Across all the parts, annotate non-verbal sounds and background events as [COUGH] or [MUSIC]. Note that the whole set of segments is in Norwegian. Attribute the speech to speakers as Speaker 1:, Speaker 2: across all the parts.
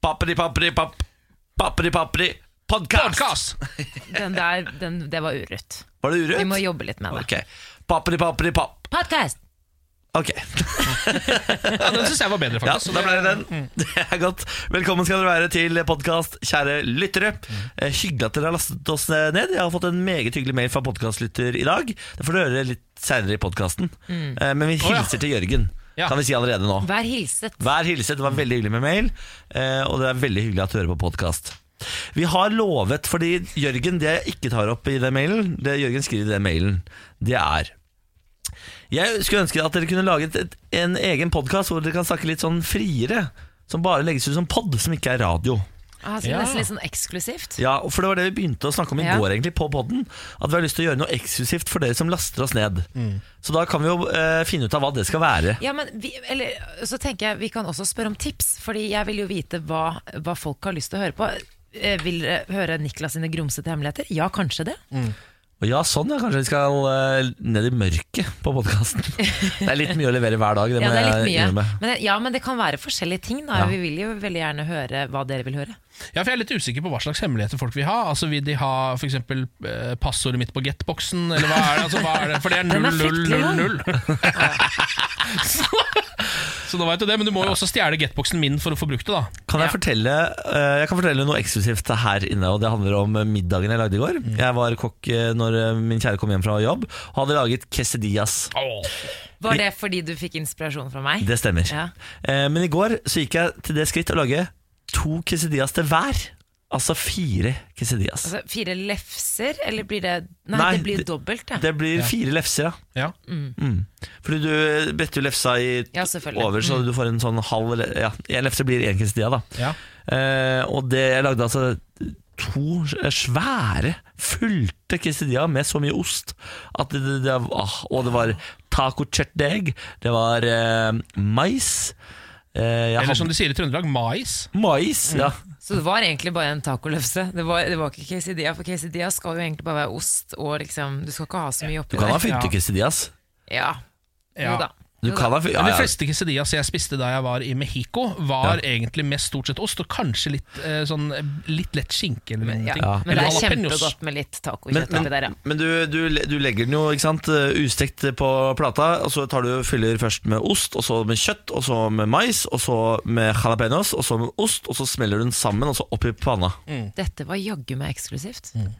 Speaker 1: Papperi, papperi, papp Papperi, papperi Podcast
Speaker 2: Podkast!
Speaker 3: Den der, den, det var urødt.
Speaker 1: Var det urødt?
Speaker 3: Vi må jobbe litt med det.
Speaker 1: Ok Papperi, papperi, papp
Speaker 3: Podcast!
Speaker 1: Ok,
Speaker 2: [LAUGHS] Ja, den syns jeg var bedre,
Speaker 1: ja,
Speaker 2: faktisk.
Speaker 1: da ble det
Speaker 2: Mm.
Speaker 1: den [LAUGHS] Det er godt Velkommen skal dere være til podcast Kjære lyttere Eh, Hyggelig at dere har lastet oss eh, ned Jeg har fått en meget hyggelig mail fra podcastlytter i dag Det får dere høre litt senere i podcasten Eh, Men vi
Speaker 2: Mm. ja.
Speaker 1: hilser til Jørgen
Speaker 2: Ja.
Speaker 1: Kan vi si allerede nå
Speaker 3: Vær hilset.
Speaker 1: Vær hilset, det var veldig hyggelig med mail eh, Og det er veldig hyggelig at du hører på podcast Vi har lovet, fordi Jørgen Det jeg ikke tar opp i den mailen Det Jørgen skriver i den mailen Det er Jeg skulle ønske at dere kunne laget et, en egen podcast Hvor dere kan snakke litt sånn friere Som bare legges ut som podd, som ikke er radio
Speaker 3: Altså,
Speaker 2: Ja.
Speaker 3: Nesten litt sånn eksklusivt.
Speaker 1: ja, for det var det vi begynte å snakke om i
Speaker 3: Ja.
Speaker 1: går egentlig på podden At vi har lyst til å gjøre noe eksklusivt for dere som laster oss ned Så da kan vi jo eh, finne ut av hva det skal være
Speaker 3: Ja, men vi, eller, så tenker jeg vi kan også spørre om tips, Fordi jeg vil jo vite hva, hva folk har lyst til å høre på. Eh, Vil dere høre Niklas sine grumsete hemmeligheter? Ja, kanskje det.
Speaker 1: Og ja, sånn ja, kanskje vi skal eh, ned i mørket på
Speaker 3: [LAUGHS]
Speaker 1: podkasten. Det er litt mye å levere hver dag. Det
Speaker 3: Ja,
Speaker 1: må
Speaker 3: det er
Speaker 1: jeg
Speaker 3: litt mye.
Speaker 1: innrømme.
Speaker 3: Men, det- ja, men det kan være forskjellige ting. Da.
Speaker 1: Ja.
Speaker 3: Vi vil jo veldig gjerne høre hva dere vil høre.
Speaker 2: Ja, for Jeg er litt usikker på hva slags hemmeligheter folk vil ha. Altså Vil de ha f.eks. passordet mitt på get-boksen, eller hva er det? Altså, hva er det? For det er
Speaker 3: [LAUGHS] Den er
Speaker 2: [LAUGHS] 0000. Så da vet du det, men du må jo også stjele get-boksen min for å få brukt det, da.
Speaker 1: Kan jeg, fortelle, eh, jeg kan fortelle noe eksklusivt her inne, og det handler om eh, middagen jeg lagde i går.
Speaker 3: Mm.
Speaker 1: Jeg var kokk eh, når eh, min kjære kom hjem fra jobb, og hadde laget quesadillas.
Speaker 3: Var det fordi du fikk inspirasjon fra meg?
Speaker 1: Det stemmer.
Speaker 3: Ja.
Speaker 1: Eh, Men i går så gikk jeg til det skritt å lage to quesadillas til hver. Altså fire quesadillas.
Speaker 3: Altså, fire lefser, eller blir det Nei,
Speaker 1: Nei,
Speaker 3: det blir
Speaker 1: det-
Speaker 3: jo dobbelt, ja.
Speaker 1: Det blir fire lefser, ja.
Speaker 2: Ja.
Speaker 1: Fordi du bretter jo lefsa i
Speaker 3: Ja, selvfølgelig. Mm.
Speaker 1: over, så du får en sånn halv le- Ja, en lefse blir én quesadilla, da.
Speaker 2: Ja.
Speaker 1: Eh, og det, jeg lagde altså to svære, fulgte quesadilla med så mye ost at det, det, det, ah, Og det var taco chutdeig, det var eh, mais eh, jeg
Speaker 2: Eller
Speaker 1: hadde-
Speaker 2: som de sier i Trøndelag, mais.
Speaker 1: Mais, ja.
Speaker 3: Så det var egentlig bare en tacolefse. Det var, det var ikke quesadilla, for quesadilla skal jo egentlig bare være ost, og liksom, du skal ikke ha så mye
Speaker 1: Du
Speaker 3: oppi
Speaker 1: kan ha
Speaker 3: der.
Speaker 1: fylte
Speaker 2: Ja.
Speaker 1: quesadillas.
Speaker 3: Ja. Jo
Speaker 2: Ja.
Speaker 3: da.
Speaker 1: Du
Speaker 3: Jo da.
Speaker 1: kan ha fy- ja,
Speaker 2: Men de
Speaker 1: ja.
Speaker 2: fleste quesadillas jeg spiste da jeg var i Mexico, var egentlig mest stort sett ost, og kanskje litt, eh, sånn, eh, litt lett skinke eller noen ting.
Speaker 1: ja.
Speaker 3: Men det
Speaker 2: Eller
Speaker 3: er
Speaker 2: jalapeños.
Speaker 3: kjempegodt med litt
Speaker 1: Men,
Speaker 3: tacokjøtt
Speaker 1: men,
Speaker 3: oppi der, ja.
Speaker 1: men du, du, du legger den jo ikke sant, eh, ustekt på plata, og så tar du, fyller først med ost, og så med kjøtt, og så med mais, og så med jalapeños, og så med ost, og så smeller du den sammen, og så opp i panna.
Speaker 2: Mm.
Speaker 3: Dette var jaggu meg eksklusivt.
Speaker 1: Mm.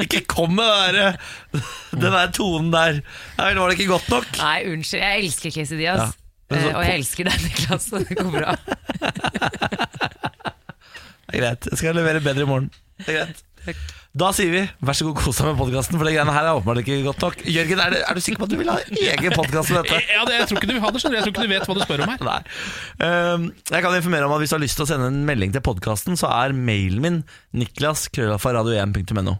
Speaker 1: Ikke kom med det der, [LAUGHS] den der tonen der. Ja, vel, var det ikke godt nok?
Speaker 3: Nei, unnskyld. Jeg elsker quesadillas.
Speaker 1: Ja. Men så-
Speaker 3: Eh, og jeg elsker deg, Niklas, så det går bra.
Speaker 1: [LAUGHS] Det er greit, jeg skal levere bedre i morgen. Det er greit. Da sier vi vær så god, kos deg med podkasten, for det greiene her er åpenbart ikke godt nok. Jørgen, er, det, er du sikker på at du vil ha egen podkast om [LAUGHS] dette?
Speaker 2: Ja, det, jeg tror ikke du vil ha det, skjønner du. Jeg tror ikke du vet hva du spør om her.
Speaker 1: Nei. Ehm, jeg kan informere om at hvis du har lyst til å sende en melding til podkasten, så er mailen min niklas.krøllafaradio1.no.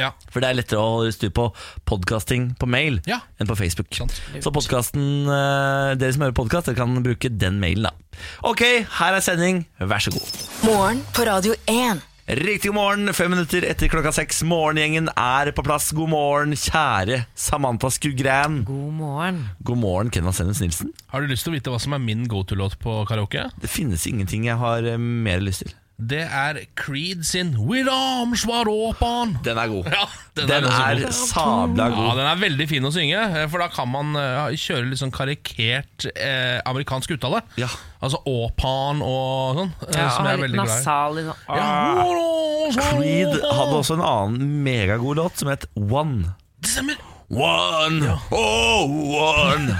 Speaker 2: Ja.
Speaker 1: For det er lettere å holde styr på podcasting på mail
Speaker 2: Ja.
Speaker 1: enn på Facebook.
Speaker 2: Sant.
Speaker 1: Så podcasten, eh, dere som hører podkast, dere kan bruke den mailen, da. Ok, her er sending, vær så god.
Speaker 4: Morgen på Radio 1.
Speaker 1: Riktig god morgen, fem minutter etter klokka seks. Morgengjengen er på plass. God morgen, kjære Samantha Skugran.
Speaker 3: God morgen.
Speaker 1: God morgen, Kenna Sennes Nilsen.
Speaker 2: Har du lyst til å vite hva som er min go to-låt på karaoke?
Speaker 1: Det finnes ingenting jeg har eh, mer lyst til.
Speaker 2: Det er Creed sin With arms wide open.
Speaker 1: Den er god.
Speaker 2: Ja, den,
Speaker 1: Den
Speaker 2: er,
Speaker 1: er
Speaker 2: ganske god.
Speaker 1: sabla
Speaker 2: Ja,
Speaker 1: god.
Speaker 2: den er veldig fin å synge, eh, for da kan man eh, kjøre litt sånn karikert eh, amerikansk uttale.
Speaker 1: Ja.
Speaker 2: Altså åpan og sånn, eh, som jeg er veldig glad i.
Speaker 3: Nasal liksom.
Speaker 2: Ja, With arms wide
Speaker 1: Creed
Speaker 2: open.
Speaker 1: hadde også en annen megagod låt som het One.
Speaker 2: Det stemmer.
Speaker 1: One, oh one.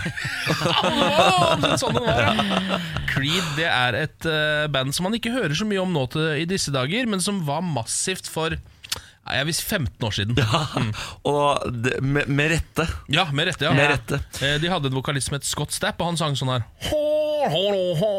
Speaker 2: Åh, sånn det var, ja. Creed det er et eh, band som man ikke hører så mye om nå til, i disse dager, men som var massivt for nei, jeg visste 15 år siden. Ja,
Speaker 1: Mm. Og det, med, med rette.
Speaker 2: med rette. ja
Speaker 1: Med rette.
Speaker 2: Eh, De hadde en vokalist som het Scott Stapp, og han sang sånn her hå, hå, hå, hå.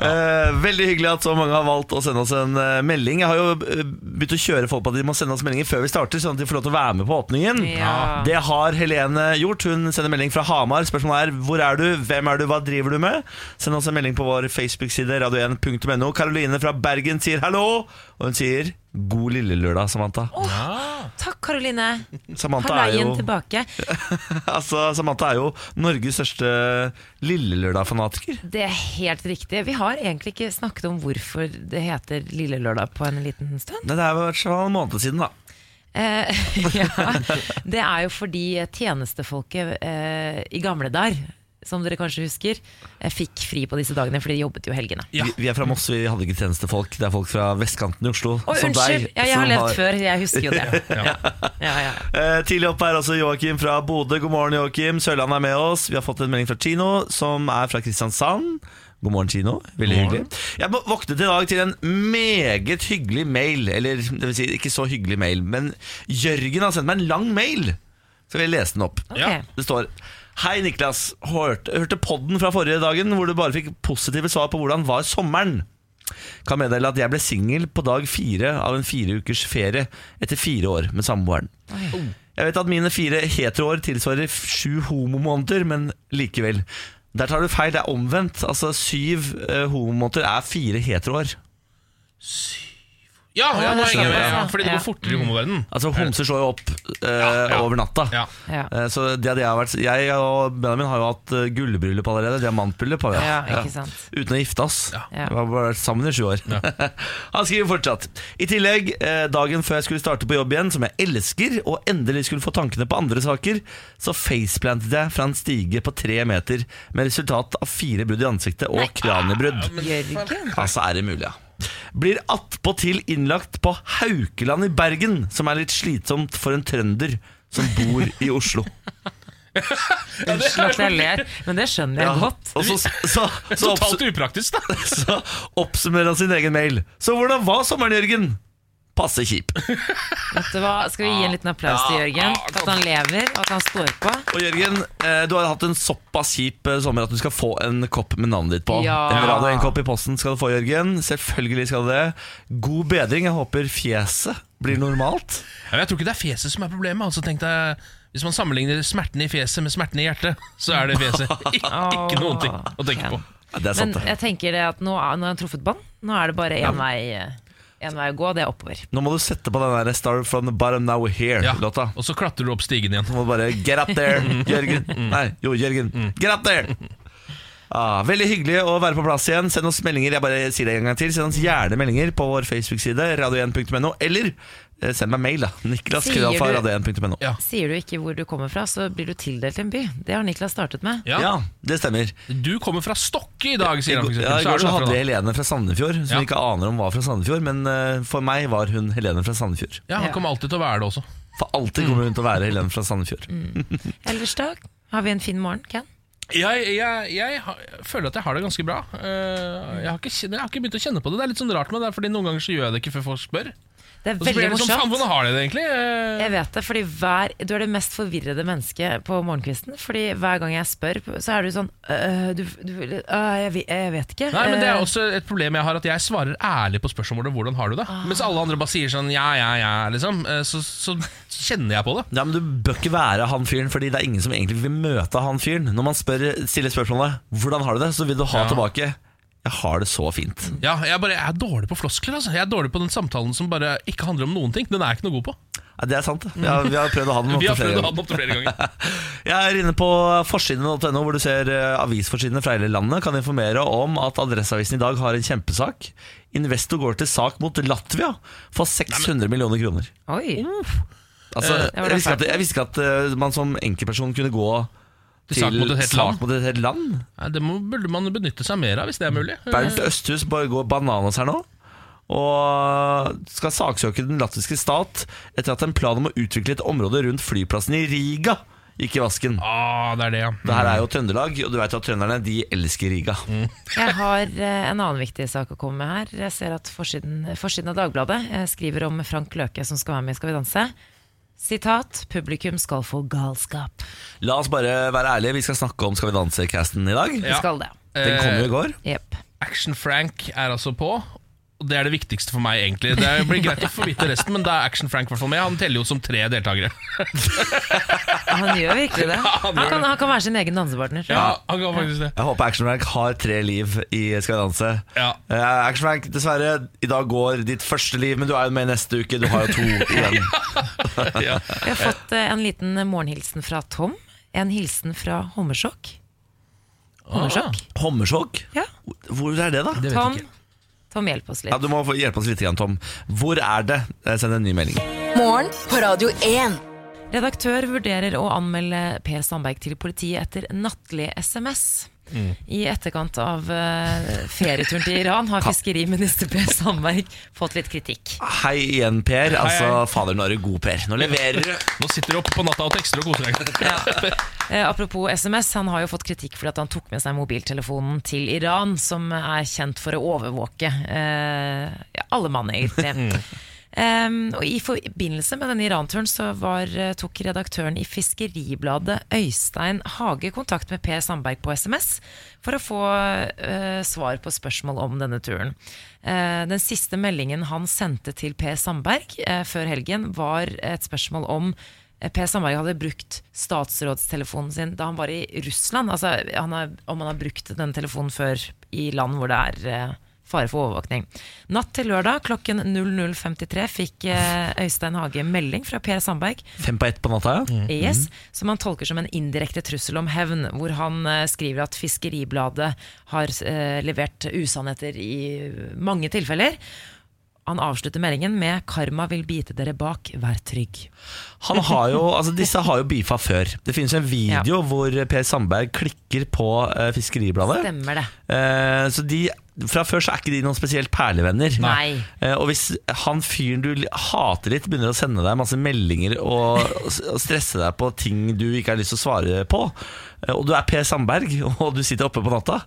Speaker 1: Eh, veldig hyggelig at så mange har valgt å sende oss en eh, melding. Jeg har jo eh, begynt å kjøre folk på at de må sende oss meldinger før vi starter, sånn at de får lov til å være med på åpningen.
Speaker 3: Ja.
Speaker 1: Det har Helene gjort. Hun sender melding fra Hamar. Spørsmålet er hvor er du, hvem er du, hva driver du med? Send oss en melding på vår Facebook-side, radio1.no. Karoline fra Bergen sier hallo, og hun sier god lille lørdag, Samantha.
Speaker 2: Ja.
Speaker 3: Takk, Karoline.
Speaker 1: Samantha er
Speaker 3: Halaien
Speaker 1: jo
Speaker 3: tilbake.
Speaker 1: [LAUGHS] Altså, Samantha er jo Norges største Lille Lørdag-fanatiker.
Speaker 3: Det er helt riktig. Vi har egentlig ikke snakket om hvorfor det heter Lille Lørdag på en liten stund.
Speaker 1: Det er jo i hvert fall en måned siden, da.
Speaker 3: Eh, [LAUGHS] ja. Det er jo fordi tjenestefolket eh, i gamle dager, som dere kanskje husker, eh, fikk fri på disse dagene, fordi de jobbet jo helgene.
Speaker 2: Ja.
Speaker 1: Vi, vi er fra Moss, vi hadde ikke tjenestefolk. Det er folk fra vestkanten i Oslo.
Speaker 3: Å,
Speaker 1: som
Speaker 3: unnskyld!
Speaker 1: deg,
Speaker 3: Ja, jeg har
Speaker 1: som
Speaker 3: levd før, jeg husker jo det.
Speaker 1: [LAUGHS]
Speaker 3: Ja. Ja, ja.
Speaker 1: Eh, tidlig opp er også Joakim fra Bodø. God morgen, Joakim. Sørland er med oss. Vi har fått en melding fra Kino, som er fra Kristiansand. God morgen, Kino. Veldig
Speaker 2: God morgen.
Speaker 1: hyggelig. Jeg må- våknet i dag til en meget hyggelig mail. Eller det vil si, ikke så hyggelig mail, men Jørgen har sendt meg en lang mail. Skal vi lese den opp?
Speaker 3: Ok.
Speaker 2: Ja.
Speaker 1: Det står Hei Niklas, hørte, hørte podden fra forrige dagen hvor du bare fikk positive svar på hvordan var sommeren. Kan meddele at jeg ble singel på dag fire av en fire ukers ferie etter fire år med samboeren. Jeg vet at mine fire heteroår tilsvarer f- sju homomåneder, men likevel. Der tar du feil, det er omvendt. Altså syv eh, homomåneder er fire heteroår.
Speaker 2: Ja, ja,
Speaker 3: Ja,
Speaker 2: nå
Speaker 3: det
Speaker 2: henger jeg med,
Speaker 3: skjønner jeg.
Speaker 2: ja, fordi det
Speaker 3: Ja.
Speaker 2: går fortere i homoverdenen.
Speaker 1: Altså homser slår jo opp eh,
Speaker 2: Ja, ja.
Speaker 1: over natta.
Speaker 2: Ja.
Speaker 3: Ja.
Speaker 1: Eh, Så det hadde jeg vært Jeg og Benjamin har jo hatt eh, gullbryllup allerede. Diamantbryllup har vi hatt.
Speaker 3: Ja, ikke sant.
Speaker 1: Uten å gifte oss.
Speaker 2: Ja.
Speaker 1: Vi har bare vært sammen i sju år. [LAUGHS] Han skriver fortsatt. I tillegg, eh, dagen før jeg skulle starte på jobb igjen, som jeg elsker, og endelig skulle få tankene på andre saker, så faceplantet jeg fra en stige på tre meter, med resultat av fire brudd i ansiktet og kraniebrudd.
Speaker 3: Jørgen?
Speaker 1: Altså er det mulig, ja. Blir attpåtil innlagt på Haukeland i Bergen, som er litt slitsomt for en trønder som bor i
Speaker 3: [LAUGHS]
Speaker 1: Oslo.
Speaker 3: Unnskyld at jeg ler, men det skjønner jeg godt.
Speaker 1: Og så, så, så, så,
Speaker 2: Totalt upraktisk, da.
Speaker 1: oppsu- [LAUGHS] så oppsummerer han sin egen mail. Så hvordan var sommeren, Jørgen? Passe kjip.
Speaker 3: Vet du hva? Skal vi gi en liten applaus til Jørgen? For at han lever, og at han står på.
Speaker 1: Og Jørgen, eh, du har hatt en såpass kjip eh, sommer at du skal få en kopp med navnet ditt på.
Speaker 3: Ja.
Speaker 1: En rad og en kopp i posten skal du få, Jørgen. Selvfølgelig skal du det. God bedring. Jeg håper fjeset blir normalt.
Speaker 2: Ja, men jeg tror ikke det er fjeset som er problemet. Altså, tenk deg, hvis man sammenligner smerten i fjeset med smerten i hjertet, så er det fjeset. Ik ikke noen ting å tenke på.
Speaker 1: Ja, det er
Speaker 3: Men
Speaker 1: sant, det.
Speaker 3: jeg tenker det at nå er nå har han truffet bånd. Nå er det bare én vei, en vei å gå, det er oppover.
Speaker 1: Nå må du sette på den der 'Star from the bottom now we're
Speaker 2: Ja.
Speaker 1: here'-låta.
Speaker 2: Og så klatrer du opp stigen igjen.
Speaker 1: Du må bare 'get up
Speaker 2: [LAUGHS]
Speaker 1: there',
Speaker 2: Mm.
Speaker 1: Jørgen. Nei, jo, Jørgen. Get up there! Ah, veldig hyggelig å være på plass igjen. Send oss meldinger. Jeg bare sier det en gang til Send oss gjerne meldinger på vår Facebook-side, radio1.no, eller eh, send meg mail, da. [LAUGHS] Niklas
Speaker 3: Sier du-
Speaker 1: Krøllalfa, radio1.no.
Speaker 2: Ja.
Speaker 3: Sier du ikke hvor du kommer fra, så blir du tildelt en by. Det har Niklas startet med.
Speaker 1: Ja.
Speaker 2: Ja.
Speaker 1: det stemmer.
Speaker 2: Du kommer fra Stokke i dag,
Speaker 1: I
Speaker 2: sier han.
Speaker 1: går
Speaker 2: for
Speaker 1: ja, i
Speaker 2: eksempel. Så er
Speaker 1: går
Speaker 2: du
Speaker 1: så
Speaker 2: derfra,
Speaker 1: hadde
Speaker 2: da.
Speaker 1: jeg Helene fra Sandefjord, som
Speaker 2: Ja.
Speaker 1: jeg ikke aner om var fra Sandefjord. Men eh, for meg var hun Helene fra Sandefjord.
Speaker 2: Ja, Han kommer alltid til å være det også.
Speaker 1: For alltid kommer hun til å være Helene fra Sandefjord.
Speaker 3: Ellers da har vi en fin morgen, Ken.
Speaker 2: Jeg, jeg, jeg, har- jeg føler at jeg har det ganske bra. Eh, Jeg har, ikke, kjen- jeg har ikke begynt å kjenne på det. Det er litt sånn rart med det, fordi noen ganger så gjør jeg det ikke før folk spør.
Speaker 3: Det er
Speaker 2: Og så blir
Speaker 3: veldig
Speaker 2: jeg liksom, faen,
Speaker 3: morsomt.
Speaker 2: hvordan har de det egentlig? Eh,
Speaker 3: Jeg vet det, fordi hver, Du er det mest forvirrede mennesket på morgenkvisten. Fordi hver gang jeg spør, så er du sånn øh, du, du, øh, jeg, vet- jeg vet ikke.
Speaker 2: Nei, men Det er
Speaker 3: Øh,
Speaker 2: også et problem jeg har, at jeg svarer ærlig på spørsmålet 'hvordan har du det?'
Speaker 3: Ah.
Speaker 2: Mens alle andre bare sier sånn 'ja, ja, ja', liksom. eh, Så, så kjenner jeg på det.
Speaker 1: Ja, men Du bør ikke være han fyren, Fordi det er ingen som egentlig vil møte han fyren. Når man spør, stiller spørsmålet 'Hvordan har du det?', så vil du ha
Speaker 2: Ja.
Speaker 1: tilbake 'Jeg har det så fint'.
Speaker 2: Ja, jeg, bare, jeg er dårlig på floskler. altså Jeg er dårlig på den samtalen som bare ikke handler om noen ting. Den er jeg ikke noe god på.
Speaker 1: Ja, det er sant. det. Vi har, vi har prøvd å ha den
Speaker 2: [LAUGHS] Vi
Speaker 1: opptil
Speaker 2: har
Speaker 1: flere
Speaker 2: prøvd å ha
Speaker 1: ganger.
Speaker 2: den opp til flere ganger.
Speaker 1: Jeg er inne på forsiden.no, hvor du ser eh, avisforsidene fra hele landet. Kan informere om at Adresseavisen i dag har en kjempesak. Investor går til sak mot Latvia for 600 millioner kroner.
Speaker 3: Oi.
Speaker 1: Altså,
Speaker 2: Eh,
Speaker 1: jeg, visste ikke at, jeg visste ikke at eh, man som enkeltperson kunne gå til
Speaker 2: sak mot et helt land.
Speaker 1: sak mot et helt land.
Speaker 2: Nei, det må, burde man benytte seg mer av, hvis det er mulig.
Speaker 1: Bernt Østhus bare går bananas her nå. Og skal saksøke den latviske stat etter at en plan om å utvikle et område rundt flyplassen i Riga gikk i vasken.
Speaker 2: Ah, det er det, ja.
Speaker 1: Det her er jo Trøndelag, og du vet jo at trønderne de elsker Riga.
Speaker 3: Jeg har eh, en annen viktig sak å komme med her. Jeg ser at forsiden, forsiden av Dagbladet eh, skriver om Frank Løke som skal være med i Skal vi danse. Sitat 'Publikum skal få galskap'.
Speaker 1: La oss bare være ærlige, vi skal snakke om Skal vi danse-casten i dag.
Speaker 3: De
Speaker 2: Ja. eh,
Speaker 3: skal det.
Speaker 1: Den kom jo i går.
Speaker 3: Jepp.
Speaker 2: Action Frank er altså på. og Og Det er det viktigste for meg, egentlig. Det blir greit å få vite resten, men da er Action Frank i hvert fall med. Han teller jo som tre deltakere.
Speaker 3: Han gjør virkelig
Speaker 2: [LAUGHS]
Speaker 3: det. Han
Speaker 2: gjør
Speaker 3: kan, han kan være sin egen dansepartner.
Speaker 2: Ja, han kan faktisk det.
Speaker 1: Jeg håper Action Frank har tre liv i Skal vi danse.
Speaker 2: Ja.
Speaker 1: Eh, Action Frank, dessverre, i dag går ditt første liv, men du er jo med neste uke. Du har jo to
Speaker 2: [LAUGHS]
Speaker 1: igjen.
Speaker 2: Ja.
Speaker 3: Vi har fått eh, en liten morgenhilsen fra Tom. En hilsen fra Hommersokk. Hommersokk?
Speaker 1: Hommersjokk?
Speaker 3: Ja.
Speaker 1: Hvor er det, da?
Speaker 2: vet jeg
Speaker 3: Tom,
Speaker 2: ikke.
Speaker 3: Tom, hjelp oss
Speaker 1: Ja,
Speaker 3: litt.
Speaker 1: Du må få hjelpe oss litt, grann, Tom. Hvor er det? Eh, Send en ny melding.
Speaker 4: Morgen på Radio 1.
Speaker 3: Redaktør vurderer å anmelde Per Sandberg til politiet etter nattlig SMS.
Speaker 2: Mm.
Speaker 3: I etterkant av eh, ferieturen til Iran har fiskeriminister Per Sandberg fått litt kritikk.
Speaker 1: Hei igjen, Per.
Speaker 2: hei.
Speaker 1: Altså, fader, nå er du god, Per. Nå leverer du.
Speaker 2: Nå sitter du oppe på natta og tekster og koser deg.
Speaker 3: Eh, apropos SMS, han har jo fått kritikk fordi at han tok med seg mobiltelefonen til Iran, som er kjent for å overvåke eh, ja, alle mann, egentlig. Em, Ehm, og I forbindelse med denne Iran-turen så var, eh, tok redaktøren i Fiskeribladet Øystein Hage kontakt med Per Sandberg på SMS for å få eh, svar på spørsmål om denne turen. Eh, den siste meldingen han sendte til Per Sandberg eh, før helgen, var et spørsmål om eh, Per Sandberg hadde brukt statsrådstelefonen sin da han var i Russland. Altså, han har, om han har brukt den telefonen før i land hvor det er eh, fare for overvåkning. Natt til lørdag klokken 00.53 fikk eh, Øystein Hage melding fra Per Sandberg
Speaker 1: Fem på ett på natta, ja.
Speaker 3: AS, som han tolker som en indirekte trussel om hevn, hvor han eh, skriver at Fiskeribladet har eh, levert usannheter i mange tilfeller. Han avslutter meldingen med 'Karma vil bite dere bak, vær trygg'.
Speaker 1: Han har jo, altså Disse har jo beefa før. Det finnes en video hvor Per Sandberg klikker på eh, Fiskeribladet.
Speaker 3: Stemmer det.
Speaker 1: Eh, så de, Fra før så er ikke de noen spesielt perlevenner.
Speaker 3: Nei.
Speaker 1: Eh, og hvis han fyren du li- hater litt, begynner å sende deg masse meldinger og, og stresse deg på ting du ikke har lyst til å svare på, eh, og du er Per Sandberg [LAUGHS] og du sitter oppe på natta,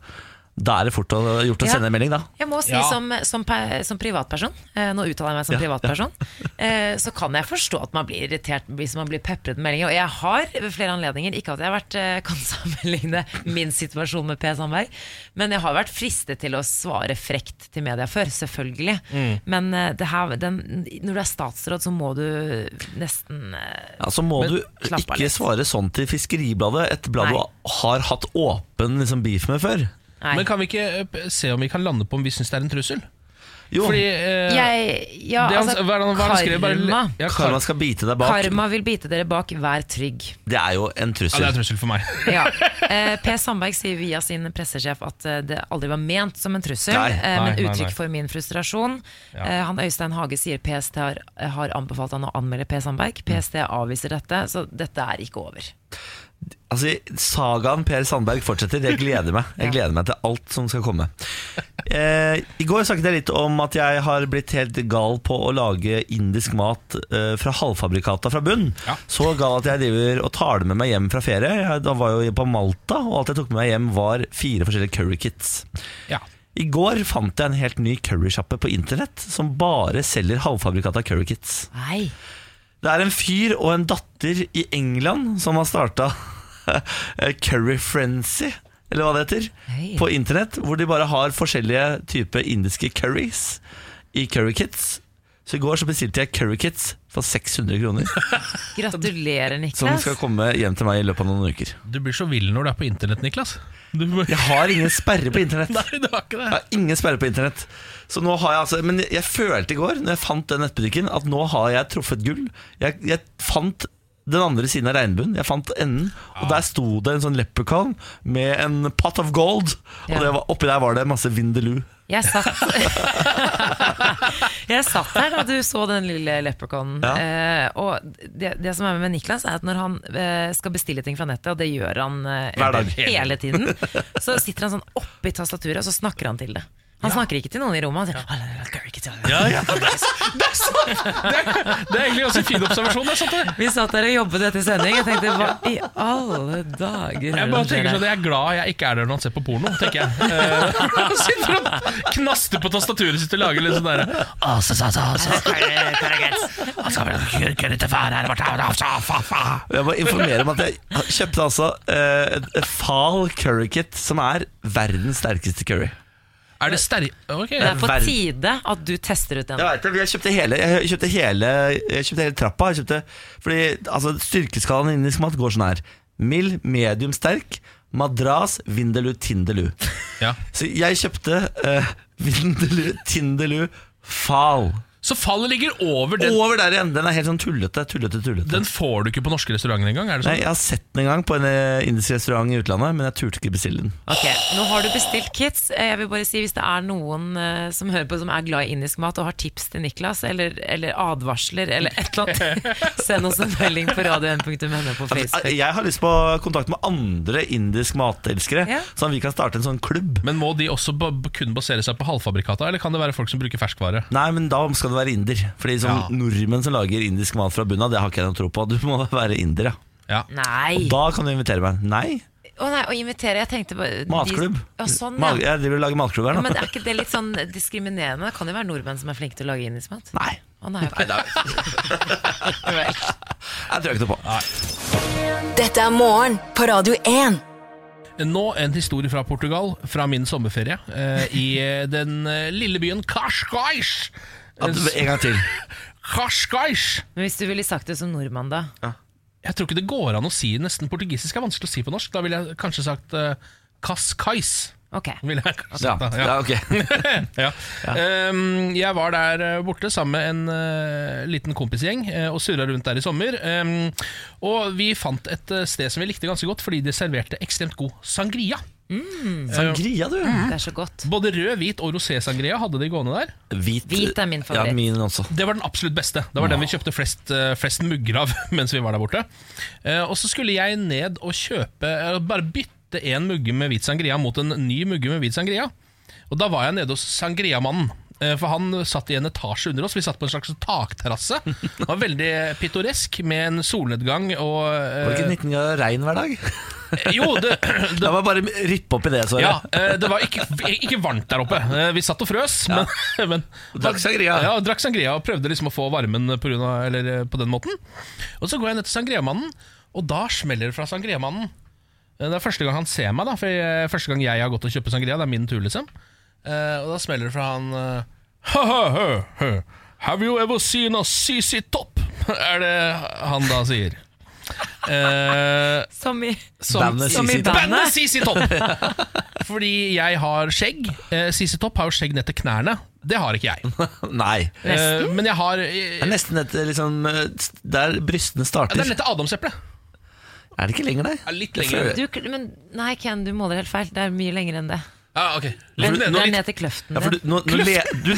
Speaker 1: da er det fort å, gjort å
Speaker 3: Ja.
Speaker 1: sende en melding, da.
Speaker 3: Jeg må si
Speaker 2: Ja.
Speaker 3: som, som, pe- som privatperson, eh, nå uttaler jeg meg som
Speaker 1: Ja,
Speaker 3: privatperson, eh, så kan jeg forstå at man blir irritert hvis man blir pepret med meldinger. Og jeg har ved flere anledninger, ikke at jeg har vært, eh, kan [LAUGHS] sammenligne min situasjon med P. Sandberg, men jeg har vært fristet til å svare frekt til media før, selvfølgelig.
Speaker 2: Mm.
Speaker 3: Men eh, det her, den, når du er statsråd, så må du nesten eh,
Speaker 1: Ja, så må
Speaker 3: Men
Speaker 1: du
Speaker 3: slapp av
Speaker 1: ikke
Speaker 3: litt.
Speaker 1: svare sånn til Fiskeribladet, et blad
Speaker 3: Nei.
Speaker 1: du har hatt åpen liksom, beef med før.
Speaker 3: Nei.
Speaker 2: Men kan vi ikke eh, p- se om vi kan lande på om vi syns det er en trussel?
Speaker 1: Jo,
Speaker 2: Fordi eh,
Speaker 3: Jeg, ja,
Speaker 2: det han,
Speaker 3: altså,
Speaker 2: hva er det han- hva er det han skrev? Bare-
Speaker 3: karma,
Speaker 2: Ja, kar-
Speaker 1: karma skal bite deg bak.
Speaker 3: karma vil bite dere bak, vær trygg.
Speaker 1: Det er jo en
Speaker 2: ja, det
Speaker 1: trussel.
Speaker 2: er en trussel for meg.
Speaker 3: Ja. Eh, Per Sandberg sier via sin pressesjef at eh, det aldri var ment som en trussel,
Speaker 1: Nei.
Speaker 3: eh, men
Speaker 2: Nei, nei,
Speaker 3: uttrykk
Speaker 2: nei.
Speaker 3: for min frustrasjon. Eh, han Øystein Hage sier PST har, har anbefalt han å anmelde Per Sandberg. PST avviser dette, så dette er ikke over.
Speaker 1: Altså, sagaen Per Sandberg fortsetter. Jeg gleder meg Jeg gleder meg til alt som skal komme. Eh, I går snakket jeg litt om at jeg har blitt helt gal på å lage indisk mat eh, fra halvfabrikata fra bunn.
Speaker 2: Ja.
Speaker 1: Så gal at jeg driver og tar det med meg hjem fra ferie. Jeg, da var jeg jo på Malta, og alt jeg tok med meg hjem, var fire forskjellige curry kits.
Speaker 2: Ja.
Speaker 1: I går fant jeg en helt ny currysjappe på internett som bare selger halvfabrikata curry kits.
Speaker 3: Nei.
Speaker 1: Det er en fyr og en datter i England som har starta [LAUGHS] Curry Frenzy, eller hva det heter,
Speaker 3: Hei.
Speaker 1: på internett. Hvor de bare har forskjellige typer indiske curries i curry kits. Så i går så bestilte jeg curry kits for 600 kroner,
Speaker 3: Gratulerer,
Speaker 1: som
Speaker 3: Niklas.
Speaker 1: skal komme hjem til meg i løpet av noen uker.
Speaker 2: Du blir så vill når du er på internett, Niklas. Du, nei,
Speaker 1: Jeg
Speaker 2: [LAUGHS]
Speaker 1: har ingen sperre på internett.
Speaker 2: du har ikke det.
Speaker 1: Jeg har ingen sperre på internett. Så nå har jeg altså Men jeg følte i går, når jeg fant den nettbutikken, at nå har jeg truffet gull. Jeg, jeg fant den andre siden av regnbuen. Jeg fant enden. Og der sto det en sånn leprechaun med en pot of gold.
Speaker 3: Ja.
Speaker 1: Og det var, oppi der var det masse Vindeloo.
Speaker 3: Jeg satt [LAUGHS] Jeg satt her da du så den lille leprechaunen.
Speaker 1: Ja.
Speaker 3: Eh, og det, det som er med Niklas, er at når han eh, skal bestille ting fra nettet, og det gjør han eh,
Speaker 1: Hver dag.
Speaker 3: [LAUGHS] hele tiden, så sitter han sånn oppi tastaturet, og så snakker han til det. Han snakker ikke til noen i rommet. Han sier,
Speaker 2: Ja, ja, det, er, det er sant! Det er, det er egentlig ganske fin observasjon. Det er sant, det.
Speaker 3: Vi satt der og jobbet etter sending. Jeg tenkte hva i alle dager er
Speaker 2: Jeg
Speaker 3: det
Speaker 2: bare
Speaker 3: som skjer
Speaker 2: tenker sånn
Speaker 3: [LAUGHS] her?
Speaker 2: at jeg er glad jeg ikke er der når han ser på porno, tenker jeg. Eh, [LAUGHS] han sitter og knaster på tastaturet sitt og lager litt sånn derre
Speaker 3: Altså,
Speaker 1: Jeg må informere om at jeg kjøpte altså eh, et fal curry kit, som er verdens sterkeste curry.
Speaker 2: Er det sterk... Ok.
Speaker 3: Det er på
Speaker 1: verden.
Speaker 3: tide at du tester ut den.
Speaker 1: Jeg vet det, jeg kjøpte hele, jeg kjøpte hele, jeg kjøpte hele trappa. Jeg kjøpte, fordi altså, Styrkeskalaen i indisk mat går sånn her. Mild, medium sterk, madras, vindelu, tindelu.
Speaker 2: Ja.
Speaker 1: Så jeg kjøpte eh, [LAUGHS] vindelu, tindelu, fal.
Speaker 2: Så fallet ligger over den.
Speaker 1: Over der igjen! Den er helt sånn tullete. tullete, tullete.
Speaker 2: Den får du ikke på norske restauranter engang. Er
Speaker 1: Nei,
Speaker 2: det sånn?
Speaker 1: Jeg har sett den en gang på en eh, indisk restaurant i utlandet, men jeg turte ikke bestille den.
Speaker 3: Ok, Nå har du bestilt kits. Eh, Jeg vil bare si Hvis det er noen eh, som hører på som er glad i indisk mat og har tips til Niklas, eller, eller advarsler eller et eller annet, [LAUGHS] send oss en melding på radio1.no
Speaker 1: Altså,
Speaker 3: på Facebook.
Speaker 1: Jeg har lyst på kontakt med andre indisk matelskere,
Speaker 3: Ja.
Speaker 1: sånn at vi kan starte en sånn klubb.
Speaker 2: Men må de også ba- kun basere seg på halvfabrikata, eller kan det være folk som bruker ferskvare?
Speaker 1: Nei, men da skal du være inder. Fordi sånn
Speaker 2: Ja.
Speaker 1: nordmenn som lager indisk mat fra bunnen av, det har ikke jeg noe tro på. Du må være inder, ja.
Speaker 2: Ja.
Speaker 3: Nei!
Speaker 1: Da kan du invitere meg. Nei,
Speaker 3: Å nei, å invitere, jeg tenkte bare de-
Speaker 1: matklubb.
Speaker 3: Ja, sånn,
Speaker 1: Mat-
Speaker 3: ja.
Speaker 1: Jeg driver og lager matklubb her
Speaker 3: ja.
Speaker 1: nå.
Speaker 3: Men er ikke det litt sånn diskriminerende? Det kan jo være nordmenn som er flinke til å lage indisk mat.
Speaker 1: Nei.
Speaker 3: Å nei,
Speaker 1: [LAUGHS]
Speaker 3: ok. Vel.
Speaker 1: Jeg tror ikke noe på.
Speaker 4: Dette er morgen på Radio 1.
Speaker 2: Nå en historie fra Portugal, fra min sommerferie, eh, i eh, den eh, lille byen Cascais.
Speaker 1: At du- En gang til.
Speaker 2: Cascais!
Speaker 3: Men hvis du ville sagt det som nordmann, da?
Speaker 2: Jeg tror ikke det går an å si nesten portugisisk er vanskelig å si på norsk. Da ville jeg kanskje sagt eh, Cascais.
Speaker 3: Ok.
Speaker 2: Ville jeg kanskje
Speaker 1: Ja,
Speaker 2: sagt da,
Speaker 1: ja ok.
Speaker 2: [LAUGHS]
Speaker 1: [LAUGHS]
Speaker 2: ja. Ehm, jeg var der eh, borte sammen med en eh, liten kompisgjeng eh, og surra rundt der i sommer. Ehm, og vi fant et eh, sted som vi likte ganske godt, fordi de serverte ekstremt god sangria.
Speaker 1: Sangria, du.
Speaker 3: Det er så godt.
Speaker 2: Både rød, hvit og rosé-sangria hadde de gående der.
Speaker 1: Hvit,
Speaker 3: Hvit er min favoritt.
Speaker 1: Ja, min også.
Speaker 2: Det var den absolutt beste. Det var den vi kjøpte flest, eh, flest mugger av [LAUGHS] mens vi var der borte. Eh, og så skulle jeg ned og kjøpe eh, Bare bytte en mugge med hvit sangria mot en ny mugge med hvit sangria. Og da var jeg nede hos sangriamannen. eh, For han satt i en etasje under oss. Vi satt på en slags takterrasse. Det var veldig pittoresk med en solnedgang og
Speaker 1: Var det
Speaker 2: eh,
Speaker 1: ikke 19 grader regn hver dag? [LAUGHS]
Speaker 2: Jo, det, [CLEARS THROAT] det
Speaker 1: La meg bare rippe opp i det, Sverre.
Speaker 2: Ja, eh, det var ikke, ikke varmt der oppe. Eh, Vi satt og frøs, men, [LAUGHS] men
Speaker 1: Drakk sangria.
Speaker 2: Ja, drakk sangria og prøvde liksom å få varmen på, grunn av, eller eh, på den måten. Og så går jeg ned til sangriamannen, og da smeller det fra sangriamannen. Eh, Det er første gang han ser meg, da for jeg, første gang jeg har gått og kjøpt sangria. Det er min tur, liksom. Eh, Og da smeller det fra han eh, «Ha, ha, ha, ha. Have you ever seen a CC Top? [LAUGHS] Er det han da sier. Eh,
Speaker 3: Som i,
Speaker 2: som,
Speaker 1: Bandet
Speaker 3: som
Speaker 1: CC
Speaker 3: i
Speaker 1: Topp.
Speaker 2: Bandet
Speaker 3: bandet.
Speaker 2: CC Topp! [LAUGHS] Fordi jeg har skjegg. Eh, CC Topp har jo skjegg ned til knærne. Det har ikke jeg.
Speaker 1: [LAUGHS] Nei.
Speaker 2: Eh, men jeg har eh,
Speaker 1: Det er nesten et, liksom, eh, der brystene
Speaker 2: ja,
Speaker 1: starter.
Speaker 2: Det er ned til adamseplet.
Speaker 1: Er det ikke lenger der?
Speaker 2: Ja, litt lenger.
Speaker 3: Du, men nei, Ken, du måler helt feil. Det er mye lenger enn det.
Speaker 2: Ja, ok.
Speaker 3: Det
Speaker 2: Litt
Speaker 3: er
Speaker 2: ned, og
Speaker 3: ned
Speaker 2: litt.
Speaker 3: til kløften
Speaker 1: Ja, for
Speaker 3: din.
Speaker 1: du, nå, nå le, du,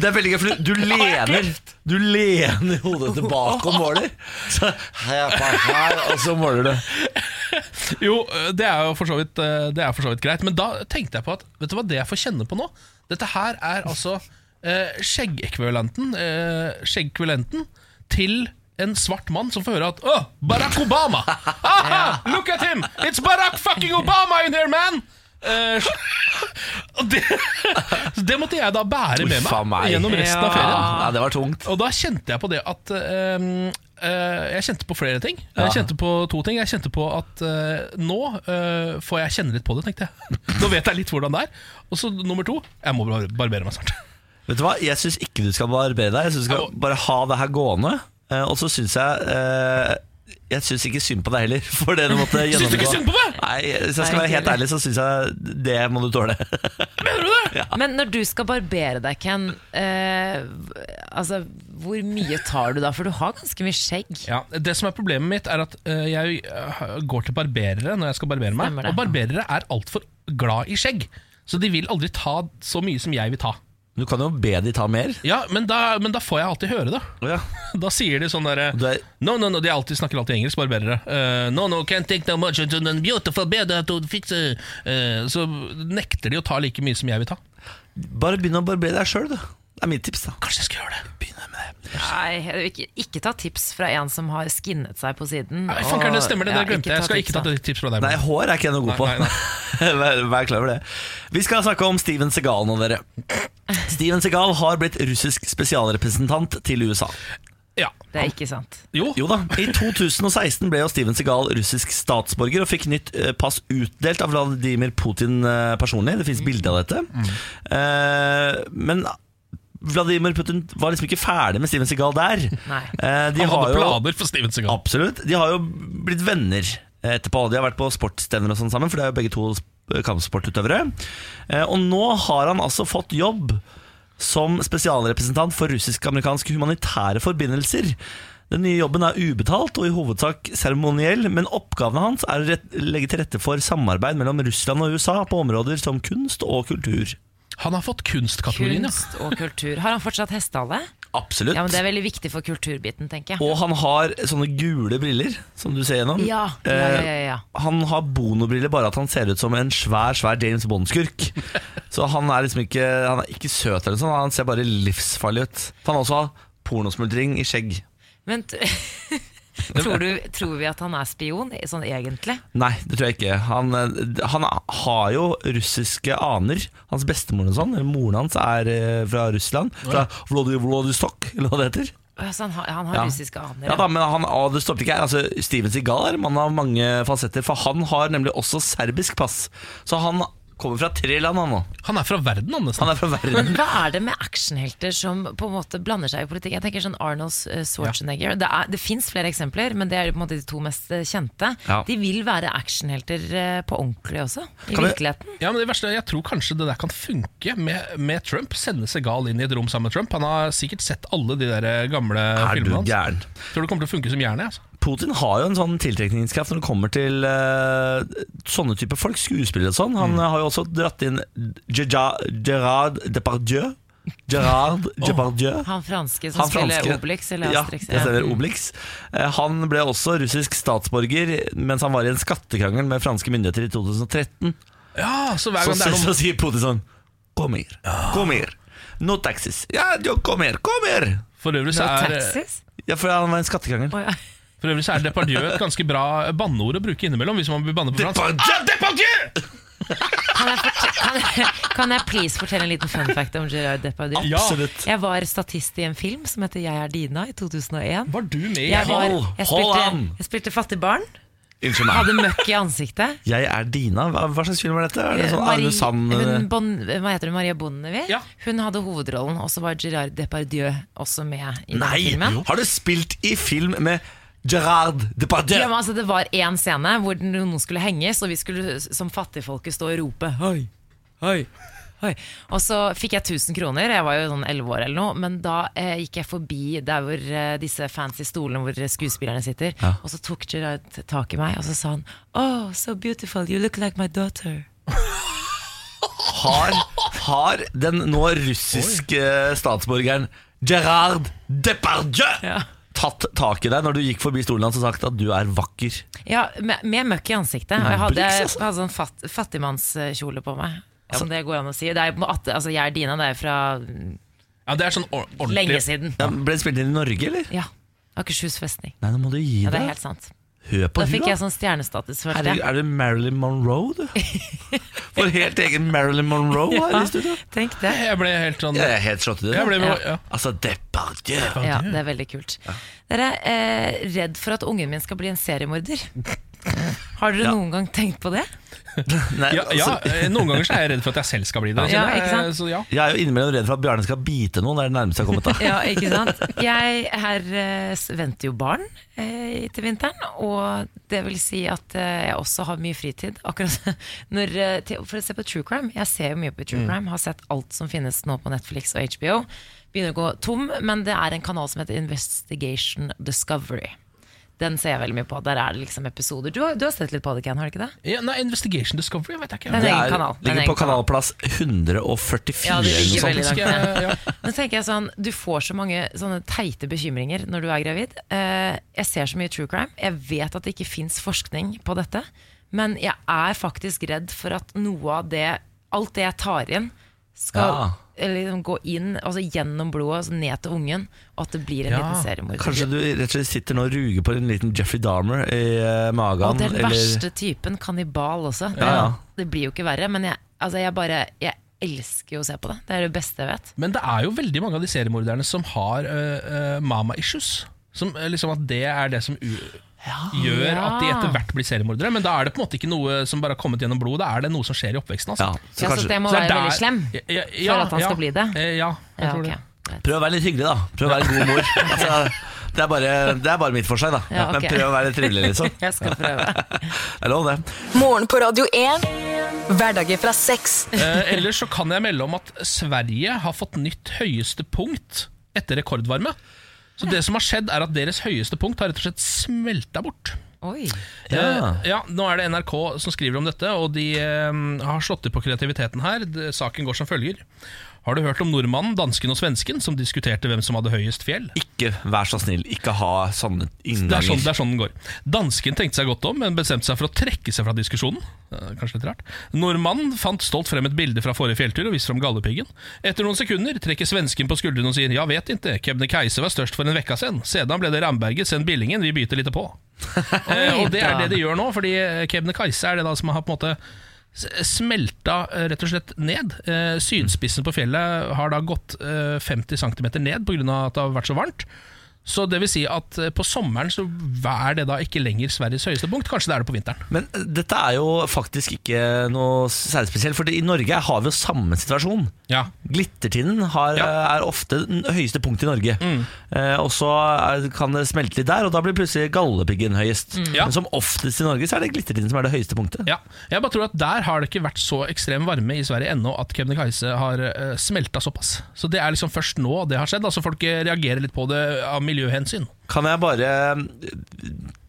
Speaker 1: det er veldig gøy, for du, du lener Du lener hodet tilbake og måler. Så, her, her, her, og så måler du.
Speaker 2: [LAUGHS] Jo, eh, det er jo for så vidt, eh, det er for så vidt greit. Men da tenkte jeg på at Vet du hva det jeg får kjenne på nå? Dette her er altså eh, skjeggekvivalenten eh, Skjeggkvivalenten til en svart mann som får høre at Åh, Barack Obama! [LAUGHS] Aha, look at him! It's Barack fucking Obama in here, man! Eh, [LAUGHS] og det, [LAUGHS] så det måtte jeg da bære med
Speaker 1: Uffa
Speaker 2: meg,
Speaker 1: meg.
Speaker 2: gjennom resten av
Speaker 3: Ja.
Speaker 2: ferien.
Speaker 1: Ja, det var tungt.
Speaker 2: Og da kjente jeg på det at ehm, eh, Jeg kjente på flere ting. Jeg kjente på to ting. Jeg kjente på at eh, nå eh, får jeg kjenne litt på det, tenkte jeg. [LAUGHS] Nå vet jeg litt hvordan det er. Og så nummer to jeg må bar- barbere meg snart.
Speaker 1: Vet du hva, Jeg syns ikke du skal barbere deg. Jeg synes du skal bare ha det her gående. Eh, Og så syns jeg eh, Jeg syns ikke synd på deg heller. [LAUGHS] For det du måtte gjennomgå.
Speaker 2: Syns du ikke synd på meg?
Speaker 1: Nei, Hvis jeg skal
Speaker 3: Nei,
Speaker 1: være helt
Speaker 3: ikke heller.
Speaker 1: ærlig, så syns jeg det må du tåle. [LAUGHS]
Speaker 2: Mener du det?
Speaker 3: Men når du skal barbere deg, Ken, eh, altså, hvor mye tar du da? For du har ganske mye skjegg.
Speaker 2: Ja, Det som er problemet mitt, er at eh, jeg eh, går til barberere når jeg skal barbere meg.
Speaker 3: Stemmer det.
Speaker 2: Og barberere er altfor glad i skjegg. Så de vil aldri ta så mye som jeg vil ta.
Speaker 1: Du kan jo be de ta mer.
Speaker 2: Ja, Men da, men da får jeg alltid høre det. [LAUGHS]
Speaker 1: Ja.
Speaker 2: Da sier de sånn derre
Speaker 1: Du er
Speaker 2: No, no, no, de alltid, snakker alltid engelsk, barberere. Uh, no, no, can't take that much into the beautiful bed I don't fix it. Eh, Så nekter de å ta like mye som jeg vil ta.
Speaker 1: Bare begynn å barbere deg sjøl, du. Det er mitt tips, da.
Speaker 2: Kanskje jeg skal gjøre det.
Speaker 1: Begynn med det.
Speaker 3: Nei, jeg vil ikke, ikke ta tips fra en som har skinnet seg på siden.
Speaker 2: Nei, Fanker, det
Speaker 3: og-
Speaker 2: stemmer, det
Speaker 3: ja,
Speaker 2: der glemte jeg. Jeg skal ikke ta
Speaker 3: tips, da.
Speaker 2: et tips fra deg.
Speaker 1: Nei,
Speaker 2: Morten.
Speaker 1: hår er ikke jeg noe god på. [LAUGHS]
Speaker 2: Nei, nei,
Speaker 1: vær, vær klar over det. Vi skal snakke om Steven Segal nå, dere. Steven Segal har blitt russisk spesialrepresentant til USA.
Speaker 2: Ja.
Speaker 3: Det er ikke sant.
Speaker 2: Jo.
Speaker 1: Jo da. I 2016 ble jo Steven Segal russisk statsborger og fikk nytt eh, pass utdelt av Vladimir Putin eh, personlig. Det
Speaker 2: Mm.
Speaker 1: fins bilde av dette. Eh, Men Vladimir Putin var liksom ikke ferdig med Steven Segal der.
Speaker 3: Nei.
Speaker 1: Eh, De
Speaker 2: Han
Speaker 1: har
Speaker 2: hadde
Speaker 1: jo
Speaker 2: planer for Steven Segal.
Speaker 1: Absolutt. De har jo blitt venner eh, etterpå. De har vært på sportsstevner og sånn sammen, for det er jo begge to sp- kampsportutøvere. Eh, Og nå har han altså fått jobb som spesialrepresentant for russisk-amerikanske humanitære forbindelser. Den nye jobben er ubetalt og i hovedsak seremoniell, men oppgavene hans er å rett- legge til rette for samarbeid mellom Russland og USA på områder som kunst og kultur.
Speaker 2: Han har fått kunstkategorien, ja.
Speaker 3: Kunst og kultur. Har han fortsatt hestehale?
Speaker 1: Absolutt.
Speaker 3: Ja, men det er veldig viktig for kulturbiten, tenker jeg.
Speaker 1: Og han har sånne gule briller som du ser gjennom.
Speaker 3: Ja, ja, ja, ja, ja.
Speaker 1: Eh, Han har bonobriller, bare at han ser ut som en svær svær James Bond-skurk. Så han er liksom ikke Han er ikke søt, eller noe sånt, han ser bare livsfarlig ut. For han også har pornosmuldring i skjegg.
Speaker 3: Men t- [LAUGHS] tror, du, tror vi at han er spion, sånn egentlig?
Speaker 1: Nei, det tror jeg ikke. Han, eh, han har jo russiske aner. Hans bestemor og sånn, eller moren hans, er eh, fra Russland. Fra Vladivostok, eller hva det heter.
Speaker 3: Altså, han, har- han har
Speaker 1: Ja.
Speaker 3: russiske aner.
Speaker 1: Ja da, men han, og det stopper ikke her. Altså, Steven Segal er en mann av mange fasetter, for han har nemlig også serbisk pass. Så han kommer fra tre land, han nå.
Speaker 2: Han er fra verden, han nesten.
Speaker 1: Han er fra verden.
Speaker 3: Men hva er det med actionhelter som på en måte blander seg i politikk? Jeg tenker sånn Arnold eh, Schwarzenegger. Det, er- det fins flere eksempler, men det er jo på en måte de to mest eh, kjente.
Speaker 1: Ja.
Speaker 3: De vil være actionhelter eh, på ordentlig også, i
Speaker 1: Kan vi-
Speaker 3: virkeligheten.
Speaker 2: Ja, men det verste, er, Jeg tror kanskje det der kan funke med, med Trump. Sende Segal inn i et rom sammen med Trump. Han har sikkert sett alle de der gamle
Speaker 1: Er du
Speaker 2: filmene hans.
Speaker 1: gæren?
Speaker 2: Tror det kommer til å funke som jern. jeg, Altså.
Speaker 1: Putin har jo en sånn tiltrekningskraft når det kommer til eh, sånne type folk, skuespillere og sånn. Han eh, har jo også dratt inn Gerard, Gerard Depardieu. Gerard Depardieu.
Speaker 3: Han franske som spiller Obelix eller
Speaker 1: ja,
Speaker 3: Asterix.
Speaker 1: det stemmer, Obelix. Eh, Han ble også russisk statsborger mens han var i en skattekrangel med franske myndigheter i 2013.
Speaker 2: Ja, så hver
Speaker 1: Så,
Speaker 2: gang det er
Speaker 1: så
Speaker 2: noen
Speaker 1: sier Putin sånn Kom her, kom her. No taxis. Ja, jo, kom her, kom her!
Speaker 2: For øvrig så
Speaker 3: Og
Speaker 2: er,
Speaker 3: Taxis?
Speaker 1: Ja, for han var i en skattekrangel.
Speaker 3: Å, ja.
Speaker 2: for øvrig så er Depardieu et ganske bra banneord å bruke innimellom. Hvis man blir banne på fransk.
Speaker 1: Depardieu!
Speaker 2: Ah, Depardieu!
Speaker 3: Kan jeg, fort- kan, jeg, kan jeg please fortelle en liten fun fact om Gerard Depardieu?
Speaker 2: Ja.
Speaker 1: [LAUGHS] Absolutt.
Speaker 3: Jeg var statist i en film som heter Jeg er Dina i 2001.
Speaker 2: Var du med?
Speaker 3: Jeg, var,
Speaker 1: Hold-
Speaker 3: jeg,
Speaker 1: hold
Speaker 3: spilte,
Speaker 1: an!
Speaker 3: jeg spilte fattig barn,
Speaker 1: Unnskyld meg.
Speaker 3: hadde møkk i ansiktet.
Speaker 1: Jeg er Dina. Hva, hva slags film er dette? Er det sånn
Speaker 3: Eh, Marie-
Speaker 1: Arne Sand
Speaker 3: hun, bon, hva heter hun, Maria Bonnevie?
Speaker 2: Ja.
Speaker 3: Hun hadde hovedrollen, og så var Gerard Depardieu også med i den
Speaker 1: Nei!
Speaker 3: filmen.
Speaker 1: Har du spilt i film med Gerard
Speaker 3: Ja, men
Speaker 1: Depardieu?
Speaker 3: altså, det var én scene hvor den- noen skulle henges, og vi skulle som fattigfolket stå og rope Hei, hei, hei. Og så fikk jeg 1000 kroner, jeg var jo sånn 11 år eller noe, men da eh, gikk jeg forbi der hvor eh, disse fancy stolene hvor skuespillerne sitter, og så tok Gerard tak i meg, og så sa han Oh, so beautiful, you look like my daughter.
Speaker 1: Har, har den nå russiske eh, statsborgeren Gerard Depardieu
Speaker 3: Ja.
Speaker 1: tatt tak i deg når du gikk forbi stolen hans og sagt at du er vakker?
Speaker 3: Ja, med, med møkk i ansiktet. Og jeg hadde,
Speaker 1: Briks, altså.
Speaker 3: hadde sånn fatt, fattigmannskjole på meg. Om det går an å si. Det er, jo på en måte- altså, jeg er Dina, det er fra
Speaker 2: Ja, det er sånn or-
Speaker 3: lenge
Speaker 2: ordentlig
Speaker 3: siden.
Speaker 1: Ja, ble den spilt inn i Norge, eller?
Speaker 3: Ja. Akershus festning.
Speaker 1: Nei, nå må du gi
Speaker 3: Ja, det
Speaker 1: deg.
Speaker 3: er helt sant.
Speaker 1: Hør på
Speaker 3: Da fikk
Speaker 1: hun,
Speaker 3: jeg sånn stjernestatus, følte
Speaker 1: Herregud,
Speaker 3: jeg.
Speaker 1: er du Marilyn Monroe,
Speaker 3: [LAUGHS]
Speaker 1: du? For helt egen Marilyn Monroe her i studio.
Speaker 3: Tenk det.
Speaker 2: Jeg ble helt sånn
Speaker 1: Jeg er helt slått i det.
Speaker 2: Jeg ble,
Speaker 3: Ja.
Speaker 2: ja.
Speaker 1: Altså, Depardieu.
Speaker 3: Ja, det er veldig kult. Dere er eh, redd for at ungen min skal bli en [LAUGHS] seriemorder. Har dere
Speaker 1: Ja.
Speaker 3: noen gang tenkt på det?
Speaker 1: Nei,
Speaker 2: Ja, ja,
Speaker 1: altså-
Speaker 2: eh, Noen ganger så er jeg redd for at jeg selv skal bli det.
Speaker 3: Ja,
Speaker 2: kjenner jeg.
Speaker 3: ikke sant?
Speaker 2: Så ja.
Speaker 1: [LAUGHS] Jeg er jo innimellom redd for at Bjarne skal bite noen. Det er det nærmeste jeg har kommet. da
Speaker 3: [LAUGHS] Ja, ikke sant? Jeg er, eh, s- venter jo barn eh, til vinteren, og det vil si at eh, jeg også har mye fritid. Akkurat [LAUGHS] når, eh, til, For å se på true crime. Jeg ser jo mye på true crime, har sett alt som finnes nå på Netflix og HBO. Begynner å gå tom, men det er en kanal som heter Investigation Discovery. Den ser jeg veldig mye på. Der er det liksom episoder. Du har, du har sett litt på det, Ken, har du ikke det?
Speaker 2: Ja, nei, Investigation Discovery vet jeg ikke.
Speaker 3: Den er
Speaker 1: Det
Speaker 3: egen kanal. Den er
Speaker 1: ligger
Speaker 3: egen
Speaker 1: på kanalplass 144
Speaker 3: Ja, det ligger
Speaker 1: eller noe
Speaker 3: veldig
Speaker 1: sånt.
Speaker 3: langt ned.
Speaker 2: Sånn eh, Ja.
Speaker 3: Men tenker jeg sånn, Du får så mange sånne teite bekymringer når du er gravid. Eh, jeg ser så mye true crime. Jeg vet at det ikke fins forskning på dette. Men jeg er faktisk redd for at noe av det Alt det jeg tar inn, skal
Speaker 1: Ja.
Speaker 3: eller liksom gå inn altså gjennom blodet altså ned til ungen, og at det blir en
Speaker 2: Ja.
Speaker 3: liten seriemorder.
Speaker 1: Kanskje du rett og slett sitter nå og ruger på en liten Jeffrey Dahmer i eh, magen.
Speaker 3: Og det er den
Speaker 1: eller-
Speaker 3: verste typen, kannibal også. Det,
Speaker 1: Ja, ja.
Speaker 3: det blir jo ikke verre, men jeg, altså jeg bare Jeg elsker jo å se på det. Det er det beste jeg vet.
Speaker 2: Men det er jo veldig mange av de seriemorderne som har øh, øh, mama issues. Som, øh, liksom at det er det som u gjør at de etter hvert blir seriemordere. Men da er det på en måte ikke noe som bare har kommet gjennom blodet, da er det noe som skjer i oppveksten. Altså.
Speaker 1: Ja, så
Speaker 3: Ja, så det
Speaker 1: kanskje
Speaker 3: må
Speaker 2: Så det er
Speaker 3: være
Speaker 2: der-
Speaker 3: veldig slem.
Speaker 2: Ja, ja,
Speaker 3: for at han skal
Speaker 2: ja.
Speaker 3: bli det.
Speaker 2: Eh, Ja, jeg
Speaker 3: Ja,
Speaker 2: tror
Speaker 3: ok.
Speaker 2: det.
Speaker 1: Prøv å være litt hyggelig, da. Prøv å være en
Speaker 3: [LAUGHS]
Speaker 1: god mor. Altså, det, er bare, det er bare mitt forslag, da.
Speaker 3: Ja, ok.
Speaker 1: Men prøv å være litt trivelig, liksom.
Speaker 3: Jeg skal prøve.
Speaker 1: Det er lov, det.
Speaker 4: Morgen på Radio 1. Hverdager fra seks.
Speaker 2: Eh, ellers så kan jeg melde om at Sverige har fått nytt høyeste punkt etter rekordvarme. Så det som har skjedd er at deres høyeste punkt har rett og slett smelta bort.
Speaker 3: Oi.
Speaker 1: Ja.
Speaker 2: Eh, ja, Nå er det NRK som skriver om dette, og de eh, har slått til på kreativiteten her. Det- Saken går som følger. Har du hørt om nordmannen, dansken og svensken som diskuterte hvem som hadde høyest fjell?
Speaker 1: Ikke vær så snill, ikke ha sånne
Speaker 2: Det er, sånn,
Speaker 1: innganger.
Speaker 2: det er sånn den går. Dansken tenkte seg godt om, men bestemte seg for å trekke seg fra diskusjonen. Eh, Kanskje litt rart. Nordmannen fant stolt frem et bilde fra forrige fjelltur og viste frem gallepiggen. Etter noen sekunder trekker svensken på skuldrene og sier «Ja, vet ikke, Kebnekaise var størst for en vekka sen. Sedan ble det Ramberget, sen Billingen, vi byter litt på. Eh, og det er det de gjør nå, fordi eh, Kebnekaise er det da som har på en måte s- smelta eh, rett og slett ned. Eh, Sydspissen på fjellet har da gått eh, 50 cm ned pga. at det har vært så varmt. Så det vil si at eh, på sommeren så er det da ikke lenger Sveriges høyeste punkt. Kanskje det er det på vinteren.
Speaker 1: Men eh, dette er jo faktisk ikke noe særlig spesielt, for i Norge har vi jo samme situasjon.
Speaker 2: Ja.
Speaker 1: Glittertinden har, eh,
Speaker 2: Ja. Mm.
Speaker 1: er ofte den høyeste punkt i Norge. Eh, og så er, kan det smelte litt der, og da blir plutselig gallepiggen høyest.
Speaker 2: Ja.
Speaker 1: Men som oftest i Norge så er det glittertinden som er det høyeste punktet.
Speaker 2: Mm. ja. Jeg bare tror at der har det ikke vært så ekstrem varme i Sverige ennå at Kebnekaise har uh, smelta såpass. Så det er liksom først nå det har skjedd. Altså Folk eh, reagerer litt på det av miljøhensyn.
Speaker 1: Kan jeg bare eh,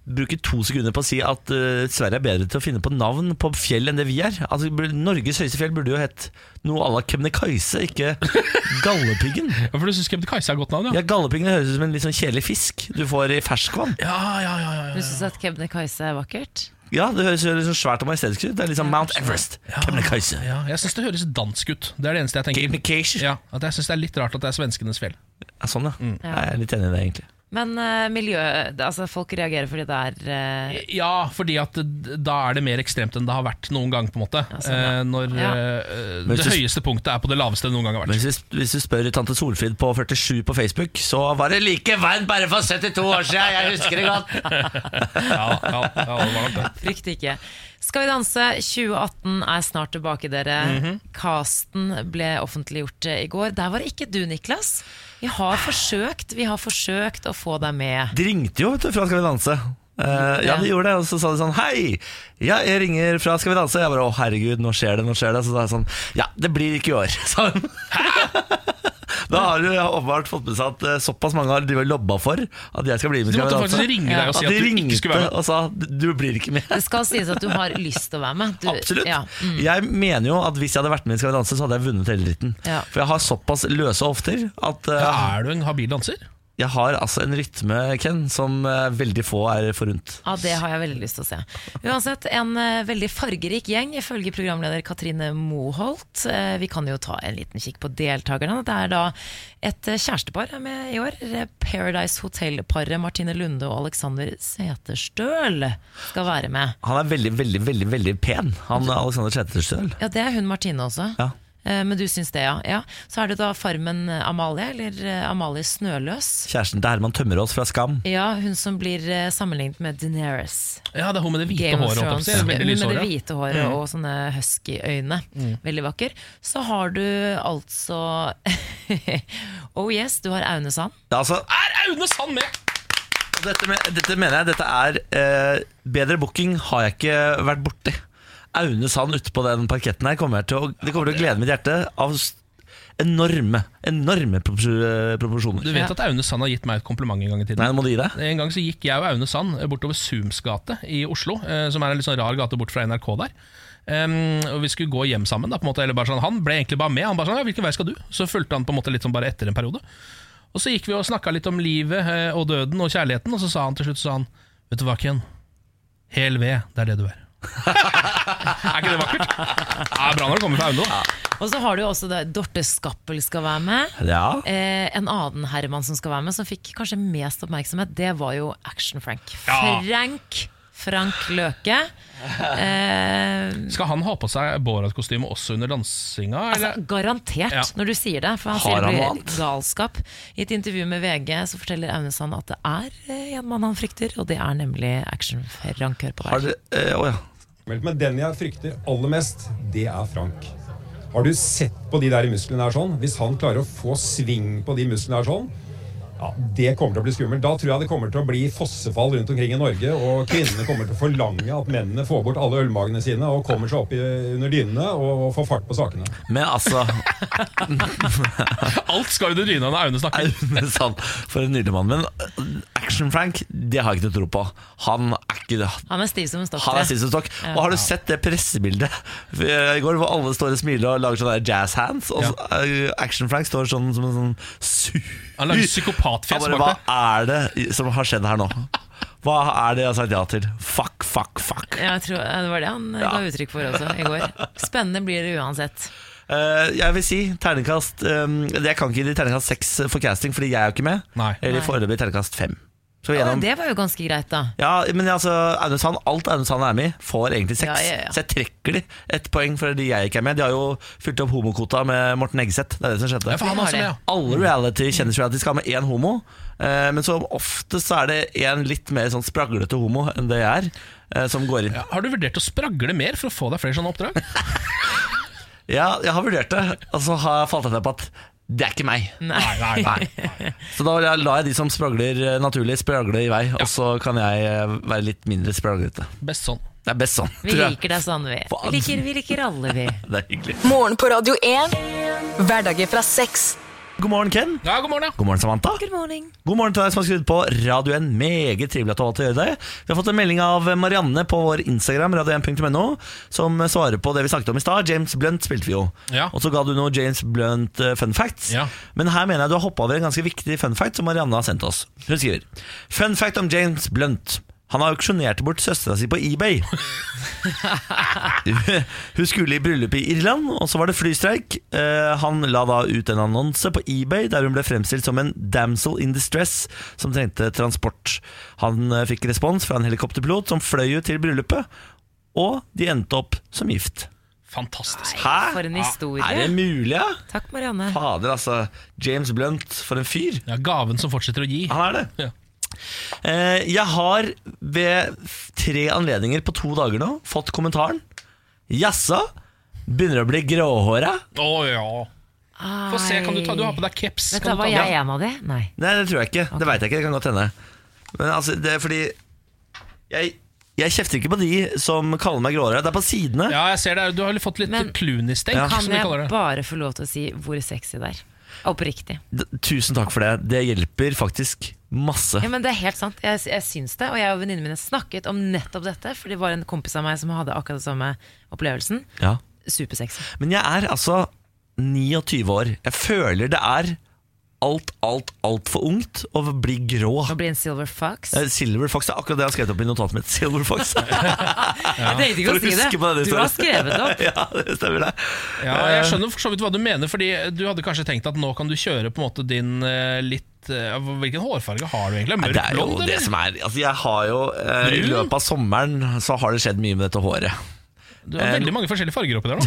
Speaker 1: bruke to sekunder på å si at eh, Sverige er bedre til å finne på navn på fjell enn det vi er? Altså, bur- Norges høyeste fjell burde jo hett noe à la Kebnekaise,
Speaker 2: [LAUGHS]
Speaker 1: ikke Gallepiggen.
Speaker 2: Ja, For du syns Kebnekaise er et godt navn,
Speaker 1: Ja, Gallepiggen høres ut som en litt sånn kjedelig fisk du får i ferskvann.
Speaker 2: Ja, ja, ja, ja,
Speaker 3: Du syns at Kebnekaise er vakkert?
Speaker 1: Ja, Det høres jo litt sånn svært og majestetisk ut. Det er litt sånn Mount Everest. Kebnekaise.
Speaker 2: ja. Jeg syns det høres dansk ut. Det er det eneste jeg tenker.
Speaker 1: Kebnekaise.
Speaker 2: Ja, at Jeg syns det er litt rart at det er svenskenes fjell.
Speaker 1: Ja, sånn, ja. Jeg er litt enig i det, egentlig.
Speaker 3: Men eh, miljø det- Altså, folk reagerer fordi det er eh,
Speaker 2: Ja, fordi at d- da er det mer ekstremt enn det har vært noen gang. på en måte
Speaker 3: sånn, ja.
Speaker 2: eh, Når
Speaker 3: Ja.
Speaker 2: eh,
Speaker 1: Men
Speaker 2: det
Speaker 1: hvis du-
Speaker 2: høyeste punktet er på det laveste det noen gang har
Speaker 1: Men
Speaker 2: vært.
Speaker 1: hvis, vi- hvis du spør tante Solfrid på 47 på Facebook, så var det like varmt bare for 72 år siden! Jeg husker det godt!
Speaker 2: Ja, ja, ja, det var nok det.
Speaker 3: Frykt ikke. Skal vi danse 2018 er snart tilbake, dere. Casten ble offentliggjort eh, i går. Der var det ikke du, Niklas. Vi har forsøkt Vi har forsøkt å få deg med.
Speaker 1: De ringte jo vet du, fra Skal vi danse. Eh, ja,
Speaker 3: Ja.
Speaker 1: de gjorde det, og så sa de sånn Hei, ja, jeg ringer fra Skal vi danse. Jeg bare å herregud, nå skjer det, nå skjer det. Så sa jeg sånn Ja, det blir ikke i år, [LAUGHS] sa hun. da har du åpenbart fått med seg at eh, såpass mange har drevet og lobba for at jeg skal bli med. i Skal
Speaker 2: Du
Speaker 1: vi
Speaker 2: måtte
Speaker 1: danse.
Speaker 2: faktisk ringe deg og si
Speaker 1: At
Speaker 2: at
Speaker 1: de
Speaker 2: du ikke skulle
Speaker 1: ringte
Speaker 2: være med.
Speaker 1: og sa du blir ikke med.
Speaker 3: Det skal sies at du har lyst til å være med. Du,
Speaker 1: Absolutt.
Speaker 3: Ja. mm.
Speaker 1: Jeg mener jo at hvis jeg hadde vært med i Skal vi danse, så hadde jeg vunnet hele dritten.
Speaker 3: Ja.
Speaker 1: For jeg har såpass løse hofter at eh,
Speaker 2: Er du en habil danser?
Speaker 1: jeg har altså en rytme, Ken, som eh, veldig få er forunt.
Speaker 3: Ja, Det har jeg veldig lyst til å se. Uansett, en eh, veldig fargerik gjeng, ifølge programleder Katrine Moholt. Eh, vi kan jo ta en liten kikk på deltakerne. Det er da et eh, kjærestepar er med i år. Eh, Paradise Hotel-paret Martine Lunde og Alexander Seterstøl skal være med.
Speaker 1: Han er veldig, veldig, veldig, veldig pen Han er Alexander Tretterstøl
Speaker 3: Ja, Det er hun Martine også.
Speaker 1: Ja.
Speaker 3: Eh, men du syns det, ja. ja. Så er det da Farmen Amalie, eller eh, Amalie Snøløs.
Speaker 1: Kjæresten til Herman Tømmerås fra Skam
Speaker 3: Ja, hun som blir eh, sammenlignet med Deneris.
Speaker 2: Ja, det er hun med det hvite
Speaker 3: Game of
Speaker 2: håret. holdt jeg på å si.
Speaker 3: Thrones.
Speaker 2: Veldig Mm.
Speaker 3: Hun
Speaker 2: lyst
Speaker 3: med
Speaker 2: hår,
Speaker 3: det
Speaker 2: ja.
Speaker 3: hvite håret og sånne husky-øyne. Veldig vakker. Så har du altså [LAUGHS] Oh yes, du har Aune Sand.
Speaker 1: ja, altså,
Speaker 2: Er Aune Sand med?!
Speaker 1: og dette, me- dette mener jeg Dette er eh, Bedre booking har jeg ikke vært borti Aune Sand ute på den parketten her kommer jeg til å, Det kommer til å glede mitt hjerte Av s- enorme Enorme propos- eh, proporsjoner
Speaker 2: Du vet at Aune Sand har gitt meg et kompliment en gang i tiden.
Speaker 1: Nei, nå må du gi deg
Speaker 2: En gang så gikk jeg og Aune Sand eh, bortover Sums gate i Oslo, eh, som er en litt sånn rar gate bort fra NRK der. Em, og Vi skulle gå hjem sammen. da, på en måte, eller bare sånn, Han ble egentlig bare med. Han bare sånn, ja, 'Hvilken vei skal du?' Så fulgte han på en måte litt sånn bare etter en periode. Og Så gikk vi og snakka litt om livet eh, og døden og kjærligheten, og så sa han til slutt så sa han, 'Vet du hva, Ken? Hel ved, det er det du er'. [LAUGHS] er ikke det vakkert? Det er bra når det kommer fra Aune. da.
Speaker 3: Og så har du jo også da Dorte Skappel skal være med.
Speaker 1: Ja
Speaker 3: Eh, en annen herremann som skal være med, som fikk kanskje mest oppmerksomhet, det var jo Action-Frank.
Speaker 2: Ja.
Speaker 3: Frank Frank Løke. Eh,
Speaker 2: Skal han ha på seg Borat-kostyme også under dansinga?
Speaker 3: altså,
Speaker 2: Eller?
Speaker 3: garantert,
Speaker 2: Ja.
Speaker 3: når du sier det. For han
Speaker 1: Har
Speaker 3: sier det
Speaker 1: han noe
Speaker 3: blir galskap. I et intervju med VG så forteller Aunesand at det er eh, en mann han frykter, og det er nemlig action-Frank. Hør på
Speaker 1: Har
Speaker 3: der.
Speaker 1: dere eh, Å ja.
Speaker 5: Vel, men den jeg frykter aller mest, det er Frank. Har du sett på de der musklene her sånn? Hvis han klarer å få sving på de musklene her sånn, ja, det kommer til å bli skummelt. Da tror jeg det kommer til å bli fossefall rundt omkring i Norge, og kvinnene kommer til å forlange at mennene får bort alle ølmagene sine og kommer seg opp i, under dynene og, og får fart på sakene.
Speaker 1: Men altså
Speaker 2: Alt skal under dyna når Aune snakker.
Speaker 1: Aunesand, for en nydelig mann. Men Action-Frank, det har jeg ikke noe tro på. Han er ikke det.
Speaker 3: Han er stiv som en stokk.
Speaker 1: Han er
Speaker 3: tror jeg.
Speaker 1: sist stokk. Og har du sett det pressebildet eh, i går hvor alle står og smiler og lager sånne der jazz hands? Og så, eh, Action Frank står sånn som en sånn sur
Speaker 2: Han lager
Speaker 1: Han
Speaker 2: psykopatfjes
Speaker 1: bare,
Speaker 2: bak
Speaker 1: Hva
Speaker 2: der.
Speaker 1: er det i- som har skjedd her nå? Hva er det jeg har sagt ja til? Fuck, fuck, fuck.
Speaker 3: Ja, jeg tror, ja, det var det han eh, ga uttrykk for også i går. Spennende blir det uansett.
Speaker 1: Eh, jeg vil si terningkast eh, Jeg kan ikke gi terningkast seks for casting, fordi jeg er jo ikke med.
Speaker 2: Nei.
Speaker 1: Eller
Speaker 3: Nei.
Speaker 1: foreløpig terningkast fem. Så
Speaker 3: Ja,
Speaker 1: gjennom
Speaker 3: det var jo ganske greit, da.
Speaker 1: Ja, men altså, Aune Sand, alt Aune Sand er med i, får egentlig seks.
Speaker 3: Ja, ja, ja.
Speaker 1: Så jeg trekker de ett poeng for de jeg ikke er med. De har jo fylt opp homokvota med Morten Eggeseth. Det er det som skjedde.
Speaker 2: Ja, for han er også med, ja.
Speaker 1: Alle reality kjendisreality skal ha med én homo, eh, men som oftest så er det en litt mer sånn spraglete homo enn det jeg er, eh, som går inn. Ja,
Speaker 2: Ja, Har du vurdert å spragle mer for å få deg flere sånne oppdrag?
Speaker 1: jeg har vurdert det, og så har jeg falt jeg ned på at det er ikke meg.
Speaker 3: Nei.
Speaker 2: nei, nei.
Speaker 1: Så da lar jeg de som spragler eh, naturlig, spragle i vei, og så kan jeg eh, være litt mindre spraglete.
Speaker 2: Best sånn.
Speaker 1: Det er best sånn,
Speaker 3: Vi
Speaker 1: tror jeg.
Speaker 3: liker deg sånn, vi. Vi
Speaker 1: Faen.
Speaker 3: liker, vi liker alle, vi.
Speaker 1: Det er hyggelig.
Speaker 4: Morgen på Radio 1. Hverdager fra seks.
Speaker 1: God morgen, Ken.
Speaker 2: Ja, god morgen, ja.
Speaker 1: God morgen, Samantha.
Speaker 3: Good morning.
Speaker 1: God morgen til deg som har skrudd på Radio 1. Meget trivelig at du har valgt å gjøre det. Vi har fått en melding av Marianne på vår Instagram, radio1.no, som svarer på det vi snakket om i stad. James Blunt spilte vi jo.
Speaker 2: Ja.
Speaker 1: Og så ga du noe James Blunt eh, fun facts.
Speaker 2: Ja.
Speaker 1: Men her mener jeg du har hoppa over en ganske viktig fun fact som Marianne har sendt oss. Hun skriver Fun fact om James Blunt. Han har auksjonert bort søstera si på eBay. [LAUGHS] Hun skulle i bryllup i Irland, og så var det flystreik. Eh, Han la da ut en annonse på eBay der hun ble fremstilt som en damsel in distress som trengte transport. Han eh, fikk respons fra en helikopterpilot som fløy ut til bryllupet, og de endte opp som gift.
Speaker 2: Fantastisk.
Speaker 3: For en
Speaker 1: Hæ? Ah, Er det
Speaker 3: historie.
Speaker 1: mulig, ja?
Speaker 3: Takk, Marianne.
Speaker 1: Fader, altså. James Blunt, for en fyr.
Speaker 2: Ja, gaven som fortsetter å gi.
Speaker 1: Han er det.
Speaker 2: Ja.
Speaker 1: Eh, Jeg har ved tre anledninger på to dager nå fått kommentaren. Jaså? Begynner å bli gråhåra?
Speaker 2: Å ja. Få se, kan du ta Du har på deg caps.
Speaker 3: Vet du,
Speaker 2: Kan du
Speaker 3: Var
Speaker 2: ta
Speaker 3: jeg
Speaker 2: den?
Speaker 3: en av de? Nei.
Speaker 1: Nei, det tror jeg ikke. Det veit jeg ikke. Det kan godt hende. Men altså, det er fordi Jeg, jeg kjefter ikke på de som kaller meg gråhåra. Det er på sidene.
Speaker 2: Ja, jeg ser det. Du har fått litt
Speaker 3: Men-
Speaker 2: Clooney-stenk,
Speaker 1: Ja.
Speaker 3: Kan
Speaker 2: som de kaller
Speaker 3: jeg
Speaker 2: det.
Speaker 3: bare få lov til å si hvor sexy det er? Oppriktig.
Speaker 1: D- Tusen takk for det. Det hjelper faktisk masse.
Speaker 3: Ja, men Det er helt sant. Jeg, jeg syns det. Og jeg og venninnene mine snakket om nettopp dette, for det var en kompis av meg som hadde akkurat den samme opplevelsen.
Speaker 1: Ja.
Speaker 3: Supersexy.
Speaker 1: Men jeg er altså 29 år. Jeg føler det er alt, alt, altfor ungt å bli grå.
Speaker 3: Å bli en silver fox.
Speaker 1: Eh, Silver Fox det er akkurat det jeg har skrevet opp i notatet mitt. Silver Fox
Speaker 3: Jeg tenkte ikke
Speaker 1: For å
Speaker 3: å si det.
Speaker 1: huske på det, det
Speaker 3: Du har
Speaker 1: står-
Speaker 3: skrevet det opp.
Speaker 1: [LAUGHS] Ja, det stemmer det.
Speaker 2: Ja, jeg skjønner for så vidt hva du mener, Fordi du hadde kanskje tenkt at nå kan du kjøre på en måte din eh, litt eh, Hvilken hårfarge har du egentlig?
Speaker 1: Nei,
Speaker 2: Mørk
Speaker 1: Det er jo
Speaker 2: blond,
Speaker 1: det
Speaker 2: eller?
Speaker 1: som er Altså jeg har jo eh, I
Speaker 2: Brun?
Speaker 1: løpet av sommeren så har det skjedd mye med dette håret.
Speaker 2: Du har veldig mange forskjellige farger oppi der nå.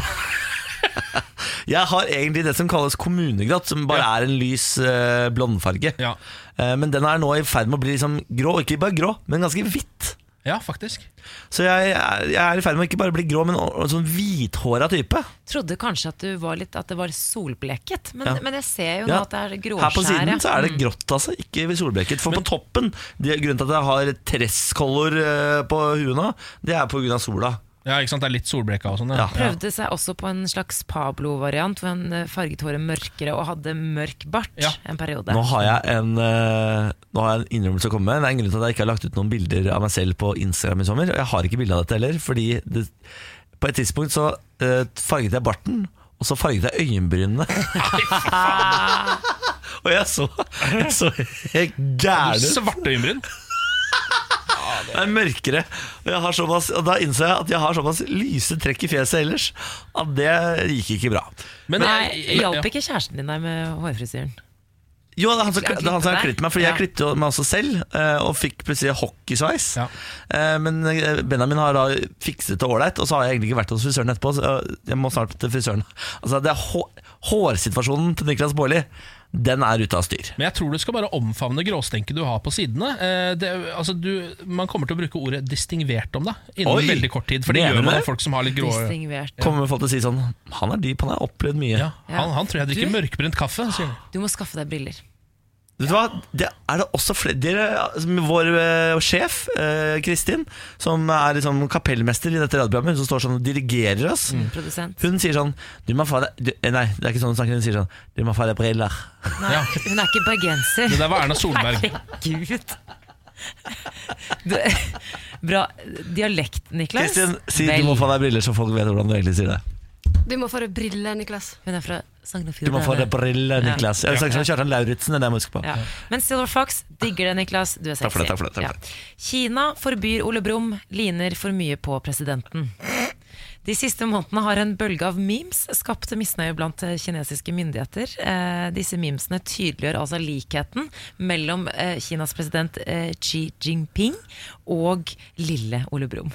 Speaker 1: Jeg har egentlig det som kalles kommunegrått, som bare
Speaker 2: Ja.
Speaker 1: er en lys eh, blondfarge.
Speaker 2: Ja.
Speaker 1: Eh, men den er nå i ferd med å bli liksom grå, og ikke bare grå, men ganske hvitt.
Speaker 2: Ja, faktisk.
Speaker 1: Så jeg, er- jeg er i ferd med å ikke bare bli grå, men en sånn hvithåra type.
Speaker 3: Trodde kanskje at, du var litt, at det var solbleket, men,
Speaker 1: Ja.
Speaker 3: men jeg ser jo nå
Speaker 1: Ja.
Speaker 3: at det er gråskjær.
Speaker 1: Her på siden
Speaker 3: ja. Mm.
Speaker 1: så er det grått, altså. Ikke ved solbleket. For på toppen, det, grunnen til at jeg har tresskolor eh, på huet nå, det er pga. sola.
Speaker 2: Ja, ikke sant, Det er litt solbleka og sånn.
Speaker 1: Ja.
Speaker 3: Prøvde seg også på en slags Pablo-variant, hvor han eh, farget håret mørkere og hadde mørk bart
Speaker 2: Ja.
Speaker 3: en periode.
Speaker 1: Nå har jeg en, eh, nå har jeg en innrømmelse å komme med. Det er en grunn til at jeg ikke har lagt ut noen bilder av meg selv på Instagram i sommer. Og jeg har ikke bilde av dette heller, fordi det, på et tidspunkt så eh, farget jeg barten, og så farget jeg øyenbrynene. [LAUGHS] og jeg så, jeg så helt gæren ut.
Speaker 2: Svarte øyenbryn.
Speaker 1: Det er mørkere. Og, jeg har såpass, og da innså jeg at jeg har såpass lyse trekk i fjeset ellers at det gikk ikke bra.
Speaker 2: Men
Speaker 3: Nei,
Speaker 2: jeg- jeg-
Speaker 3: Hjalp
Speaker 2: ja.
Speaker 3: ikke kjæresten din deg med hårfrisyren?
Speaker 1: Jo, det er han som,
Speaker 3: Han
Speaker 1: det er han som har
Speaker 3: klippet deg?
Speaker 1: klippet meg, fordi jeg
Speaker 3: Ja.
Speaker 1: klippet jo meg også selv, eh, og fikk plutselig hockeysveis.
Speaker 2: Ja.
Speaker 1: Eh, Men eh, Benjamin har da fikset det ålreit, og så har jeg egentlig ikke vært hos frisøren etterpå. Så eh, jeg må snart til frisøren. Altså, det er hå- Hårsituasjonen til Niklas Baarli, den er ute av styr.
Speaker 2: Men jeg tror du skal bare omfavne gråstenket du har på sidene. Eh, det, altså du, man kommer til å bruke ordet distingvert om deg innen
Speaker 1: Oi!
Speaker 2: veldig kort tid. For det
Speaker 1: Mener
Speaker 2: gjør
Speaker 1: du
Speaker 2: man
Speaker 1: det?
Speaker 2: om folk som har litt grå
Speaker 3: Distingvert.
Speaker 1: Kommer folk til å si sånn Han er dyp, han har opplevd mye.
Speaker 2: ja, han, han tror jeg drikker
Speaker 3: Du-
Speaker 2: mørkbrent kaffe. Sier han.
Speaker 3: Du må skaffe deg briller.
Speaker 1: Vet du hva? Det er det også flere dere, altså, Vår eh, sjef, eh, Kristin, som er liksom kapellmester i dette radioprogrammet, hun som står sånn og dirigerer oss.
Speaker 3: Mm.
Speaker 2: Mm.
Speaker 3: Produsent.
Speaker 1: Hun sier sånn du må få deg, du, eh, Nei, det er ikke sånn hun snakker. Hun sier sånn Du må få deg briller.
Speaker 3: Nei,
Speaker 2: Ja.
Speaker 3: hun er ikke bergenser.
Speaker 2: Det der var Erna Solberg.
Speaker 3: Herregud. Du, bra dialekt, Niklas.
Speaker 1: Kristin, si
Speaker 3: Vel,
Speaker 1: du må få deg briller, så folk vet hvordan du egentlig sier det.
Speaker 6: Du må få deg briller, Niklas.
Speaker 3: Hun er fra Sogn og
Speaker 1: Du må få
Speaker 3: Fjordane.
Speaker 1: deg briller, Niklas. Jeg snakker som Kjartan Lauritzen, det er det jeg må huske på.
Speaker 3: Ja. Men Silver Fox, digger det, Niklas. Du er sexy.
Speaker 1: Takk for det, takk for det, takk for det.
Speaker 3: Ja. Kina forbyr Ole Brumm, ligner for mye på presidenten. De siste månedene har en bølge av memes skapt misnøye blant eh, kinesiske myndigheter. Eh, disse memesene tydeliggjør altså likheten mellom eh, Kinas president eh, Xi Jinping og lille Ole Brumm.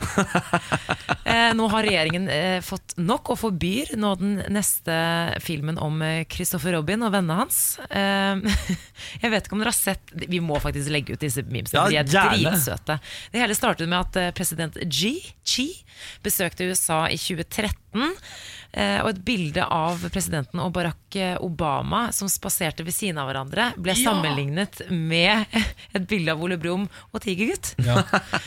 Speaker 3: Eh, nå har regjeringen eh, fått nok og forbyr nå den neste filmen om eh, Christopher Robin og vennene hans. Eh, [LAUGHS] jeg vet ikke om dere har sett Vi må faktisk legge ut disse memesene,
Speaker 1: Ja,
Speaker 3: for de er
Speaker 1: gjerne.
Speaker 3: dritsøte. Det hele startet med at eh, president Xi, Xi besøkte USA i 2013. eh, Og et bilde av presidenten og Barack eh, Obama som spaserte ved siden av hverandre, ble sammenlignet med et bilde av Ole Brumm og Tigergutt. [LAUGHS]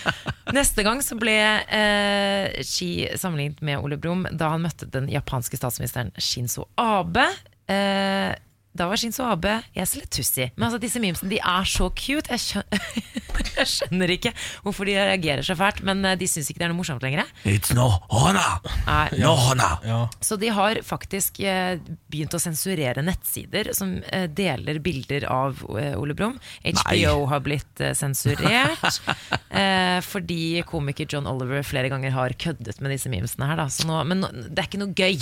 Speaker 3: Neste gang så ble eh, Xi sammenlignet med Ole Brumm da han møtte den japanske statsministeren Shinzo Abe. Eh, da var Shinzo Abe Jeg ser litt tussig. Men altså, disse memesene de er så cute. Jeg [LAUGHS] skjønner, jeg skjønner ikke hvorfor de reagerer så fælt, men eh, de syns ikke det er noe morsomt lenger.
Speaker 1: It's no honor!
Speaker 3: Nei.
Speaker 1: No honor!
Speaker 2: Ja.
Speaker 3: Så de har faktisk eh, begynt å sensurere nettsider som eh, deler bilder av eh, Ole Brumm. HBO har blitt eh,
Speaker 1: [LAUGHS]
Speaker 3: sensurert eh, fordi komiker John Oliver flere ganger har køddet med disse memesene her. Da. Så nå, men nå, det er ikke noe gøy.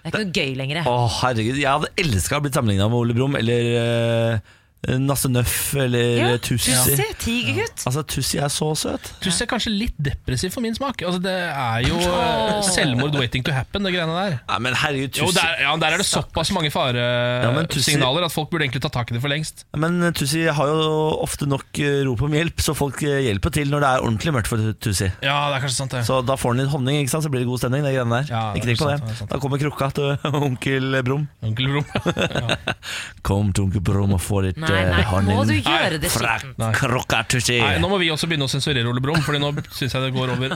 Speaker 3: Det er ikke noe gøy lenger.
Speaker 1: Å, herregud. Jeg hadde elska å bli sammenligna med Ole Brumm eller eh, Nasse Nøff eller
Speaker 3: Ja,
Speaker 1: Tussi.
Speaker 3: Tussi, tigergutt.
Speaker 1: Altså, Tussi er så søt.
Speaker 2: Tuss er kanskje litt depressiv for min smak. Altså, det er jo eh, selvmord waiting to happen, det greiene der.
Speaker 1: Nei, men herregud,
Speaker 2: Jo,
Speaker 1: Tussi
Speaker 2: der, ja, der er det såpass mange
Speaker 1: men Tussi-
Speaker 2: faresignaler at folk burde egentlig ta tak i det for lengst.
Speaker 1: Men eh, Tussi har jo ofte nok eh, rop om hjelp, så folk eh, hjelper til når det er ordentlig mørkt for Tussi.
Speaker 2: Ja, det er kanskje sant, det.
Speaker 1: Så da får han litt honning, ikke sant? så blir det god stemning. Det greiene der.
Speaker 2: Ja, det
Speaker 1: ikke
Speaker 2: er
Speaker 1: tenk på
Speaker 2: sant,
Speaker 1: det.
Speaker 2: det er sant.
Speaker 1: Da kommer krukka til [LAUGHS] onkel Brumm.
Speaker 2: Onkel Brum.
Speaker 1: Kom til onkel Brumm og få litt
Speaker 3: Nei, nei,
Speaker 1: eh, honning.
Speaker 3: må du
Speaker 2: Nei,
Speaker 3: gjøre det
Speaker 1: Fra
Speaker 3: skittent.
Speaker 1: krukka Tussi.
Speaker 2: Nei, nå må vi også begynne å sensurere Ole Brumm, Fordi nå syns jeg det går over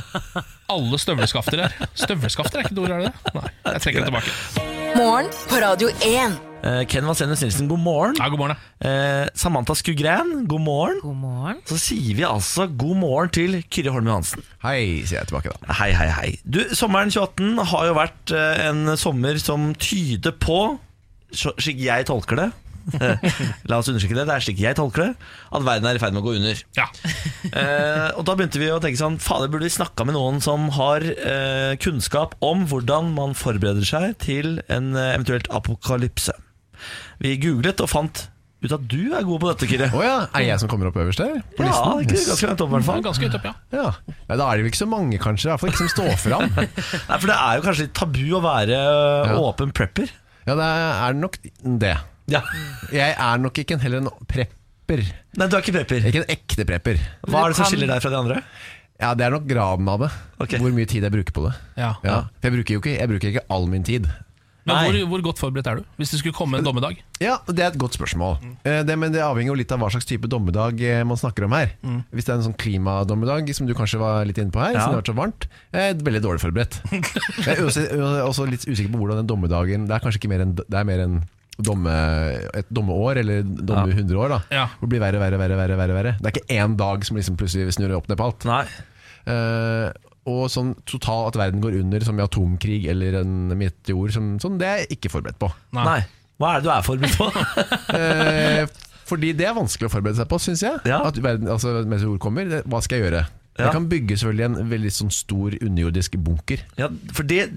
Speaker 2: alle støvleskafter her. Støvleskafter er ikke et ord, er det det? Nei, jeg trekker det tilbake.
Speaker 4: Morgen på Radio 1.
Speaker 1: Eh, Ken Vasenius Nilsen, god morgen.
Speaker 2: Ja, god morgen. da.
Speaker 1: Eh, Samantha Skugran, god morgen.
Speaker 3: God morgen.
Speaker 1: Så sier vi altså god morgen til Kyrre Holm Johansen.
Speaker 7: Hei, sier jeg tilbake da.
Speaker 1: Hei, hei, hei. Du, sommeren 2018 har jo vært eh, en sommer som tyder på, så- slik jeg tolker det [LAUGHS] La oss undersøke det. Det er slik jeg tolker det, at verden er i ferd med å gå under.
Speaker 2: Ja.
Speaker 1: Eh, og da begynte vi å tenke sånn Fader, burde vi snakka med noen som har eh, kunnskap om hvordan man forbereder seg til en eh, eventuelt apokalypse? Vi googlet og fant ut at du er god på dette, Kyrre.
Speaker 7: Å ja, er jeg som kommer opp øverst der? På
Speaker 1: Ja,
Speaker 7: listen?
Speaker 1: ikke ganske langt opp, i hvert
Speaker 2: Det
Speaker 1: fall.
Speaker 2: er ganske høyt opp, ja.
Speaker 7: Ja. ja, Da er det vel ikke så mange, kanskje. I hvert fall ikke som står fram.
Speaker 1: Nei, for det er jo kanskje litt tabu å være øh,
Speaker 7: Ja.
Speaker 1: åpen prepper.
Speaker 7: Ja, det er nok det. Jeg er nok ikke en, heller en prepper.
Speaker 1: Nei, du er ikke prepper.
Speaker 7: Ikke en ekte prepper.
Speaker 1: Hva er det som
Speaker 3: kan-
Speaker 1: skiller deg fra de andre?
Speaker 7: Ja, Det er nok graden av det.
Speaker 1: Ok.
Speaker 7: Hvor mye tid jeg bruker på det.
Speaker 2: ja.
Speaker 7: Ja, for jeg bruker jo ikke, jeg bruker ikke all min tid.
Speaker 2: Men
Speaker 1: Nei.
Speaker 2: hvor, hvor godt forberedt er du? Hvis det skulle komme en dommedag?
Speaker 7: Ja, Det er et godt spørsmål. Eh, Det, men det avhenger jo litt av hva slags type dommedag eh, man snakker om her. Hvis det er en sånn klimadommedag, som du kanskje var litt inne på her,
Speaker 1: Ja.
Speaker 7: siden det har vært så varmt, eh, veldig dårlig forberedt. Jeg er også, også litt usikker på hvordan den dommedagen Det er kanskje ikke mer enn Det er mer enn Domme, et dommeår, eller domme 100 år, da.
Speaker 2: Ja.
Speaker 7: Hvor det blir verre, verre, verre. verre, verre, verre. Det er ikke én dag som liksom plutselig snurrer opp ned på alt.
Speaker 1: Nei.
Speaker 7: Eh, og sånn total at verden går under, som i atomkrig eller en meteor, som, sånn, det er jeg ikke forberedt på.
Speaker 1: Nei. Hva er det du er forberedt på?
Speaker 7: Eh, fordi det er vanskelig å forberede seg på, syns jeg.
Speaker 1: Ja.
Speaker 7: At verden, altså, mens ord kommer, det, hva skal jeg gjøre?
Speaker 1: Ja.
Speaker 7: Jeg kan bygge selvfølgelig en veldig sånn stor underjordisk bunker.
Speaker 1: Ja, for det,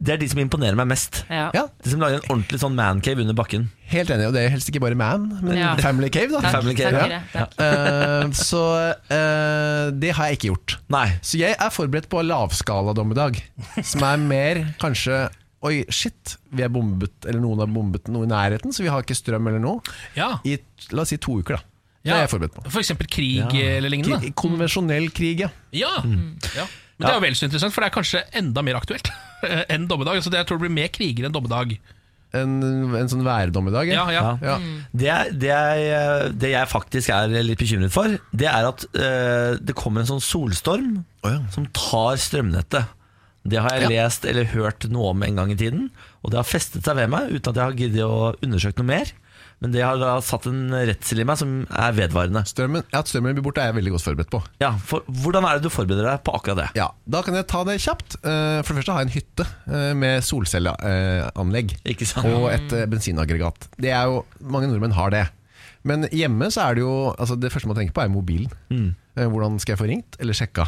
Speaker 1: det er de som imponerer meg mest.
Speaker 3: Ja.
Speaker 7: Ja,
Speaker 1: De som lager en ordentlig sånn mancave under bakken.
Speaker 7: Helt enig, og det er helst ikke bare man, men
Speaker 3: Ja.
Speaker 7: family cave, da.
Speaker 3: Takk,
Speaker 1: Family
Speaker 3: takk,
Speaker 1: Care, ja.
Speaker 3: Kyrre, takk.
Speaker 7: Eh, så eh, det har jeg ikke gjort.
Speaker 1: Nei.
Speaker 7: Så jeg er forberedt på lavskaladommedag, som er mer kanskje Oi, shit, vi er bombet, eller noen har bombet noe i nærheten, så vi har ikke strøm eller noe.
Speaker 2: Ja.
Speaker 7: I la oss si to uker, da. Det
Speaker 2: Ja.
Speaker 7: er jeg forberedt på.
Speaker 2: For eksempel krig eller lignende.
Speaker 7: Krig, konvensjonell krig, ja.
Speaker 2: Ja. ja. Men det er jo vel så interessant, for det er kanskje enda mer aktuelt [LAUGHS] enn dommedag. Altså, det- jeg tror det blir mer kriger enn dommedag.
Speaker 7: En, en sånn værdommedag.
Speaker 2: Ja, ja.
Speaker 7: Ja.
Speaker 3: Mm.
Speaker 1: Det, er, det, er, det jeg faktisk er litt bekymret for, det er at eh, det kommer en sånn solstorm
Speaker 7: Å, ja.
Speaker 1: som tar strømnettet. Det har jeg lest eller hørt noe om en gang i tiden, og det har festet seg ved meg uten at jeg har giddet å undersøke noe mer. Men det har da satt en redsel i meg som er vedvarende.
Speaker 7: Strømmen, ja, at strømmen blir borte er jeg veldig godt forberedt på.
Speaker 1: Ja, for Hvordan er det du forbereder deg på akkurat det?
Speaker 7: Ja, Da kan jeg ta det kjapt. Eh, For det første har jeg en hytte eh, med solcelleanlegg.
Speaker 1: Ikke sant?
Speaker 7: Og et eh, bensinaggregat. Det er jo, Mange nordmenn har det. Men hjemme så er det jo altså Det første man tenker på, er mobilen.
Speaker 1: Mm.
Speaker 7: Eh, Hvordan skal jeg få ringt eller sjekka?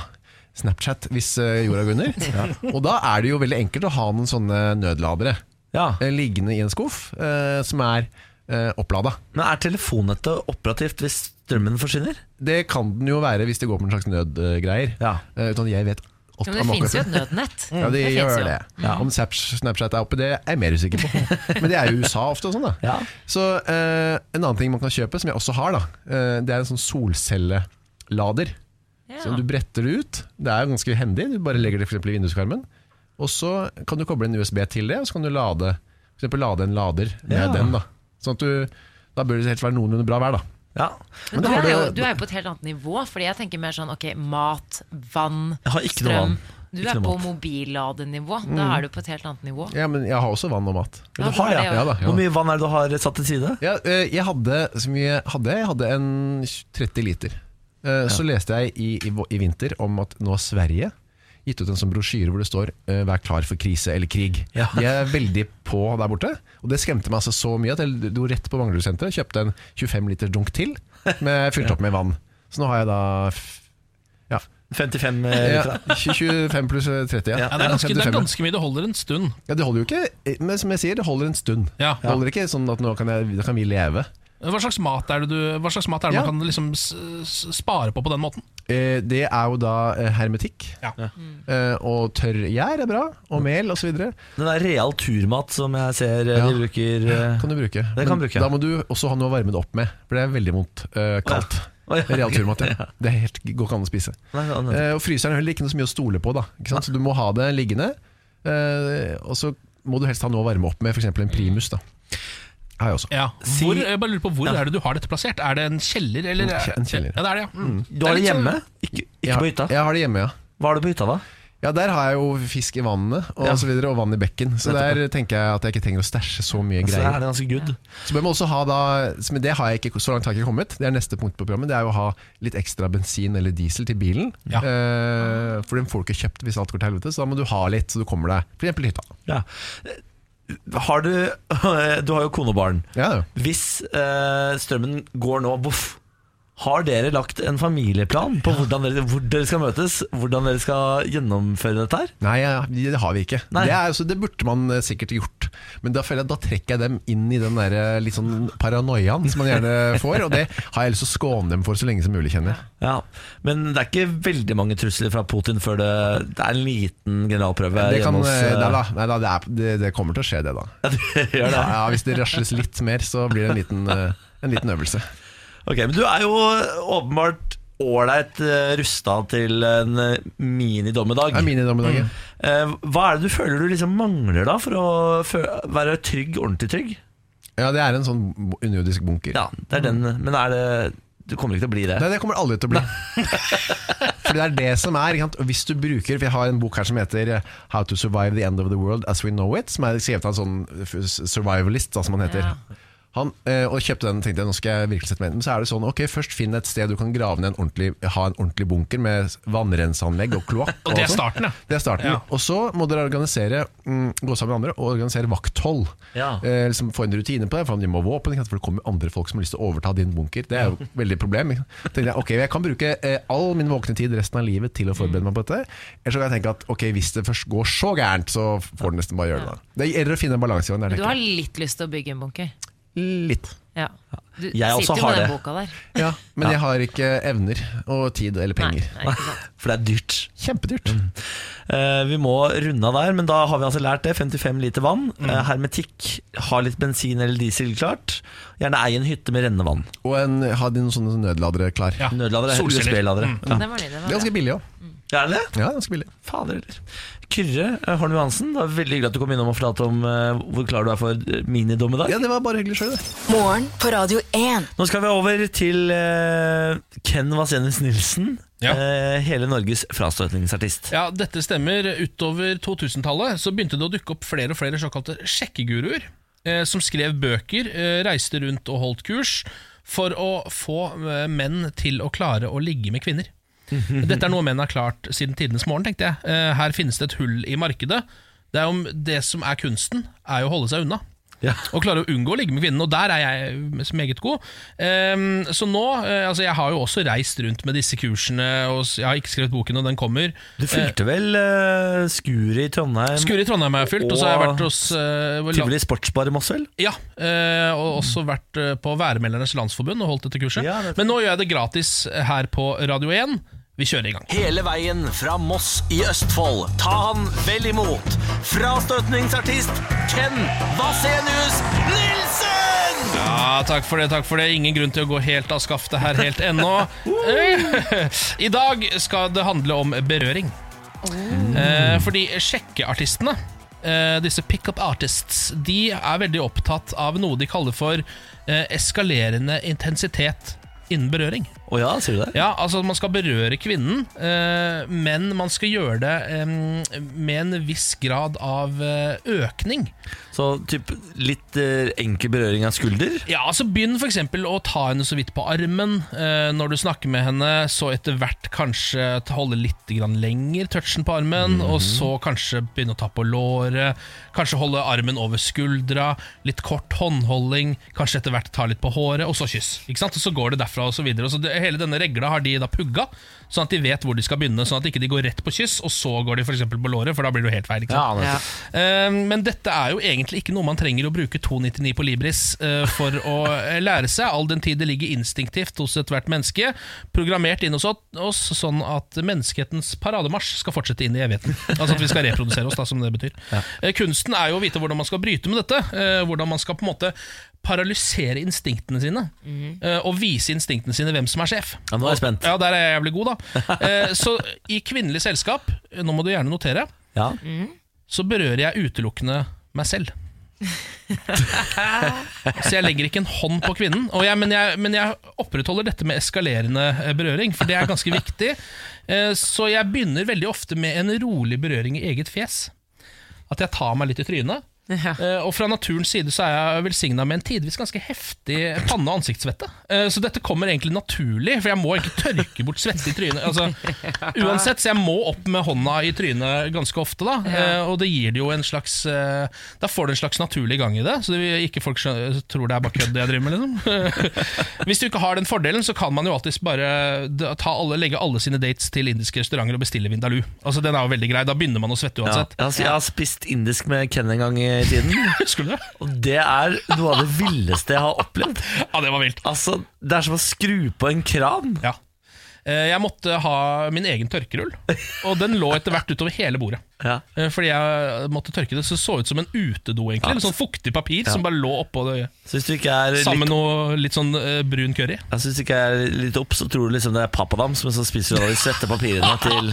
Speaker 7: Snapchat hvis eh, jorda går under. Og da er det jo veldig enkelt å ha noen sånne nødladere
Speaker 1: Ja.
Speaker 7: eh, liggende i en skuff eh, som er eh, opplada.
Speaker 1: Men er telefonnettet operativt hvis strømmen forsvinner?
Speaker 7: Det kan den jo være hvis det går på en slags nødgreier.
Speaker 1: Ja.
Speaker 7: Eh, Uten at jeg vet
Speaker 3: Jo, men det finnes jo et nødnett.
Speaker 7: [LAUGHS] Ja, det,
Speaker 3: finnes
Speaker 7: gjør
Speaker 3: jo.
Speaker 7: det. Om Snapchat Snapchat er oppe, det er jeg mer usikker på.
Speaker 3: [LAUGHS]
Speaker 7: Men det er jo USA ofte og sånn, da.
Speaker 1: Ja.
Speaker 7: Så eh, en annen ting man kan kjøpe, som jeg også har, da, eh, det er en sånn solcellelader.
Speaker 3: Ja.
Speaker 7: Så du bretter det ut. Det er ganske hendig. Du bare legger det for eksempel i vinduskarmen. Og så kan du koble en USB til det, og så kan du lade, for eksempel lade en lader med
Speaker 1: Ja.
Speaker 7: den. Da Sånn at du, da bør det helt være noenlunde bra vær, da.
Speaker 1: Ja.
Speaker 3: Men
Speaker 7: da
Speaker 3: du,
Speaker 7: har
Speaker 3: er jo,
Speaker 7: du-
Speaker 3: du er jo på et helt annet nivå, Fordi jeg tenker mer sånn ok, mat, vann,
Speaker 1: Jeg har ikke noe
Speaker 3: strøm.
Speaker 1: vann.
Speaker 3: Du
Speaker 1: Ikke
Speaker 3: er
Speaker 1: noe
Speaker 3: på
Speaker 1: mat.
Speaker 3: mobilladenivå. Da er du på et helt annet nivå.
Speaker 7: Mm. Ja, men jeg har også vann og mat.
Speaker 1: Men du har,
Speaker 3: det
Speaker 1: ja.
Speaker 3: er
Speaker 7: Ja,
Speaker 3: jo-
Speaker 7: da, ja.
Speaker 1: Hvor mye vann er det du har satt til side?
Speaker 7: Ja, eh, jeg hadde så mye hadde jeg? jeg hadde en 30 liter. Eh, Så leste jeg i, i, vå- i vinter om at nå har Sverige gitt ut en sånn brosjyre hvor det står eh, 'vær klar for krise eller krig'.
Speaker 1: Ja.
Speaker 7: De er veldig på der borte, og det skremte meg altså så mye at jeg dro rett på Manglerudsenteret og kjøpte en 25 liter dunk til, med, fylt opp med vann. Så nå har jeg da f- ja,
Speaker 1: 55
Speaker 7: ja,
Speaker 1: eh, liter?
Speaker 7: 25 pluss 30. Ja,
Speaker 2: Eh, Ja, det, er ganske, det er
Speaker 7: 55.
Speaker 2: ganske mye. Det holder en stund.
Speaker 7: ja, det holder jo ikke, eh, men som jeg sier, det holder en stund.
Speaker 2: Ja.
Speaker 7: Det holder ikke sånn at nå kan, jeg, nå kan vi leve.
Speaker 2: Hva slags mat er det, du, hva slags mat er det
Speaker 7: Ja.
Speaker 2: man kan liksom s- s- spare på på den måten?
Speaker 7: Eh, Det er jo da eh, hermetikk.
Speaker 2: Ja.
Speaker 7: Eh, Og tørr gjær er bra, og mel osv. kan
Speaker 1: Den der real turmat som jeg ser eh,
Speaker 7: Ja.
Speaker 1: de bruker eh,
Speaker 7: du bruke.
Speaker 1: Det kan
Speaker 7: Men
Speaker 1: bruke.
Speaker 7: Da må du også ha noe å varme det opp med, for det er veldig vondt eh, kaldt.
Speaker 1: Å, [LAUGHS] ja.
Speaker 7: Real turmat. Ja. Det er helt, går ikke an å spise.
Speaker 1: Nei, ja, nei.
Speaker 7: Eh, Og fryseren er heller ikke noe så mye å stole på, da. Ikke sant? så du må ha det liggende. eh, Og så må du helst ha noe å varme opp med, f.eks. en primus. da har jeg også.
Speaker 2: Ja.
Speaker 1: Si-
Speaker 2: Hvor, jeg bare lurer på, hvor er det du har dette plassert? Er det en kjeller? Eller?
Speaker 7: En kjeller.
Speaker 2: Ja, det er det, ja. Mm.
Speaker 1: Du har det
Speaker 2: er litt
Speaker 1: hjemme?
Speaker 2: sånn-
Speaker 1: Ikke,
Speaker 7: Jeg
Speaker 1: ikke
Speaker 7: har-
Speaker 1: på hytta?
Speaker 7: Jeg har det hjemme, ja.
Speaker 1: Hva har du på hytta, da?
Speaker 7: Ja, Der har jeg jo fisk i vannet og,
Speaker 1: Ja.
Speaker 7: så videre, og vann i bekken. Så
Speaker 1: Nettopp,
Speaker 7: der tenker jeg at jeg ikke trenger å stæsje så mye
Speaker 1: Så
Speaker 7: greier.
Speaker 1: er det ganske good.
Speaker 7: Så bør man også ha da Men det har jeg ikke, så langt har jeg ikke kommet. Det er neste punkt på programmet. Det er jo å ha litt ekstra bensin eller diesel til bilen.
Speaker 2: Ja.
Speaker 7: Eh, for den får du ikke kjøpt hvis alt går til helvete, så da må du ha litt, så du kommer deg For eksempel hytta.
Speaker 1: Ja. Eh, Har du [LAUGHS] Du har jo kone og barn.
Speaker 7: Ja, ja.
Speaker 1: Hvis eh, strømmen går nå, boff, har dere lagt en familieplan på hvordan dere, hvor dere skal møtes? Hvordan dere skal gjennomføre dette her?
Speaker 7: Nei, ja, det har vi ikke.
Speaker 1: Nei.
Speaker 7: Det, er, altså, det burde man eh, sikkert gjort. Men da føler jeg at da trekker jeg dem inn i den der, eh, litt sånn paranoiaen som man [LAUGHS] gjerne får. Og det har jeg lyst til å skåne dem for så lenge som mulig, kjenner jeg.
Speaker 1: Ja, Men det er ikke veldig mange trusler fra Putin før det, det er en liten generalprøve
Speaker 7: Det, kan,
Speaker 1: hjemme hos
Speaker 7: eh,
Speaker 1: eh,
Speaker 7: nei da, nei da, det, er, det, det kommer til å skje, det da.
Speaker 1: [LAUGHS] Ja, det gjør det.
Speaker 7: Ja, ja, hvis det rasles litt mer, så blir det en liten, eh, en liten øvelse.
Speaker 1: Ok, men du er jo åpenbart ålreit eh, rusta til en eh, minidommedag.
Speaker 7: Det er min idé om i dag. ja.
Speaker 2: Mm.
Speaker 1: Eh, Hva er det du føler du liksom mangler da for å fø- være trygg, ordentlig trygg?
Speaker 7: Ja, det er en sånn bo- underjordisk bunker.
Speaker 1: Ja, det er den, men er det Du kommer ikke til å bli det.
Speaker 7: Nei, det kommer det aldri til å bli. [LAUGHS] For det er det som er. Ikke sant? Og hvis du bruker For jeg har en bok her som heter eh, 'How to survive the end of the world as we know it', som er skrevet av en sånn f- survivalist, da, som han heter. Han, eh, og kjøpte den og tenkte jeg, nå skal jeg virkelig sette meg inn. Men så er det sånn, ok, først finn et sted du kan grave ned en ordentlig, ha en ordentlig bunker med vannrenseanlegg og kloakk.
Speaker 2: [LAUGHS] Og det er
Speaker 7: sånn.
Speaker 2: starten, ja.
Speaker 7: Det er starten.
Speaker 2: Ja.
Speaker 7: Og så må dere organisere, mm, gå sammen med andre og organisere vakthold.
Speaker 1: Ja.
Speaker 7: Eh, liksom få en rutine på det, for de må ha våpen, ikke sant, for det kommer jo andre folk som har lyst til å overta din bunker. Det er jo et veldig problem. ikke sant. Tenkte jeg, ok, jeg kan bruke eh, all min våkne tid resten av livet til å forberede meg på dette. Eller så kan jeg tenke at ok, hvis det først går så gærent, så får du nesten bare gjøre det. da. Det gjelder å finne en balanse i det.
Speaker 3: Men du
Speaker 7: tenker
Speaker 3: har
Speaker 7: jeg.
Speaker 3: litt lyst til å bygge en bunker.
Speaker 7: Litt.
Speaker 3: Ja. Du
Speaker 1: Jeg også
Speaker 3: sitter jo
Speaker 1: har
Speaker 3: med den
Speaker 1: det.
Speaker 3: boka der.
Speaker 7: Ja, men jeg har ikke evner og tid eller
Speaker 3: Nei,
Speaker 7: penger.
Speaker 3: nei, ikke sant.
Speaker 1: For det er dyrt.
Speaker 7: Kjempedyrt.
Speaker 1: Eh, vi må runde av der, men da har vi altså lært det. 55 liter vann.
Speaker 7: Mm.
Speaker 1: Eh, hermetikk. Ha litt bensin eller diesel klart. Gjerne ei en hytte med rennende vann.
Speaker 7: Og en, ha de noen sånne nødladere klar.
Speaker 2: Ja.
Speaker 1: Nødladere.
Speaker 2: Solceller. Mm.
Speaker 1: USB-ladere. Ja.
Speaker 7: Mm.
Speaker 3: Den var ny, den
Speaker 7: Det er
Speaker 3: var bra.
Speaker 7: ganske billig òg.
Speaker 1: Ja, er det det?
Speaker 7: Ja, ganske billig.
Speaker 1: Fader heller. Kyrre eh, Holm Johansen, det var veldig hyggelig at du kom innom og fortalte om eh, hvor klar du er for eh, minidommedag.
Speaker 7: Ja, det var bare hyggelig sjøl, det.
Speaker 4: Morgen på Radio 1.
Speaker 1: Nå skal vi over til eh, Ken Vasenus Nilsen.
Speaker 2: Ja.
Speaker 1: eh, hele Norges frastøtningsartist.
Speaker 2: Ja, dette stemmer. Utover 2000-tallet så begynte det å dukke opp flere og flere såkalte sjekkeguruer, eh, som skrev bøker, eh, reiste rundt og holdt kurs for å få eh, menn til å klare å ligge med kvinner. Dette er noe menn har klart siden tidenes morgen, tenkte jeg. Eh, her finnes det et hull i markedet. Det, er om det som er kunsten, er jo å holde seg unna.
Speaker 1: Ja.
Speaker 2: Og klare å unngå å ligge med kvinnen, og der er jeg meget god. Ehm, så nå eh, altså Jeg har jo også reist rundt med disse kursene, og s- jeg har ikke skrevet boken, og den kommer.
Speaker 1: Du fulgte vel eh, skuret i Trondheim?
Speaker 2: Skure i Trondheim har jeg fylt, og så har jeg vært hos eh, la-
Speaker 1: Tivoli Sportsbar i Moss, vel?
Speaker 2: Ja, eh, og også vært eh, på Værmeldernes Landsforbund og holdt dette kurset.
Speaker 1: Ja, det er fint.
Speaker 2: Men nå gjør jeg det gratis eh, her på Radio 1. Vi kjører i gang.
Speaker 8: Hele veien fra Moss i Østfold. Ta han vel imot. Frastøtningsartist Ken Vasenius Nilsen!
Speaker 2: Ja, takk for det, takk for det. Ingen grunn til å gå helt av skaftet her helt ennå. Eh, I dag skal det handle om berøring. Eh, fordi sjekkeartistene, eh, disse pickup artists, de er veldig opptatt av noe de kaller for eh, eskalerende intensitet innen berøring.
Speaker 1: Å ja, sier du det?
Speaker 2: Ja, altså Man skal berøre kvinnen, eh, men man skal gjøre det eh, med en viss grad av eh, økning.
Speaker 1: Så typ litt eh, enkel berøring av skulder?
Speaker 2: Ja, altså Begynn for eksempel å ta henne så vidt på armen eh, når du snakker med henne. Så etter hvert kanskje ta- holde litt grann lenger touchen på armen. Og så kanskje begynne å ta på låret. Kanskje holde armen over skuldra. Litt kort håndholding. Kanskje etter hvert ta litt på håret, og så kyss. Ikke sant? Og Så går det derfra og så videre. Og så det, hele denne regla har de da pugga, sånn at de vet hvor de skal begynne. Sånn at ikke de går rett på kyss, og så går de for eksempel på låret, for da blir det jo helt feil. ikke sant?
Speaker 3: Ja.
Speaker 2: Eh, Men dette er jo egentlig ikke noe man trenger å bruke 299 på Libris eh, for å eh, lære seg, all den tid det ligger instinktivt hos ethvert menneske, programmert inn hos oss sånn at menneskehetens parademarsj skal fortsette inn i evigheten. Altså at vi skal reprodusere oss, da, som det betyr. Eh, Kunsten er jo å vite hvordan man skal bryte med dette, eh, hvordan man skal på en måte paralysere instinktene sine, eh, og vise instinktene sine hvem som er sjef.
Speaker 1: Ja, nå er jeg spent.
Speaker 2: Ja, der er jeg jævlig god, da. Eh, Så i kvinnelig selskap, eh, nå må du gjerne notere,
Speaker 1: Ja.
Speaker 2: Mm. så berører jeg utelukkende meg selv. så jeg legger ikke en hånd på kvinnen. Og jeg, men, jeg, men jeg opprettholder dette med eskalerende eh, berøring, for det er ganske viktig. Eh, Så jeg begynner veldig ofte med en rolig berøring i eget fjes. At jeg tar meg litt i trynet.
Speaker 3: Ja.
Speaker 2: Eh, Og fra naturens side så er jeg velsigna med en tidvis ganske heftig panne- og ansiktssvette. Eh, Så dette kommer egentlig naturlig, for jeg må egentlig tørke bort svette i trynet. Altså, uansett, Så jeg må opp med hånda i trynet ganske ofte, da. Eh, Og det gir det jo en slags eh, Da får du en slags naturlig gang i det, så det, ikke folk skjønner, tror det er bare kødd det jeg driver med, liksom. [LAUGHS] Hvis du ikke har den fordelen, så kan man jo alltids bare da- ta alle, legge alle sine dates til indiske restauranter og bestille vindaloo. Altså, den er jo veldig grei, da begynner man å svette
Speaker 1: Ja.
Speaker 2: uansett. [LAUGHS]
Speaker 1: Jeg, har, jeg har spist indisk med Ken en gang i tiden,
Speaker 2: Husker du det?
Speaker 1: og det er noe av det villeste jeg har opplevd.
Speaker 2: Ja, det var vilt.
Speaker 1: Altså, Det er som å skru på en kran.
Speaker 2: Ja. Eh, Jeg måtte ha min egen tørkerull, og den lå etter hvert utover hele bordet.
Speaker 1: Ja.
Speaker 2: Eh, Fordi jeg måtte tørke det, så det så ut som en utedo, egentlig. Litt sånn fuktig papir som bare lå oppå det.
Speaker 1: Så hvis du ikke er litt,
Speaker 2: Sammen med noe litt sånn eh, brun curry.
Speaker 1: ja, så hvis du ikke er litt opp, så tror du liksom det er papadams, men så spiser du alle de svette papirene
Speaker 2: [LAUGHS]
Speaker 1: til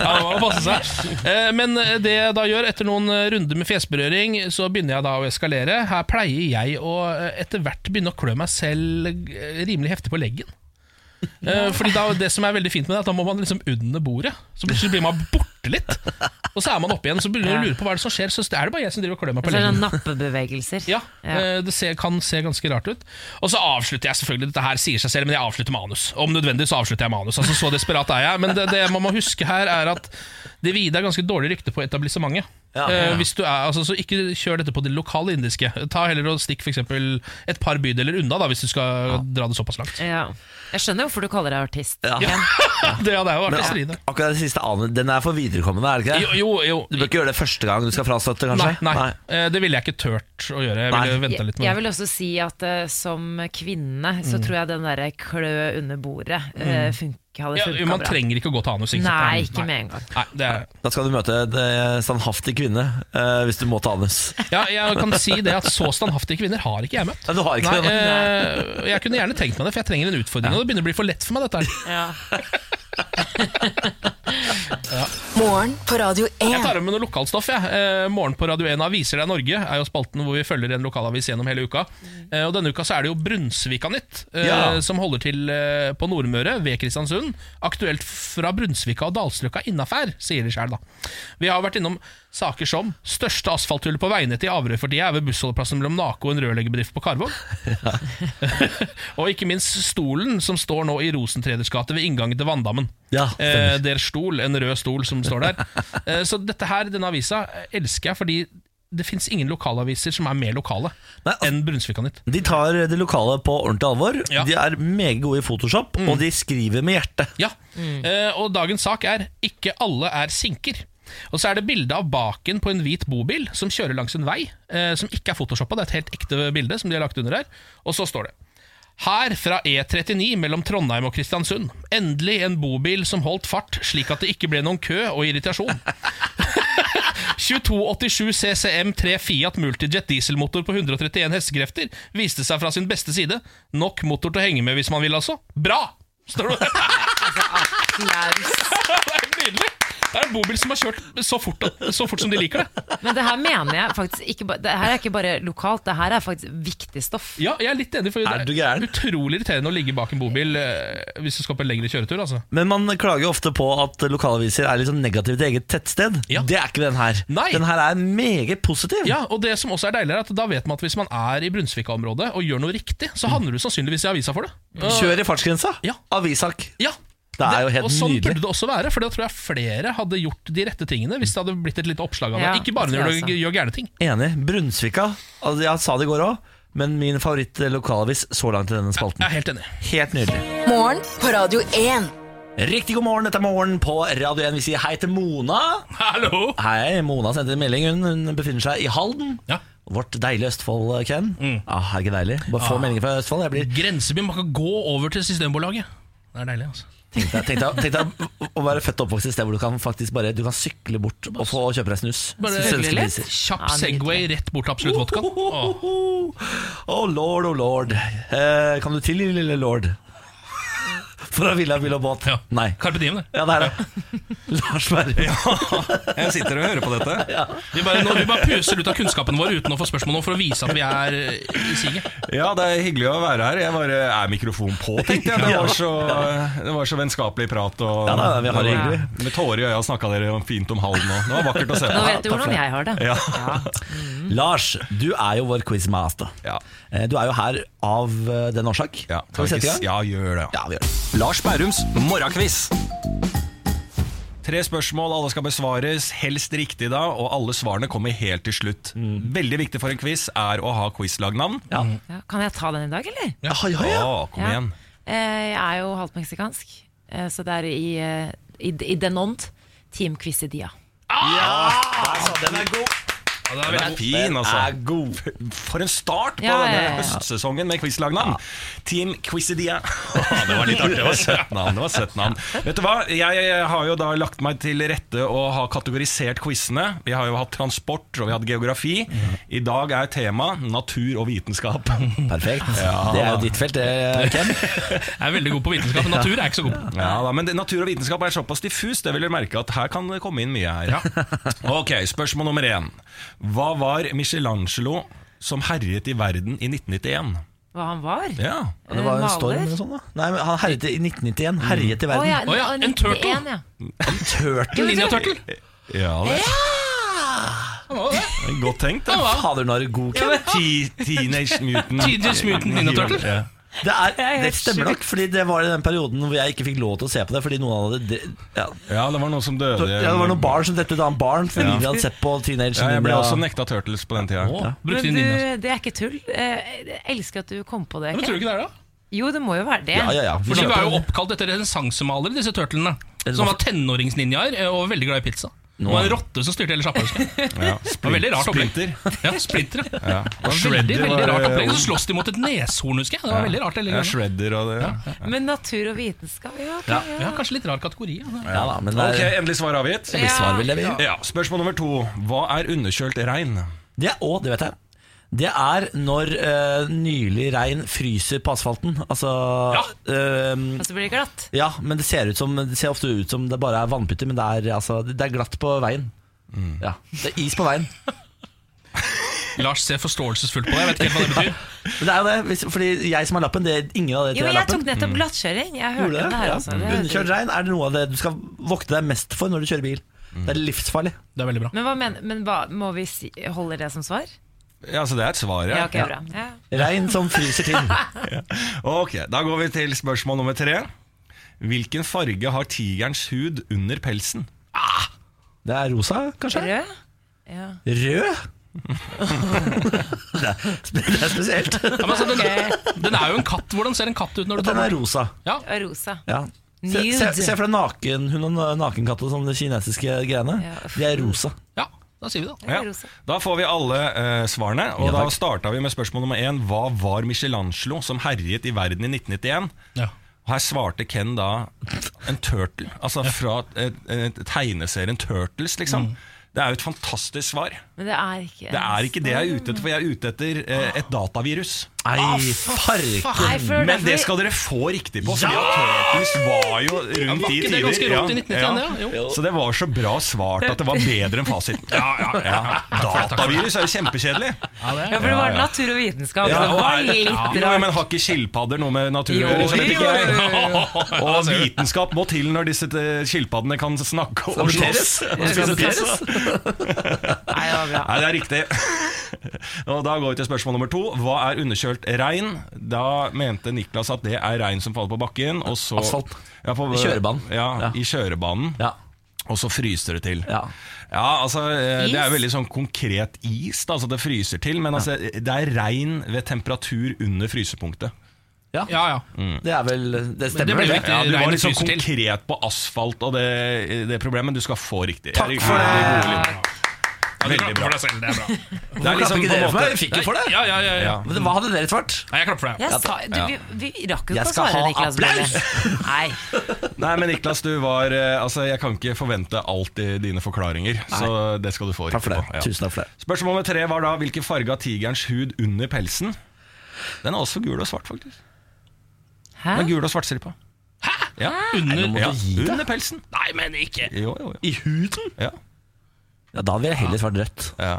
Speaker 2: Ja, det må passe seg. Eh, Men det jeg da gjør, etter noen eh, runder med fjesberøring, så begynner jeg da å eskalere. Her pleier jeg å eh, etter hvert begynne å klø meg selv eh, rimelig heftig på leggen. Eh, Fordi da, det som er veldig fint med det, er at da må man liksom under bordet. Så plutselig blir man borte litt. Og så er man oppe igjen, så begynner man å lure på hva er det som skjer. Så er det sånn bare jeg som driver og klør meg på
Speaker 3: Sånne
Speaker 2: leggen.
Speaker 3: nappebevegelser.
Speaker 2: Ja, eh, Det ser, kan se ganske rart ut. Og så avslutter jeg selvfølgelig dette her sier seg selv, men jeg avslutter manus. Om nødvendig så avslutter jeg manus. Altså Så desperat er jeg. Men det, det man må huske her, er at det vide er ganske dårlig rykte på etablissementet.
Speaker 1: Ja, ja, ja.
Speaker 2: Eh, Hvis du er, altså, så ikke kjør dette på det lokale indiske. Ta heller og Stikk for eksempel et par bydeler unna, da hvis du skal dra det såpass langt.
Speaker 3: Ja. Jeg skjønner hvorfor du kaller deg artist.
Speaker 1: Ja.
Speaker 2: [LAUGHS] Det hadde jeg
Speaker 1: Men
Speaker 2: jo vært i
Speaker 1: ak
Speaker 2: stride.
Speaker 1: akkurat det siste anet, den er for viderekommende, er det ikke det?
Speaker 2: Jo, jo, jo.
Speaker 1: Du bør ikke gjøre det første gang du skal frastøtte,
Speaker 2: Nei,
Speaker 1: kanskje?
Speaker 2: nei. Eh, Det ville jeg ikke turt å gjøre. Jeg ville
Speaker 1: Nei.
Speaker 2: venta litt
Speaker 3: Jeg- Jeg
Speaker 2: med det.
Speaker 3: vil også si at eh, som kvinne så
Speaker 7: Mm.
Speaker 3: tror jeg den derre klø under bordet eh, fun hadde
Speaker 2: Ja,
Speaker 3: funka
Speaker 2: man
Speaker 3: bra.
Speaker 2: trenger ikke å gå til anus. sant?
Speaker 3: Nei, ikke med en gang.
Speaker 2: Nei, det er
Speaker 1: Da skal du møte en eh, standhaftig kvinne eh, hvis du må ta anus.
Speaker 2: Ja, jeg kan si det at Så standhaftige kvinner har ikke jeg møtt.
Speaker 1: Nei, du har ikke
Speaker 2: Nei,
Speaker 1: det.
Speaker 2: eh, jeg kunne gjerne tenkt meg det, for jeg trenger en utfordring. Og det begynner å bli for lett for meg, dette her.
Speaker 3: Ja.
Speaker 4: Morgen på Radio
Speaker 2: Jeg
Speaker 4: 1.
Speaker 2: tar med noe lokalstoff. jeg. Eh, Morgen på Radio 1 Aviser deg Norge er jo spalten hvor vi følger en lokalavis gjennom hele uka. Eh, Og Denne uka så er det jo Brunsvika Nytt, eh,
Speaker 1: Ja.
Speaker 2: som holder til eh, på Nordmøre ved Kristiansund. Aktuelt fra Brunsvika og Dalstrøka innafær, sier de sjøl, da. Vi har vært innom saker som største asfalthull på veinettet i Averøy for tida er ved bussholdeplassen mellom Nake og en rørleggerbedrift på Karvåg. [LAUGHS] og ikke minst stolen som står nå i Rosentreders gate ved inngangen til Vanndammen.
Speaker 1: Ja,
Speaker 2: eh,
Speaker 1: stemmer.
Speaker 2: der stol, en rød stol som står
Speaker 1: [LAUGHS]
Speaker 2: der. eh, så dette her, denne avisa eh, elsker jeg fordi det fins ingen lokalaviser som er mer lokale
Speaker 1: Nei, altså-
Speaker 2: enn Brunsvika Nytt.
Speaker 1: De tar det lokale på ordentlig alvor.
Speaker 2: Ja. Mm.
Speaker 1: De er meget gode i Photoshop, og de skriver med hjertet.
Speaker 2: Ja, eh, og dagens sak er Ikke alle er sinker Og så er det bildet av baken på en hvit bobil Som kjører langs en vei eh, Som ikke er photoshoppet, det er et helt ekte bilde Som de har lagt under her Og så står det Her fra E39 mellom Trondheim og Kristiansund Endelig en bobil som holdt fart Slik at det ikke ble noen kø og irritasjon [LAUGHS] 2287 CCM 3 Fiat Multijet dieselmotor på 131 hestekrefter viste seg fra sin beste side. Nok motor til å henge med hvis man vil, altså. Bra! Står det. det er nydelig! Det er en bobil som har kjørt så fort, så fort som de liker det.
Speaker 3: Men det her mener jeg faktisk ikke ba- Det her er ikke bare lokalt, det her er faktisk viktig stoff.
Speaker 2: Ja, jeg er litt enig, for
Speaker 1: Er du
Speaker 2: det
Speaker 1: gæren?
Speaker 2: er utrolig irriterende å ligge bak en bobil eh, hvis du skal på en lengre kjøretur. altså.
Speaker 1: Men man klager jo ofte på at lokalaviser er litt sånn negative til eget tettsted.
Speaker 2: Ja.
Speaker 1: Det er ikke den her.
Speaker 2: Nei.
Speaker 1: Den her er meget positiv.
Speaker 2: Ja, og det som også er deilig er at Da vet man at hvis man er i Brunsvika-området og gjør noe riktig, så handler du sannsynligvis i avisa for det.
Speaker 1: Kjør i fartsgrensa.
Speaker 2: Ja.
Speaker 1: Avisak.
Speaker 2: Ja,
Speaker 1: Det er jo helt
Speaker 2: og sånn
Speaker 1: nydelig.
Speaker 2: burde det også være, for da tror jeg flere hadde gjort de rette tingene hvis det hadde blitt et lite oppslag av det.
Speaker 3: Ja,
Speaker 2: Ikke bare
Speaker 3: det tror
Speaker 2: når
Speaker 3: jeg
Speaker 2: du gjør gærne ting.
Speaker 1: Enig. Brunsvika. Altså, jeg sa det i går òg, men min favoritt-lokalavis så langt i denne
Speaker 2: Jeg [LAUGHS]
Speaker 1: spalten.
Speaker 2: er helt enig.
Speaker 1: Helt nydelig.
Speaker 4: Morgen på Radio 1.
Speaker 1: Riktig god morgen, dette er morgen på Radio 1. Vi sier hei til Mona.
Speaker 2: Hallo!
Speaker 1: Hei, Mona sendte en melding. Hun, hun befinner seg i Halden.
Speaker 2: Ja.
Speaker 1: Vårt deilige Østfold, Ken. Ah, er ikke deilig? Bare få meldinger fra Østfold. Jeg blir
Speaker 2: Grenseby, man kan gå over til Systembolaget. Det er deilig, altså.
Speaker 1: Tenk deg- tenk deg tenk deg å være født og oppvokst et sted hvor du kan faktisk bare Du kan sykle bort og få og kjøpe deg snus.
Speaker 2: Bare
Speaker 1: Svenske
Speaker 3: hyggelig.
Speaker 1: priser.
Speaker 2: Kjapp
Speaker 3: Ja, nydelig.
Speaker 2: Segway rett bort til Absolutt Vodka. Åh.
Speaker 1: Oh lord, oh lord. Eh, kan du til, lille lord? Fra Villa Bil og Båt.
Speaker 2: Ja.
Speaker 1: Nei.
Speaker 2: Carpe Diem, det.
Speaker 1: Ja, det er det. Lars Berrum.
Speaker 9: Jeg sitter og hører på dette.
Speaker 2: Vi bare, nå, vi bare puser ut av kunnskapen vår uten å få spørsmål nå, for å vise at vi er eh, i siget.
Speaker 9: Ja, det er hyggelig å være her. Jeg bare, Er mikrofonen på, tenkte jeg. Det var så, det var så vennskapelig prat. Og,
Speaker 1: Ja, nei, nei, vi har det hyggelig.
Speaker 9: Med tårer i øya snakka dere om- fint om Halden òg. Det var vakkert å se på.
Speaker 3: Nå vet du hvordan jeg har det.
Speaker 9: Ja.
Speaker 1: Lars, du er jo vår quizmaster.
Speaker 9: Ja.
Speaker 1: Eh, Du er jo her av eh, den årsak.
Speaker 9: Ja,
Speaker 1: Skal vi sette i gang?
Speaker 9: Ja, gjør det.
Speaker 1: Ja, vi gjør det.
Speaker 8: Lars Bærums morgenkviss.
Speaker 9: Tre spørsmål, alle skal besvares, helst riktig da, og alle svarene kommer helt til slutt. Veldig viktig for en quiz er å ha quizlagnavn.
Speaker 1: Ja.
Speaker 3: Ja, kan jeg ta den i dag, eller?
Speaker 1: Ja, ja, ja.
Speaker 9: Å, kom
Speaker 3: Ja.
Speaker 9: igjen.
Speaker 3: Eh, Jeg er jo halvt meksikansk, eh, så det er i, eh, i, i den ånd Team Quizidia.
Speaker 1: Den er god.
Speaker 2: Ja, det er
Speaker 9: Den
Speaker 2: veldig
Speaker 9: er fin, altså.
Speaker 1: Er god.
Speaker 9: For en start på
Speaker 3: Ja, ja, ja, ja.
Speaker 9: denne høstsesongen med quizlagnavn. Team [LAUGHS] Quizidia. det var litt artig. Det var søtt navn. det var søtt navn. Vet du hva? Jeg eh, har jo da lagt meg til rette og har kategorisert quizene. Vi har jo hatt transport, og vi har hatt geografi. I dag er tema natur og [LAUGHS] vitenskap.
Speaker 1: Perfekt. Det er jo ditt felt, det, Ken.
Speaker 2: Jeg er veldig god på vitenskap, men natur er jeg ikke så god på.
Speaker 9: Ja, da, Men det- natur og vitenskap er såpass diffus, det vil dere merke at her kan det komme inn mye her. [LAUGHS] Ok, Spørsmål nummer én. Hva var Michelangelo som herjet i verden i 1991?
Speaker 3: hva han var?
Speaker 9: Ja.
Speaker 1: Ja, Det var jo en
Speaker 3: Maler?
Speaker 1: storm eller sånn da Nei, men han herjet i 1991 Herjet i verden
Speaker 3: ja,
Speaker 2: Å ja, en
Speaker 3: 91,
Speaker 2: turtle.
Speaker 3: ja.
Speaker 1: Turtle
Speaker 2: Ninja Turtle.
Speaker 9: ja det
Speaker 2: Han var jo det.
Speaker 9: er godt tenkt.
Speaker 2: Han
Speaker 9: det.
Speaker 2: var
Speaker 1: Fader, nå er det god Ken
Speaker 9: Te- Teenage Mutant
Speaker 2: Teenage Mutant Ninja Turtle.
Speaker 9: Ja.
Speaker 1: Det, er,
Speaker 3: Jeg
Speaker 1: det
Speaker 3: hørte
Speaker 1: stemmer nok, fordi det var i den perioden hvor jeg ikke fikk lov til å se på det. Fordi noen hadde dre- ja,
Speaker 9: Ja, det var noen som døde.
Speaker 1: ja, Det var noen barn som dette ut av en barn fordi de hadde sett på Teenage
Speaker 9: Ja, jeg ble
Speaker 1: Ninja.
Speaker 9: også nekta Turtles på den tida.
Speaker 2: Å, brukte de
Speaker 3: Men du,
Speaker 2: ninjas.
Speaker 3: det er ikke tull. Eh, Jeg elsker at du kom på det.
Speaker 2: Men tror
Speaker 3: Ken.
Speaker 2: du ikke det er det? da?
Speaker 3: Jo, det må jo være det.
Speaker 1: Ja, ja, ja. Vi
Speaker 2: For de var jo
Speaker 1: kjøper-
Speaker 2: oppkalt etter renessansemalere, disse turtlene. Som var tenåringsninjaer eh, og var veldig glad i pizza. Det var en rotte som styrte hele sjappa. husker jeg.
Speaker 9: Ja.
Speaker 2: Det var veldig rart opplegg.
Speaker 9: Splinter.
Speaker 2: Ja, Splinter. ja.
Speaker 9: [LAUGHS] Ja.
Speaker 2: Det var veldig,
Speaker 9: Shredder
Speaker 2: veldig
Speaker 9: var-
Speaker 2: rart opplegg. Så slåss de mot et neshorn, husker jeg. Det var veldig rart. hele
Speaker 9: Ja,
Speaker 2: gangen.
Speaker 9: Shredder og det. Ja.
Speaker 3: Men natur og vitenskap, ja. ok, ja.
Speaker 2: Ja, kanskje litt rar kategori. Ja. det er-
Speaker 1: Ja da, men det
Speaker 9: Ok,
Speaker 1: er,
Speaker 9: endelig svar avgitt.
Speaker 1: vi svarer vel det, vi.
Speaker 9: Ja, Spørsmål nummer to. Hva er underkjølt regn?
Speaker 1: Det er òg, det vet jeg. Det er når eh, nylig regn fryser på asfalten. Altså eh,
Speaker 3: Og så blir det glatt.
Speaker 1: ja, men det ser, ut som, det ser ofte ut som det bare er vannputter, men det er, altså, det er glatt på veien. Ja, Det er is på veien.
Speaker 2: Lars ser forståelsesfullt på deg. Jeg vet ikke helt hva det betyr.
Speaker 1: Men det er jo det, hvis, fordi jeg som har lappen, det er ingen av dere tre
Speaker 3: Jo, men
Speaker 1: har
Speaker 3: jeg
Speaker 1: lappen.
Speaker 3: tok
Speaker 9: Mm.
Speaker 3: nettopp glattkjøring. Jeg
Speaker 1: Gjorde
Speaker 3: hørte
Speaker 1: det?
Speaker 3: det her, altså.
Speaker 1: Ja.
Speaker 3: Det-
Speaker 1: Underkjørt regn er det noe av det du skal vokte deg mest for når du kjører bil. Det er livsfarlig.
Speaker 2: [LAUGHS] Det er veldig bra.
Speaker 3: Men hva mener Men hva, må vi si, holde det som svar?
Speaker 9: Ja, altså Det er et svar,
Speaker 3: Ja,
Speaker 9: ja.
Speaker 3: ok, bra. Ja.
Speaker 1: Regn som fryser til.
Speaker 9: Ok, Da går vi til spørsmål nummer tre. Hvilken farge har tigerens hud under pelsen?
Speaker 1: Det er rosa,
Speaker 3: [LAUGHS]
Speaker 1: kanskje?
Speaker 3: Rød? Ja.
Speaker 1: Rød? det, er, spe- det er
Speaker 3: [LAUGHS]
Speaker 1: spesielt.
Speaker 2: Ja, men altså, den, den er jo en katt. Hvordan ser en katt ut når du tar
Speaker 1: Den
Speaker 2: den?
Speaker 1: er rosa.
Speaker 3: Og rosa.
Speaker 1: Ja. Se, se,
Speaker 3: Nude.
Speaker 1: se for deg naken, hun og nakenkatta som det kinesiske greiene.
Speaker 3: Ja.
Speaker 1: De er rosa.
Speaker 2: Ja, da sier vi det.
Speaker 3: Ja,
Speaker 9: Ja.
Speaker 3: rosa.
Speaker 9: Da får vi alle eh, svarene. Og da starta vi med spørsmål nummer én. Hva var Michelangelo som herjet i verden i 1991?
Speaker 2: Ja.
Speaker 9: Og Her svarte Ken da en turtle. Altså fra et, et, tegneserien Turtles, liksom. Det er jo et fantastisk svar.
Speaker 3: Men det er ikke
Speaker 9: Det er ikke det jeg er ute etter, for jeg er ute etter eh, et datavirus.
Speaker 3: Ah,
Speaker 1: Nei, farken!
Speaker 3: Nei, for
Speaker 9: Men
Speaker 3: derfor-
Speaker 9: det skal dere få riktig på, fordi at Turtles var jo rundt
Speaker 2: Var
Speaker 9: i
Speaker 2: ikke det ganske
Speaker 9: tider.
Speaker 2: rått i 1991? Ja. Jo.
Speaker 9: Så det var så bra svart at det var bedre enn fasiten. Ja, ja, ja. Datavirus er jo kjempekjedelig.
Speaker 2: Ja, det
Speaker 3: Ja,
Speaker 2: er.
Speaker 3: for det var
Speaker 9: ja.
Speaker 3: natur og vitenskap.
Speaker 9: Ja,
Speaker 3: det
Speaker 9: og
Speaker 3: var
Speaker 9: er-
Speaker 3: litt
Speaker 9: Jo,
Speaker 3: rart.
Speaker 9: men har ikke skilpadder noe med natur å
Speaker 3: Jo,
Speaker 9: gjøre? skjønner
Speaker 3: jo,
Speaker 9: ikke jeg.
Speaker 3: jo,
Speaker 9: [LAUGHS] Og vitenskap må til når disse eh, skilpaddene kan snakke og slåss. Og spise pizza.
Speaker 3: sånn [LAUGHS] Nei, det var bra.
Speaker 9: Nei, det er riktig. [LAUGHS] Og Da går vi til spørsmål nummer to. Hva er underkjølt regn? Da mente Niklas at det er regn som faller på bakken. Og så,
Speaker 1: Asfalt.
Speaker 9: Ja, på,
Speaker 1: I kjørebanen.
Speaker 9: Ja,
Speaker 1: Ja.
Speaker 9: I kjørebanen.
Speaker 1: Ja.
Speaker 9: Og så fryser det til.
Speaker 1: Ja.
Speaker 9: Ja, altså eh, Det er jo
Speaker 3: Is?
Speaker 9: veldig sånn konkret is, da, altså det fryser til. Men altså, det er regn ved temperatur under frysepunktet.
Speaker 2: ja, ja.
Speaker 1: Det er vel Det
Speaker 2: Men det
Speaker 1: stemmer,
Speaker 2: blir
Speaker 1: vel,
Speaker 2: jo
Speaker 1: det.
Speaker 2: ikke
Speaker 9: Ja, du
Speaker 2: regn
Speaker 9: var
Speaker 2: det
Speaker 9: litt sånn
Speaker 2: fryser til.
Speaker 9: konkret på asfalt og det, det problemet. Du skal få riktig.
Speaker 1: Takk for det.
Speaker 2: Ja, du
Speaker 9: Veldig
Speaker 2: klapper
Speaker 9: bra.
Speaker 2: for deg selv, det er bra.
Speaker 9: Det er liksom
Speaker 1: Klapper ikke
Speaker 9: på en
Speaker 1: dere for
Speaker 9: måte
Speaker 1: meg? Fikk jo for det.
Speaker 2: Ja, ja, ja, ja.
Speaker 9: Ja.
Speaker 1: Men Hva hadde dere svart?
Speaker 2: Nei, jeg klapper for deg.
Speaker 3: Jeg sa, du, vi, vi rakk jo
Speaker 1: Jeg
Speaker 3: ikke å
Speaker 1: skal
Speaker 3: svare,
Speaker 1: ha
Speaker 3: Niklas Baarli. Nei.
Speaker 9: Nei, men Niklas, du var eh, Altså, jeg kan ikke forvente alt i dine forklaringer, så det skal du få
Speaker 1: Takk for
Speaker 9: riktig
Speaker 1: det.
Speaker 9: på. Ja.
Speaker 1: Tusen takk for det.
Speaker 9: Spørsmål nummer tre var da hvilken farge har tigerens hud under pelsen? Den er også gul og svart, faktisk.
Speaker 3: Hæ?
Speaker 9: Den er gul og svartstripa. Ja.
Speaker 2: Under,
Speaker 9: Ja,
Speaker 2: ja.
Speaker 9: under pelsen.
Speaker 2: Nei, men ikke
Speaker 9: Jo, jo, jo.
Speaker 1: I huden?
Speaker 9: Ja.
Speaker 1: Ja, da ville jeg heller svart rødt.
Speaker 9: Ja.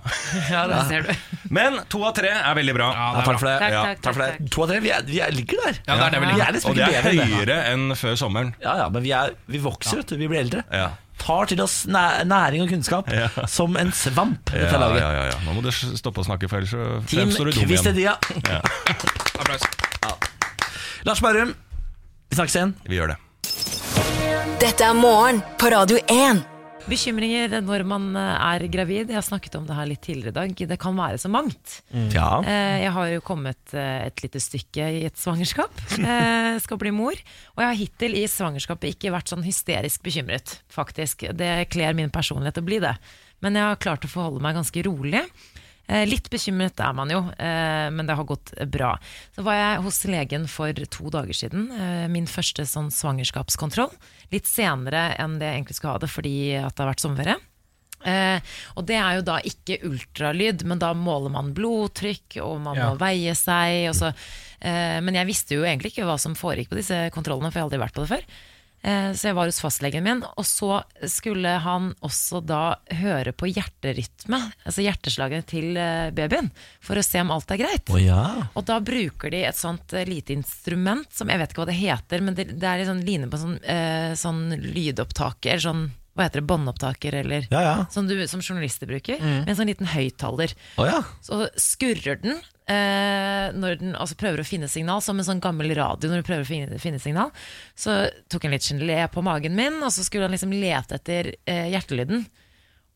Speaker 3: Ja, det ser du.
Speaker 9: Men to av tre er veldig bra.
Speaker 2: Ja,
Speaker 1: Ja,
Speaker 2: det er
Speaker 1: takk
Speaker 2: bra.
Speaker 1: for det.
Speaker 3: Takk,
Speaker 9: Ja,
Speaker 3: takk,
Speaker 1: Takk for det. To av tre, vi, er, vi er ligger der.
Speaker 2: Ja, det er det vi ligger.
Speaker 1: Vi er liksom
Speaker 9: Og det
Speaker 1: ikke
Speaker 9: er
Speaker 1: bedre enn det.
Speaker 9: høyere enn før sommeren.
Speaker 1: Ja, ja, men vi, er, vi vokser, vet du. Vi blir eldre.
Speaker 9: Ja.
Speaker 1: Tar til oss næ næring og kunnskap som en svamp,
Speaker 9: Ja,
Speaker 1: dette
Speaker 9: ja,
Speaker 1: laget.
Speaker 9: ja, ja. Nå må du stoppe å snakke, for ellers så
Speaker 1: Team
Speaker 9: fremstår du dum igjen.
Speaker 1: Kvistedia.
Speaker 2: Applaus.
Speaker 1: Lars Berrum, vi snakkes igjen.
Speaker 9: Vi gjør det.
Speaker 4: Dette er morgen på Radio 1.
Speaker 3: Bekymringer når man eh, er gravid. Jeg har snakket om det her litt tidligere i dag. Det kan være så mangt.
Speaker 1: Ja.
Speaker 3: Eh, Jeg har jo kommet eh, et lite stykke i et svangerskap. Eh, Skal bli mor. Og jeg har hittil i svangerskapet ikke vært sånn hysterisk bekymret, faktisk. Det kler min personlighet å bli det. Men jeg har klart å forholde meg ganske rolig. Eh, Litt bekymret er man jo, eh, men det har gått bra. Så var jeg hos legen for to dager siden. eh, Min første sånn svangerskapskontroll. Litt senere enn det jeg egentlig skulle ha det, fordi at det har vært sommerferie. Eh, og det er jo da ikke ultralyd, men da måler man blodtrykk, og man må veie seg. Og så, eh, men jeg visste jo egentlig ikke hva som foregikk på disse kontrollene, for jeg har aldri vært på det før. Eh, Så jeg var hos fastlegen min, og så skulle han også da høre på hjerterytme, altså hjerteslagene til eh, babyen, for å se om alt er greit.
Speaker 1: Å ja.
Speaker 3: Og da bruker de et sånt eh, lite instrument som jeg vet ikke hva det heter, men det, det er litt sånn line på en sånn, eh, sånn lydopptaker, eller sånn hva heter det, båndopptaker, eller
Speaker 1: Ja, Mm. ja.
Speaker 3: Som, du, som journalister bruker, med en sånn liten høyttaler.
Speaker 1: Å ja.
Speaker 3: Så skurrer den eh, når den altså prøver å finne signal, som en sånn gammel radio når du prøver å finne, finne signal. Så tok han litt gelé på magen min, og så skulle han liksom lete etter eh, hjertelyden.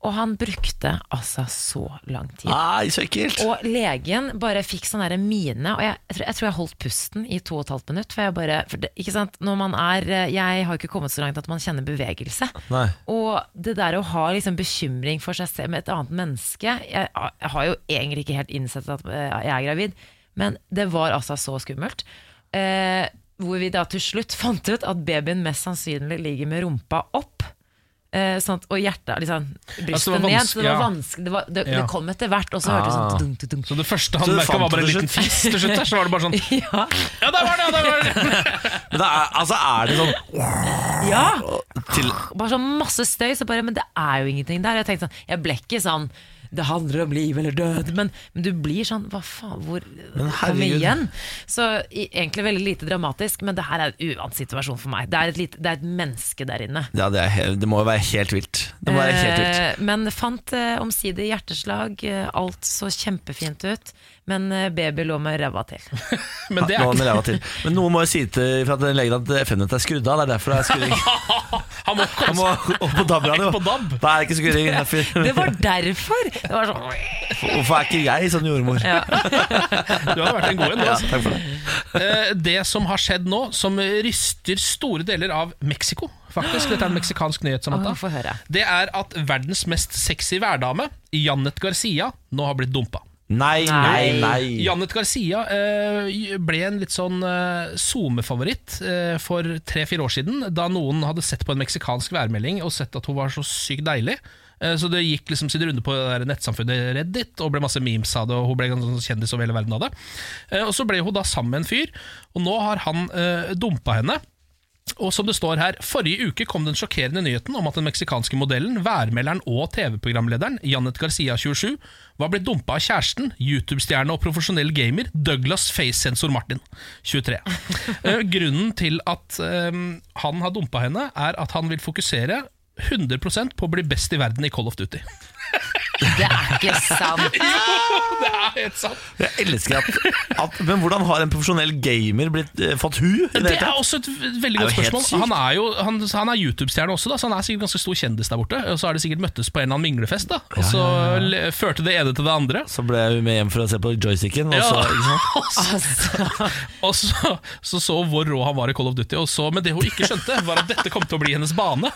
Speaker 3: Og han brukte altså så lang tid.
Speaker 1: Nei, så ekkelt.
Speaker 3: Og legen bare fikk sånn der mine, og jeg, jeg, tror, jeg tror jeg holdt pusten i to og et halvt minutt. For jeg bare, for det, ikke sant, når man er, eh, jeg har ikke kommet så langt at man kjenner bevegelse.
Speaker 1: Nei.
Speaker 3: Og det der å ha liksom bekymring for seg selv med et annet menneske Jeg, jeg har jo egentlig ikke helt innsett at eh, jeg er gravid, men det var altså så skummelt. Eh, hvor vi da til slutt [LAUGHS] fant ut at babyen mest sannsynlig ligger med rumpa opp. Eh, sånn at, og hjertet liksom,
Speaker 2: Altså, det
Speaker 3: Brystet
Speaker 2: var
Speaker 3: ned.
Speaker 2: vans-
Speaker 3: Så det var
Speaker 2: ja.
Speaker 3: vanskelig det, var, det,
Speaker 2: Ja. Ah.
Speaker 3: det kom etter hvert, og så hørtes det sånn dunk, dunk, dunk.
Speaker 2: Så det første han
Speaker 1: Så du
Speaker 2: merka,
Speaker 1: fant
Speaker 2: var bare en
Speaker 1: det til
Speaker 2: liten fis til slutt. der, Så var det bare sånn
Speaker 3: [LAUGHS] Ja.
Speaker 2: Ja, der var det! Ja, der var det.
Speaker 1: Men det er, altså, er det sånn
Speaker 3: ja!
Speaker 1: til
Speaker 3: Bare sånn masse støy, så bare Men det er jo ingenting der. Jeg tenkte sånn Jeg ble ikke sånn det handler om liv eller død, men, men du blir sånn Hva faen, hvor Kom
Speaker 1: herregud.
Speaker 3: igjen! Så i, egentlig veldig lite dramatisk, men det her er en uvant situasjon for meg. Det er et, lite, det er et menneske der inne.
Speaker 1: Ja, det, er, he- det må jo være helt vilt. Det må være helt vilt.
Speaker 3: Eh, Men fant eh, omsider hjerteslag, eh, alt så kjempefint ut. Men eh, baby lå med ræva til.
Speaker 2: [LAUGHS] Men det
Speaker 1: Nå
Speaker 2: er
Speaker 1: med ræva til. Men noen må jo si til fra den legen at FM-nettet er skrudd av. Det er derfor det er
Speaker 2: [LAUGHS]
Speaker 1: skurring.
Speaker 2: Han må
Speaker 1: Han må opp på DAB-radio.
Speaker 2: På DAB.
Speaker 1: Det er ikke skurring. Derfor-
Speaker 2: [LAUGHS]
Speaker 3: Det
Speaker 1: [LAUGHS]
Speaker 3: var derfor! Det var sånn
Speaker 1: Hvorfor er ikke jeg sånn jordmor? Ja,
Speaker 2: Du hadde vært en god en. du, Altså.
Speaker 1: takk for det.
Speaker 2: Eh, Det som har skjedd nå, som ryster store deler av Mexico, faktisk Dette er en meksikansk nyhet, Samantha.
Speaker 3: Åh, få høre.
Speaker 2: Det er at verdens mest sexy værdame, Janet Garcia, nå har blitt dumpa.
Speaker 1: Nei, nei, nei.
Speaker 2: Janet Garcia eh, ble en litt sånn eh, SoMe-favoritt eh, for tre-fire år siden, da noen hadde sett på en meksikansk værmelding og sett at hun var så sykt deilig. Eh, Så det gikk liksom sin runde på det der nettsamfunnet Reddit, og ble masse memes av det. Og hun ble en sånn kjendis over hele verden av det. Eh, Og så ble hun da sammen med en fyr, og nå har han eh, dumpa henne. Og som det står her, Forrige uke kom den sjokkerende nyheten om at den meksikanske modellen, værmelderen og TV-programlederen Janet Garcia 27 var blitt dumpa av kjæresten, YouTube-stjerne og profesjonell gamer Douglas face-sensor Martin [LAUGHS] 23. Eh, Grunnen til at eh, han har dumpa henne, er at han vil fokusere 100 på å bli best i verden i Call of Duty.
Speaker 3: Det er ikke sant!
Speaker 2: Det er helt sant!
Speaker 1: Jeg elsker at, at Men hvordan har en profesjonell gamer blitt, eh, fått hu? i
Speaker 2: Det
Speaker 1: hele
Speaker 2: er
Speaker 1: tatt?
Speaker 2: også et v- veldig
Speaker 1: Det er
Speaker 2: godt
Speaker 1: jo helt
Speaker 2: spørsmål.
Speaker 1: sykt.
Speaker 2: Han er jo han, han er YouTube-stjerne også, da, så han er sikkert ganske stor kjendis der borte. Og så har de sikkert møttes på en eller annen minglefest, da. og så le- førte det ene til det andre.
Speaker 1: Så ble jeg med hjem for å se på joysticken. Og
Speaker 2: Ja.
Speaker 1: så, ikke sant?
Speaker 3: altså.
Speaker 2: Og så så, så hun hvor rå han var i Call of Duty, og så, men det hun ikke skjønte, var at dette kom til å bli hennes bane.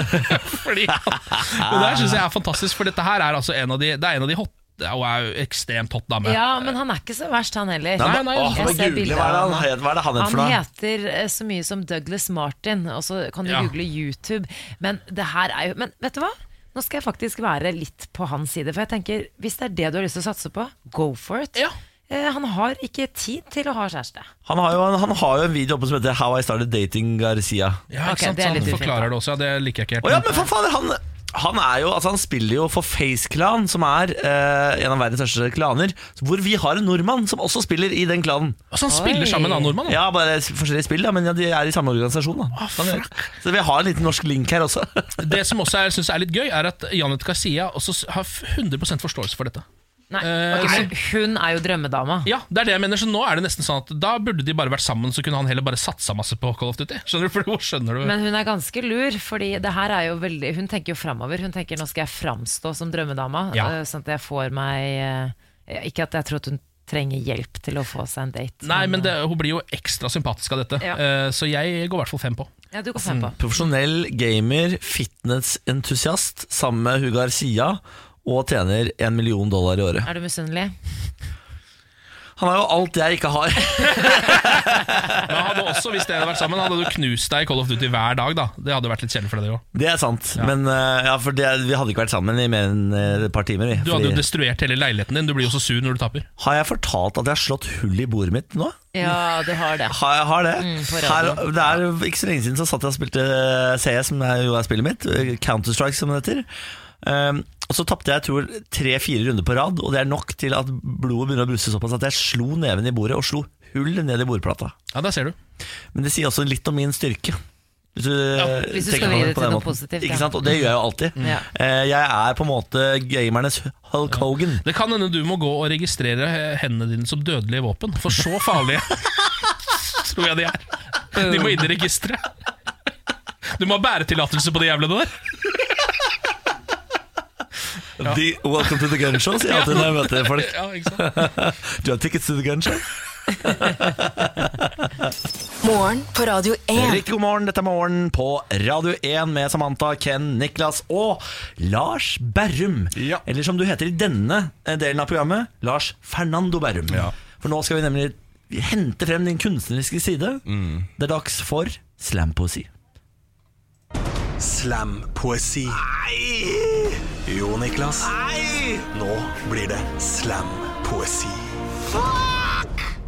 Speaker 2: [LAUGHS] Fordi han, og Det her syns jeg er fantastisk, for dette her er altså en av de, det er en av de hot, Hun er jo ekstremt hot dame.
Speaker 3: Ja, men han er ikke så verst, han heller.
Speaker 2: Nei, nei,
Speaker 1: Åh,
Speaker 2: jeg
Speaker 1: men
Speaker 3: ser
Speaker 1: Google,
Speaker 3: bilder
Speaker 1: hva, er det
Speaker 3: av
Speaker 1: han, het- hva er det han het for
Speaker 3: Han
Speaker 1: noe?
Speaker 3: heter eh, så mye som Douglas Martin, og så kan du
Speaker 2: Ja.
Speaker 3: google YouTube. Men det her er jo Men vet du hva? Nå skal jeg faktisk være litt på hans side, for jeg tenker hvis det er det du har lyst til å satse på, go for it.
Speaker 2: Ja.
Speaker 3: Eh, Han har ikke tid til å ha kjæreste.
Speaker 1: Han har, jo, en- han har jo en video oppe som heter 'How I Started Dating Garcia'.
Speaker 2: Ja,
Speaker 3: Ok,
Speaker 2: ikke sant?
Speaker 3: det er litt
Speaker 2: han
Speaker 3: ufint, da.
Speaker 2: forklarer det også, ja, det liker jeg ikke helt.
Speaker 1: Å ja, men for faen, han, han er jo Altså han spiller jo for Face Clan Som er eh, en av verdens største klaner Hvor vi har en nordmann som også spiller i den klanen
Speaker 2: Og så han spiller sammen med en annen nordmann. da.
Speaker 1: Ja, bare s- forskjellige spill da Men ja, de er i samme organisasjon da Kan jeg- Så vi har en liten norsk link her også [LAUGHS]
Speaker 2: Det som også er, synes jeg er litt gøy, er at Janet Garcia også s- har 100 forståelse for dette.
Speaker 3: Nei,
Speaker 2: Eh,
Speaker 3: ok,
Speaker 2: så-
Speaker 3: men Hun er jo drømmedama.
Speaker 2: Ja, det er det jeg mener, så nå er det nesten sånn at da burde de bare vært sammen, så kunne han heller bare satsa masse på Call of Duty. Skjønner du? For hvor skjønner du?
Speaker 3: Men hun er ganske lur, fordi det her er jo veldig Hun tenker jo framover. Hun tenker nå skal jeg framstå som drømmedama,
Speaker 2: Ja.
Speaker 3: eh, sånn at jeg får meg eh, Ikke at jeg tror at hun trenger hjelp til å få seg en date.
Speaker 2: Nei, men det, hun blir jo ekstra sympatisk av dette,
Speaker 3: Ja.
Speaker 2: Eh, så jeg går i hvert fall fem på.
Speaker 3: eh, Ja, du går fem på.
Speaker 1: Profesjonell gamer, fitnessentusiast Sammen med Hugo Garcia Og tjener en million dollar i året
Speaker 3: Er du misunnelig?
Speaker 1: Han har jo alt jeg ikke har.
Speaker 2: Men hadde også, hvis dere hadde vært sammen, hadde du knust deg i Call of Duty hver dag. da Det hadde vært litt kjedelig for dere òg.
Speaker 1: [LAUGHS] Det er sant. Men eh, ja, for det, vi hadde ikke vært sammen i mer enn eh, et par timer. Vi.
Speaker 2: Du hadde jo
Speaker 1: Fordi-
Speaker 2: destruert hele leiligheten din. Du blir jo så sur når du taper.
Speaker 1: Har jeg fortalt at jeg har slått hull i bordet mitt nå?
Speaker 3: Ja, det har det.
Speaker 1: Har, jeg- har det.
Speaker 3: Mm, på
Speaker 1: Her,
Speaker 3: radioen.
Speaker 1: det er jo ikke så lenge siden så satt jeg og spilte eh, CS, som er jo er spillet mitt. eh, Counter-Strike, som det heter. Um, og Så tapte jeg tror tre-fire runder på rad, og det er nok til at blodet begynner å bruse såpass at jeg slo neven i bordet og slo hull ned i bordplata.
Speaker 2: Ja, der ser du.
Speaker 1: Men det sier også litt om min styrke. Hvis du, eh,
Speaker 3: hvis du
Speaker 1: tenker
Speaker 3: skal
Speaker 1: på det
Speaker 3: vri det
Speaker 1: på
Speaker 3: til
Speaker 1: den
Speaker 3: noe
Speaker 1: måten.
Speaker 3: positivt, ja. Mm.
Speaker 1: Ikke sant? Og det gjør jeg jo alltid.
Speaker 3: Ja.
Speaker 1: Eh, Jeg er på en måte gamernes Hulk Hogan.
Speaker 2: Det kan hende du må gå og registrere eh, hendene dine som dødelige våpen, for så [LAUGHS] farlige tror jeg de er. De må inn i registeret. Du må ha bæretillatelse på de jævlene der.
Speaker 1: The- welcome to the gun show, sier jeg alltid når jeg møter folk.
Speaker 2: [LAUGHS] Ja, ikke sant?
Speaker 1: Do you have tickets to the gun show?
Speaker 4: Morgen på Radio 1.
Speaker 1: Riktig god morgen, dette er Morgen på Radio 1 med Samantha, Ken, Niklas og Lars Berrum.
Speaker 9: Ja.
Speaker 1: Eller som du heter i denne eh, delen av programmet, Lars Fernando Berrum.
Speaker 9: Ja.
Speaker 1: For nå skal vi nemlig hente frem din kunstneriske side.
Speaker 9: Mm.
Speaker 1: Det er dags for slampoesi.
Speaker 8: Slampoesi. Jo, Niklas. Nå blir det slampoesi.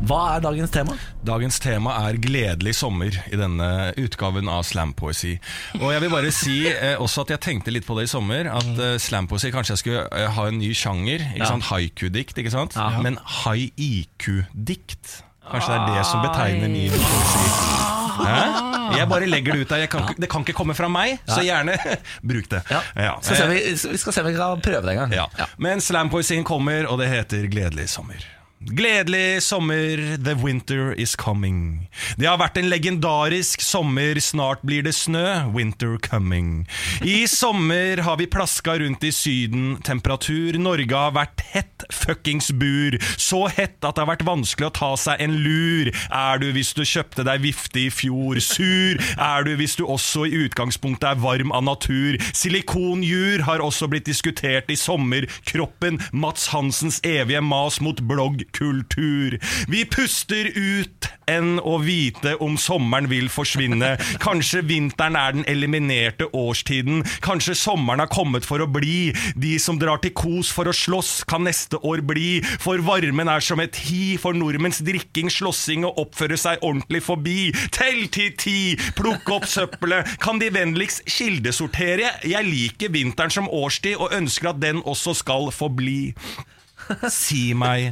Speaker 1: Hva er dagens tema?
Speaker 9: Dagens tema er gledelig sommer i denne utgaven av slampoesi. Og jeg vil bare si eh, også at jeg tenkte litt på det i sommer, at eh, slampoesi kanskje jeg skulle eh, ha en ny sjanger. Ikke sant? Haiku-dikt, ikke sant? Men hai-IQ-dikt. Kanskje det er det som betegner min poesi. Hæ? Jeg bare legger det ut der. Jeg kan, ikke- Det kan ikke komme fra meg, så gjerne [LAUGHS] bruk det. Ja.
Speaker 1: Skal se om vi, vi skal se om vi kan prøve det en gang.
Speaker 9: Eh. Ja. Men slampoesien kommer, og det heter Gledelig sommer. Gledelig sommer, the winter is coming. Det har vært en legendarisk sommer, snart blir det snø, winter coming. I sommer har vi plaska rundt i Syden, temperatur, Norge har vært hett fuckings bur. Så hett at det har vært vanskelig å ta seg en lur. Er du hvis du kjøpte deg vifte i fjor, sur? Er du hvis du også i utgangspunktet er varm av natur? Silikonjur har også blitt diskutert i sommer. Kroppen, Mats Hansens evige mas mot bloggkultur. Vi puster ut enn å vite om sommeren vil forsvinne. Kanskje vinteren er den eliminerte årstiden. Kanskje sommeren har kommet for å bli. De som drar til kos for å slåss, kan neste år bli. For varmen er som et hi for nordmenns drikking, slåssing og oppføre seg ordentlig forbi. Tell til ti, plukk opp søppelet. Kan de vennligst kildesortere? Jeg liker vinteren som årstid og ønsker at den også skal forbli. Si meg,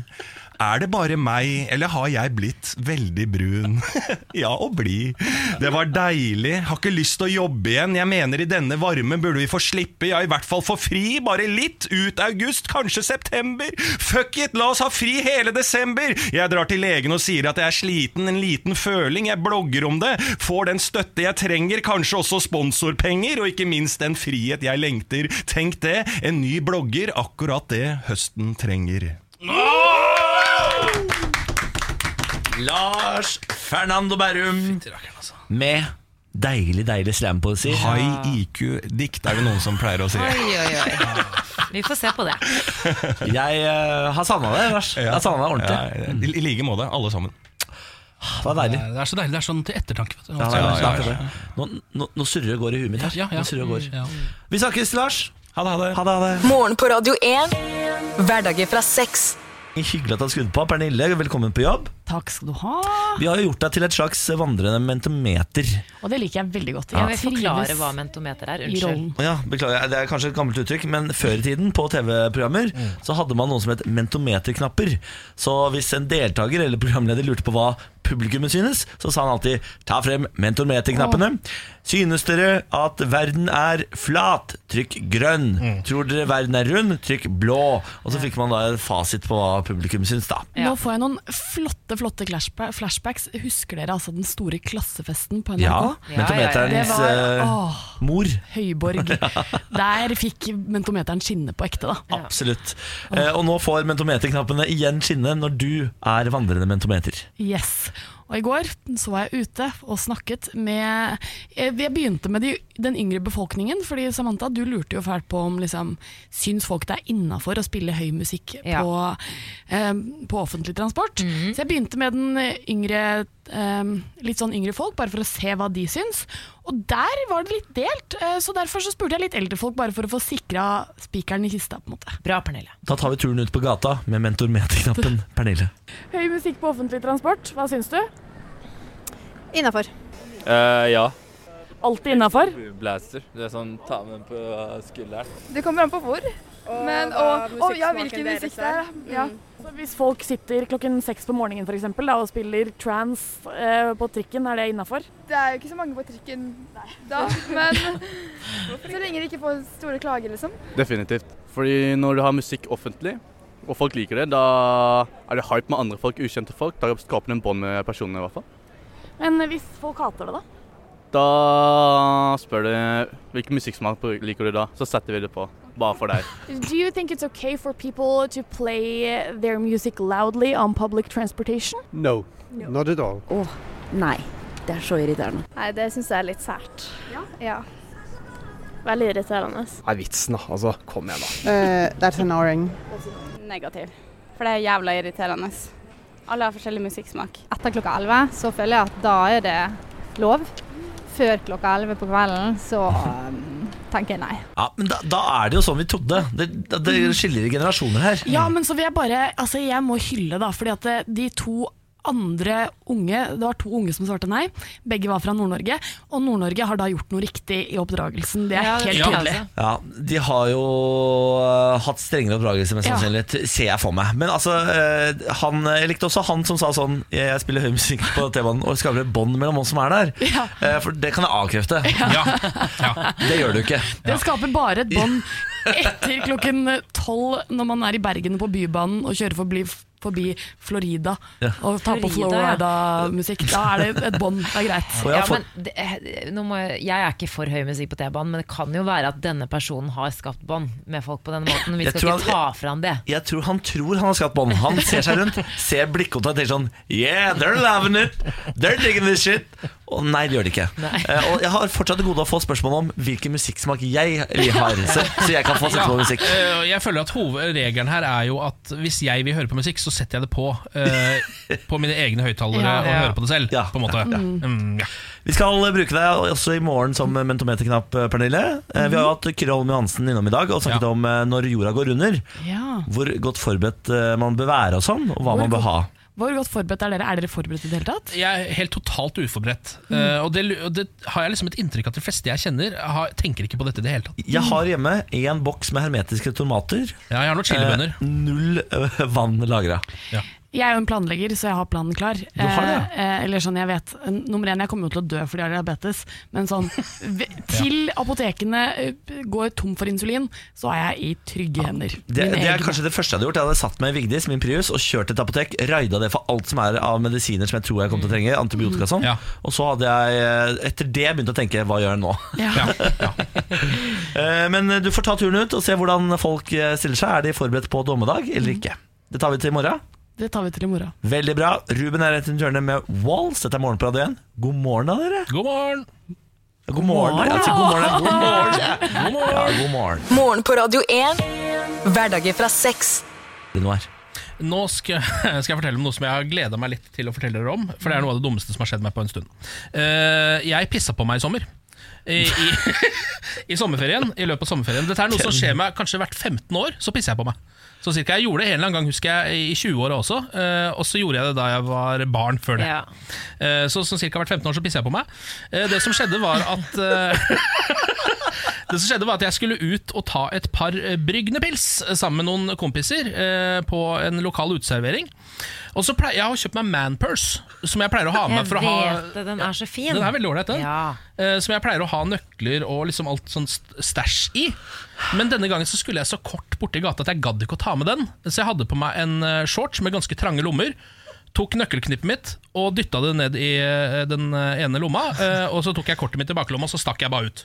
Speaker 9: er det bare meg, eller har jeg blitt veldig brun? [LAUGHS] ja, og blid. Det var deilig, har ikke lyst til å jobbe igjen. Jeg mener i denne varmen burde vi få slippe, ja, i hvert fall få fri, bare litt, ut august, kanskje september. Fuck it, la oss ha fri hele desember! Jeg drar til legen og sier at jeg er sliten, en liten føling, jeg blogger om det, får den støtte jeg trenger, kanskje også sponsorpenger, og ikke minst den frihet jeg lengter. Tenk det, en ny blogger, akkurat det høsten trenger.
Speaker 1: Lars Fernando Berrum med deilig, deilig slampoesi.
Speaker 9: High IQ-dikt er det noen som pleier å si.
Speaker 3: Oi, oi, oi. Vi får se på det.
Speaker 1: Jeg eh, har savna deg, Lars. Jeg har savna deg ordentlig.
Speaker 9: Ja, I i like måte, alle sammen.
Speaker 1: Det var deilig.
Speaker 2: Det er så deilig. Det er sånn til ettertanke. vet du.
Speaker 1: Ja,
Speaker 2: Altså,
Speaker 1: det er
Speaker 9: ja, ja, Mm.
Speaker 1: akkurat det. Nå, nå, nå surrer det og går i huet mitt her.
Speaker 2: Ja, ja.
Speaker 1: Nå surrer det og går.
Speaker 2: Ja.
Speaker 1: Vi snakkes, Lars.
Speaker 9: Ha det, ha det.
Speaker 1: Ha det. ha det.
Speaker 4: Morgen på Radio 1. Hverdager fra seks.
Speaker 1: Hyggelig at du har skrudd på. Pernille, velkommen på jobb.
Speaker 10: Takk skal du ha.
Speaker 1: Vi har jo gjort deg til et slags vandrende mentometer.
Speaker 10: Og det liker jeg veldig godt.
Speaker 3: Jeg vil
Speaker 10: trives
Speaker 3: forklare hva mentometer er.
Speaker 10: i
Speaker 3: Unnskyld.
Speaker 10: rollen.
Speaker 1: Å Ja, beklager, Det er kanskje et gammelt uttrykk, men før i tiden på TV-programmer så hadde man noe som het mentometerknapper. Så hvis en deltaker eller programleder lurte på hva publikummet synes, så sa han alltid 'ta frem mentometerknappene'. Synes dere at verden er flat? Trykk grønn. Tror dere verden er rund? Trykk blå. Og så fikk man da en fasit på hva publikum syns, da.
Speaker 10: Nå får jeg noen flotte flotte flashba- flashbacks. Husker dere altså den store klassefesten på NRK?
Speaker 1: Ja,
Speaker 3: Ja,
Speaker 1: mentometerens
Speaker 10: ja, ja. Det var-
Speaker 1: eh,
Speaker 10: Åh.
Speaker 1: mor.
Speaker 3: [LAUGHS]
Speaker 10: Høyborg. Der fikk mentometeren skinne på ekte, da.
Speaker 1: Absolutt. Eh, og nå får mentometerknappene igjen skinne når du er vandrende mentometer.
Speaker 10: Yes. Og i går så var jeg ute og snakket med Jeg jeg begynte med de, den yngre befolkningen, fordi Samantha, du lurte jo fælt på om liksom, syns folk det er innafor å spille høy musikk
Speaker 3: Ja.
Speaker 10: på, eh, på offentlig transport. Så jeg begynte med den yngre eh, litt sånn yngre folk, bare for å se hva de syns. Og der var det litt delt, eh, så derfor så spurte jeg litt eldre folk, bare for å få sikra spikeren i kista. på en måte
Speaker 3: Bra, Pernille.
Speaker 1: Da tar vi turen ut på gata med mentor knappen Pernille.
Speaker 10: Høy musikk på offentlig transport, hva syns du?
Speaker 11: Innafor.
Speaker 12: ja.
Speaker 10: Alltid innafor?
Speaker 12: Blaster. Du er sånn ta med den på skulderen.
Speaker 11: Det kommer an på hvor. Men, og, og, ja, hvilken musikk det er. da. Ja.
Speaker 10: Så hvis folk sitter klokken seks på morgenen for eksempel, da, og spiller trans eh, på trikken, er det innafor?
Speaker 11: Det er jo ikke så mange på trikken da, men så lenge de ikke får store klager, liksom.
Speaker 12: Definitivt. Fordi når du har musikk offentlig, og folk liker det, da er det hype med andre folk, ukjente folk. Da skaper du en bånd med personene, i hvert fall.
Speaker 10: Men hvis folk hater det, da?
Speaker 12: Da spør du hvilken musikksmak liker du da, så setter vi det på. Bare for deg.
Speaker 10: Do you think it's okay for people to play their music loudly on public transportation?
Speaker 13: No, not at all.
Speaker 14: Åh, nei. Det er så irriterende.
Speaker 11: Nei, det syns jeg er litt sært. Ja. Veldig irriterende.
Speaker 13: Nei, vitsen, da. Altså, kom igjen, da.
Speaker 15: that's annoying.
Speaker 16: Negativ. For det er jævla irriterende. Alle har forskjellig musikksmak. Etter klokka elleve så føler jeg at da er det lov. Før klokka elleve på kvelden så um, tenker jeg nei.
Speaker 1: Ja, men da, da er det jo sånn vi trodde. Det, det, det skiller i generasjoner her.
Speaker 10: Mm. Ja, men så vil jeg bare Altså, jeg må hylle, da, fordi at det- de to andre unge Det var to unge som svarte nei. Begge var fra Nord-Norge. Og Nord-Norge har da gjort noe riktig i oppdragelsen. Det er
Speaker 3: Ja, det
Speaker 10: helt
Speaker 1: Ja.
Speaker 10: tydelig.
Speaker 1: Ja, de har jo eh, hatt strengere oppdragelse, mest
Speaker 10: Ja.
Speaker 1: sannsynlig, ser jeg for meg. Men altså, eh, han, jeg likte også han som sa sånn Jeg jeg spiller høy musikk på T-banen og skaper et bånd mellom oss som er der. Eh, For det kan jeg avkrefte. Det gjør du ikke.
Speaker 10: Det skaper bare
Speaker 1: [LAUGHS]
Speaker 10: et bånd etter klokken tolv når man er i Bergen på Bybanen og kjører forbi, forbi Florida
Speaker 1: Ja.
Speaker 10: og tar på
Speaker 3: Florida, ja.
Speaker 10: Florida-musikk. Da er det et bånd. Det er greit.
Speaker 3: Ja, men det, eh, nå må jeg, jeg er ikke for høy musikk på T-banen, men det kan jo være at denne personen har skapt bånd med folk på denne måten. Vi
Speaker 1: Jeg
Speaker 3: skal
Speaker 1: tror han-
Speaker 3: ikke ta fra han det.
Speaker 1: Jeg tror han tror han har skapt bånd. Han ser seg rundt, ser blikkontakten og tenker sånn Yeah, they're loving it! They're digging this shit! Og nei, det gjør de ikke.
Speaker 3: Nei.
Speaker 1: Eh, og jeg har fortsatt til gode å få spørsmål om hvilken musikksmak jeg vil ha, så så jeg kan få sette på musikk.
Speaker 2: Ja, eh, Jeg føler at Hovedregelen her er jo at hvis jeg vil høre på musikk, så setter jeg det på. eh, På mine egne høyttalere
Speaker 1: Ja.
Speaker 2: og
Speaker 1: Ja.
Speaker 2: hører på det selv. På en måte
Speaker 1: ja.
Speaker 2: Mm, ja.
Speaker 1: Vi skal bruke deg også i morgen som mentometerknapp, Pernille. Eh, Vi har jo hatt Kyrre Holm Johansen innom i dag og snakket om eh, når jorda går under.
Speaker 10: Ja.
Speaker 1: Hvor godt forberedt eh, man bør være og sånn, og hva
Speaker 10: Hvor
Speaker 1: man bør ha.
Speaker 10: Hvor godt forberedt er dere? Er dere forberedt i det hele tatt?
Speaker 2: Jeg er helt totalt uforberedt. Eh, og, det, og det har jeg liksom et inntrykk av at de fleste jeg kjenner, har, tenker ikke på dette i det hele tatt.
Speaker 1: Jeg har hjemme én boks med hermetiske tomater.
Speaker 2: Ja, jeg har noen chilibønner.
Speaker 1: Eh, Null eh, vann lagra.
Speaker 10: Jeg er jo en planlegger, så jeg har planen klar.
Speaker 1: Du har det, ja.
Speaker 10: Eh, eh, eller sånn, jeg vet eh, Nummer én, jeg kommer jo til å dø fordi jeg har diabetes, men sånn
Speaker 1: [LAUGHS]
Speaker 10: v- Til apotekene eh, går tom for insulin, så er jeg i trygge hender.
Speaker 1: Det, det
Speaker 10: Mine
Speaker 1: er
Speaker 10: egne.
Speaker 1: kanskje det første jeg hadde gjort. Jeg hadde satt meg i Vigdis, min Prius, og kjørt til et apotek. Raida det for alt som er av medisiner som jeg tror jeg kommer til å trenge. Antibiotika og sånn. Og så hadde jeg eh, etter det begynt å tenke hva gjør jeg nå? [LAUGHS] Eh, Men du får ta turen ut og se hvordan folk eh, stiller seg. Er de forberedt på dommedag eller ikke? Det tar vi til i morgen.
Speaker 10: Det tar vi til i morgen.
Speaker 1: Veldig bra. Ruben er rett rundt hjørnet med Walls. Dette er Morgen på Radio 1. God morgen, da, dere.
Speaker 2: God morgen.
Speaker 1: God morgen. ja, altså, God morgen. God morgen.
Speaker 2: God morgen.
Speaker 1: Ja, [LAUGHS] god morgen.
Speaker 4: Morgen på Radio 1. Hverdager fra seks.
Speaker 1: Januar.
Speaker 2: Nå skal, skal jeg [LAUGHS] fortelle om noe som jeg har gleda meg litt til å fortelle dere om. For det er noe av det dummeste som har skjedd meg på en stund. Eh, jeg pissa på meg i sommer. I, i, [LAUGHS] I sommerferien. I løpet av sommerferien Dette er noe som skjer meg kanskje hvert 15 år. Så pisser jeg på meg. Så cirka Jeg gjorde det en eller annen gang husker jeg i 20-åra også. eh, og så gjorde jeg det da jeg var barn før det. Eh, så sånn cirka hvert 15 år så pisser jeg på meg. Eh, det som skjedde, var at eh, [LAUGHS] Det som skjedde var at jeg skulle ut og ta et par eh, Brygnepils eh, sammen med noen kompiser eh, på en lokal uteservering. Og så pleier jeg har kjøpt meg Manpurse, som jeg pleier å ha med
Speaker 3: Jeg
Speaker 2: for å ha
Speaker 3: vet det, den er så fin.
Speaker 2: Den er veldig ålreit, den.
Speaker 3: Ja.
Speaker 2: Eh, som jeg pleier å ha nøkler og liksom alt sånn st- stæsj i. Men denne gangen så skulle jeg så kort borti gata at jeg gadd ikke å ta med den. Så jeg hadde på meg en eh, shorts med ganske trange lommer. Tok nøkkelknippet mitt og dytta det ned i eh, den eh, ene lomma. eh, Og så tok jeg kortet mitt i baklomma, og så stakk jeg bare ut.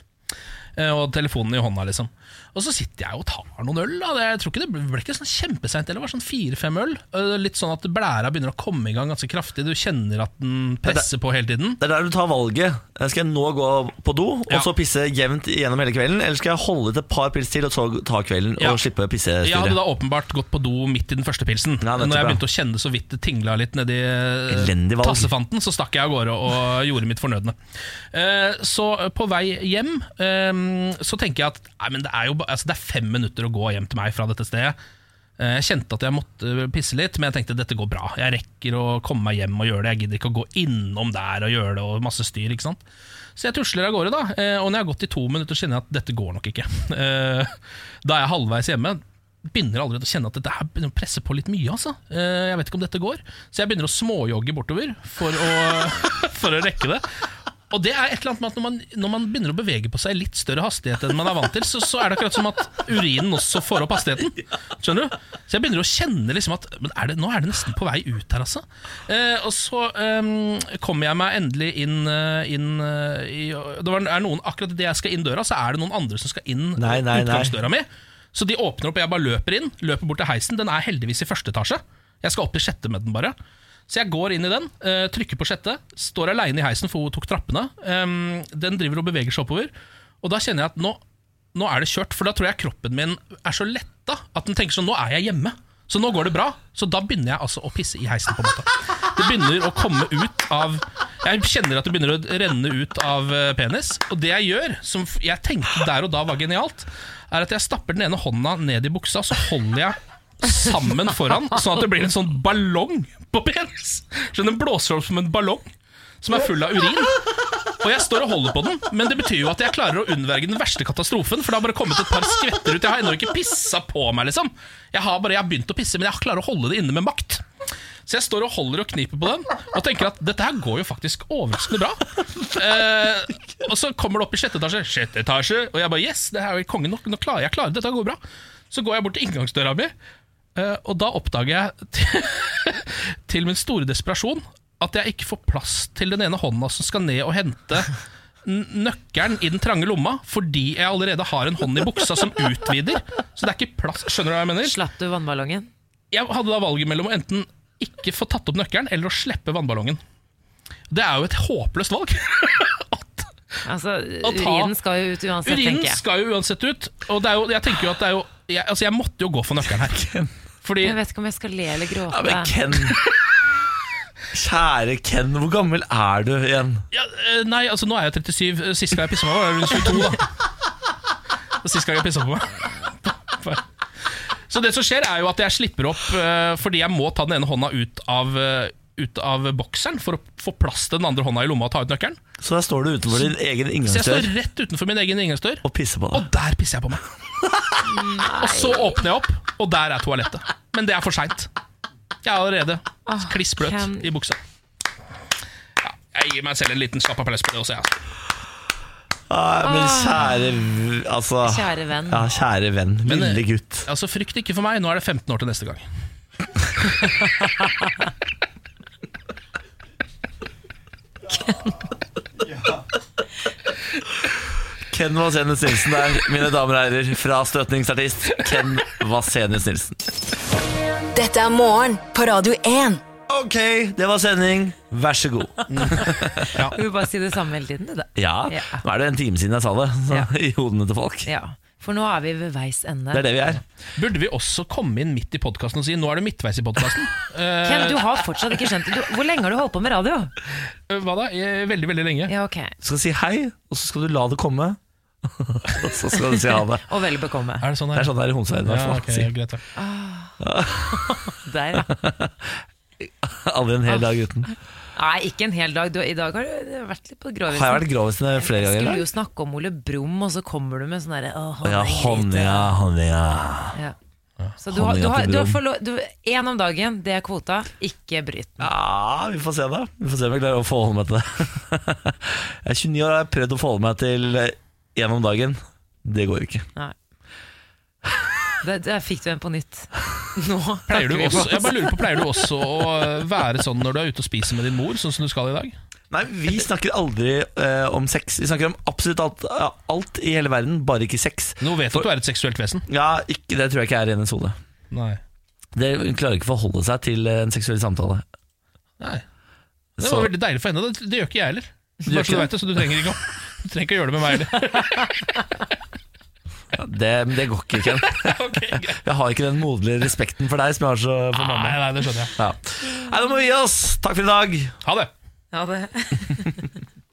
Speaker 2: eh, og telefonen i hånda, liksom. Og så sitter jeg og tar noen øl. Da. Det, jeg tror ikke det ble, ble ikke sånn kjempeseint, det var sånn fire-fem øl. Eh, Litt sånn at blæra begynner å komme i gang ganske kraftig. Du kjenner at den presser på hele tiden.
Speaker 1: Det er der du tar valget. Eh, Skal jeg nå gå på do og så pisse jevnt gjennom hele kvelden, eller skal jeg holde ut et par pils til og så ta kvelden
Speaker 2: Ja.
Speaker 1: og slippe pissestyret?
Speaker 2: Jeg hadde da åpenbart gått på do midt i den første pilsen.
Speaker 1: nettopp,
Speaker 2: Når jeg
Speaker 1: eh, ja.
Speaker 2: begynte å kjenne så vidt det tingla litt nedi eh,
Speaker 1: Elendig valg.
Speaker 2: tassefanten, så stakk jeg av gårde og gjorde mitt fornødne. Eh, Så på vei hjem eh, så tenker jeg at nei, men det, er jo, ba- altså, det er fem minutter å gå hjem til meg fra dette stedet. Eh, Jeg kjente at jeg måtte eh, pisse litt, men jeg tenkte dette går bra. Jeg rekker å komme meg hjem og gjøre det. Jeg gidder ikke å gå innom der og gjøre det og masse styr. ikke sant? Så jeg tusler av gårde, da. eh, Og når jeg har gått i to minutter, så kjenner jeg at dette går nok ikke. [LAUGHS] Eh, Da er jeg halvveis hjemme. Begynner allerede å kjenne at dette her begynner å presse på litt mye. altså Eh, Jeg vet ikke om dette går. Så jeg begynner å småjogge bortover for å, [LAUGHS] for å rekke det. Og det er et eller annet med at når man, når man begynner å bevege på seg i litt større hastighet enn man er vant til, så, så er det akkurat som at urinen også får opp hastigheten. Skjønner du? Så jeg begynner å kjenne liksom at men er det, nå er det nesten på vei ut her, altså. Eh, og så eh, kommer jeg meg endelig inn, eh, inn eh, i det var, er noen, Akkurat idet jeg skal inn døra, så er det noen andre som skal inn
Speaker 1: Nei, nei, nei.
Speaker 2: utgangsdøra mi. Så de åpner opp, og jeg bare løper inn. Løper bort til heisen. Den er heldigvis i første etasje. Jeg skal opp i sjette med den, bare. Så jeg går inn i den, eh, trykker på sjette, står aleine i heisen, for hun tok trappene. Em, den driver og beveger seg oppover. Og da kjenner jeg at nå, nå er det kjørt, for da tror jeg kroppen min er så letta at den tenker sånn Nå er jeg hjemme. Så nå går det bra. Så da begynner jeg altså å pisse i heisen, på en måte. Det begynner å komme ut av Jeg kjenner at det begynner å renne ut av eh, penis. Og det jeg gjør, som f- jeg tenkte der og da var genialt, er at jeg stapper den ene hånda ned i buksa, så holder jeg sammen foran, sånn at det blir en sånn ballong på penis. Så den blåser opp som en ballong som er full av urin. Og jeg står og holder på den, men det betyr jo at jeg klarer å unnverge den verste katastrofen, for det har bare kommet et par skvetter ut. Jeg har ennå ikke pissa på meg, liksom. Jeg har bare jeg har begynt å pisse, men jeg klarer å holde det inne med makt. Så jeg står og holder og kniper på den og tenker at dette her går jo faktisk overraskende bra. Eh, og så kommer det opp i sjette etasje, sjette etasje, og jeg bare yes, det her er jo kongen nok, nå klarer jeg klarer det, dette går bra. Så går jeg bort til inngangsdøra mi, eh, og da oppdager jeg [LAUGHS] til min store desperasjon at jeg ikke får plass til den ene hånda som skal ned og hente n- nøkkelen i den trange lomma, fordi jeg allerede har en hånd i buksa som utvider. Så det er ikke plass. Skjønner du hva jeg mener?
Speaker 3: Slapp du vannballongen?
Speaker 2: Jeg hadde da valget mellom å enten ikke få tatt opp nøkkelen, eller å slippe vannballongen. Det er jo et håpløst valg. [LAUGHS]
Speaker 3: Altså,
Speaker 2: Å ta-
Speaker 3: urinen skal jo ut uansett,
Speaker 2: Urinen
Speaker 3: tenker jeg.
Speaker 2: skal jo uansett ut, og det er jo, jeg tenker jo at det er jo jeg, Altså, jeg måtte jo gå for nøkkelen her. Fordi
Speaker 3: Jeg vet ikke om jeg skal le eller
Speaker 1: Ja,
Speaker 3: gråte.
Speaker 1: men Ken [LAUGHS] Kjære Ken, hvor gammel er du igjen?
Speaker 2: Ja, eh, nei, altså nå er jeg 37. Eh, Sist gang jeg pissa meg, var jeg rundt 22. da Og Sist gang jeg pissa på meg. Så det som skjer, er jo at jeg slipper opp eh, fordi jeg må ta den ene hånda ut av eh, ut av bokseren for å få plass til den andre hånda i lomma og ta ut nøkkelen.
Speaker 1: Så der står du utenfor din egen
Speaker 2: Så jeg står
Speaker 1: inngangsdør
Speaker 2: rett utenfor min egen inngangsdør,
Speaker 1: og pisser på deg.
Speaker 2: og der pisser jeg på meg. [LAUGHS] Og så åpner jeg opp, og der er toalettet. Men det er for seint. Jeg er allerede kliss bløt i buksa. Ja, jeg gir meg selv en liten slapp applaus på det også, jeg. altså.
Speaker 1: Nei, Ah, men kjære v- altså,
Speaker 2: Kjære venn.
Speaker 1: Ja, kjære venn.
Speaker 2: Men, eh,
Speaker 1: Lille gutt.
Speaker 2: Altså, Frykt ikke for meg, nå er det 15 år til neste gang.
Speaker 1: Ken Vasenius Nilsen der, mine damer og herrer. Fra støtningsartist Ken Vasenius Nilsen.
Speaker 4: Dette er morgen på Radio 1.
Speaker 1: Ok, det var sending. Vær så god.
Speaker 3: Vil du bare si det samme hele tiden, du, da?
Speaker 1: Ja,
Speaker 3: Ja.
Speaker 1: nå er det en time siden jeg sa det, så, [LAUGHS] i hodene til folk.
Speaker 3: Ja. For nå er vi ved veis ende.
Speaker 2: Burde vi også komme inn midt i podkasten og si 'nå er det midtveis i podkasten'?
Speaker 3: Ken, du har fortsatt ikke skjønt det. Du- Hvor lenge har du holdt på med radio?
Speaker 2: Eh, Hva da? Veldig, veldig lenge.
Speaker 3: Ja, ok.
Speaker 1: Du skal si hei, og så skal du la det komme. [LAUGHS] og så skal du si ha det.
Speaker 3: Og vel bekomme.
Speaker 2: Er det sånn
Speaker 1: det er sånn det er i Homsøyden, i hvert
Speaker 2: Ja,
Speaker 1: fall.
Speaker 2: ok,
Speaker 1: sier-
Speaker 2: greit, ja.
Speaker 3: Der, ja.
Speaker 1: Aldri en hel dag uten.
Speaker 3: Nei, ikke en hel dag. Du, I dag har du vært litt på grovisen.
Speaker 1: Har jeg vært grovisen flere ganger? i
Speaker 3: Skulle
Speaker 1: dag?
Speaker 3: jo snakke om Ole Brum, og så kommer du med sånn derre «Åh,
Speaker 1: Å Ja, honninga, honninga.
Speaker 3: Ja. Så du har, du
Speaker 1: Honninga
Speaker 3: har,
Speaker 1: til
Speaker 3: du har
Speaker 1: Brum.
Speaker 3: forlo du, en om dagen, det er kvota. Ikke bryt den.
Speaker 1: Ja, vi får se da. Vi får se om jeg klarer å forholde meg til det. [LAUGHS] Jeg er 29 år og har prøvd å forholde meg til én om dagen. Det går jo ikke.
Speaker 3: Nei. Der, der fikk du en på nytt. Nå
Speaker 2: Pleier du
Speaker 3: snakker vi
Speaker 2: også,
Speaker 3: oss.
Speaker 2: jeg bare lurer på, pleier du også å være sånn når du er ute og spiser med din mor, sånn som du skal i dag?
Speaker 1: Nei, vi snakker aldri eh, om sex. Vi snakker om absolutt alt, ja, alt i hele verden, bare ikke sex.
Speaker 2: Nå vet at du er et seksuelt vesen.
Speaker 1: Ja, ikke, Det tror jeg ikke er i hennes hode.
Speaker 2: Nei.
Speaker 1: Det, hun klarer ikke å forholde seg til eh, en seksuell samtale.
Speaker 2: Nei. Det
Speaker 1: Så-
Speaker 2: var veldig deilig for henne. Det, det gjør ikke jeg heller.
Speaker 1: gjør
Speaker 2: Bare
Speaker 1: ikke det?
Speaker 2: så du vet det, så du trenger ikke å, [LAUGHS] du trenger ikke å gjøre det med meg heller.
Speaker 1: Ja, Det, det går ikke,
Speaker 2: [LAUGHS]
Speaker 1: Ken. jeg har ikke den moderlige respekten for deg som jeg har så for mamma.
Speaker 2: Nei, nei, det skjønner jeg.
Speaker 1: Ja. Nei, Nå må vi gi oss. Takk for i dag.
Speaker 2: Ha det.
Speaker 3: Ha det.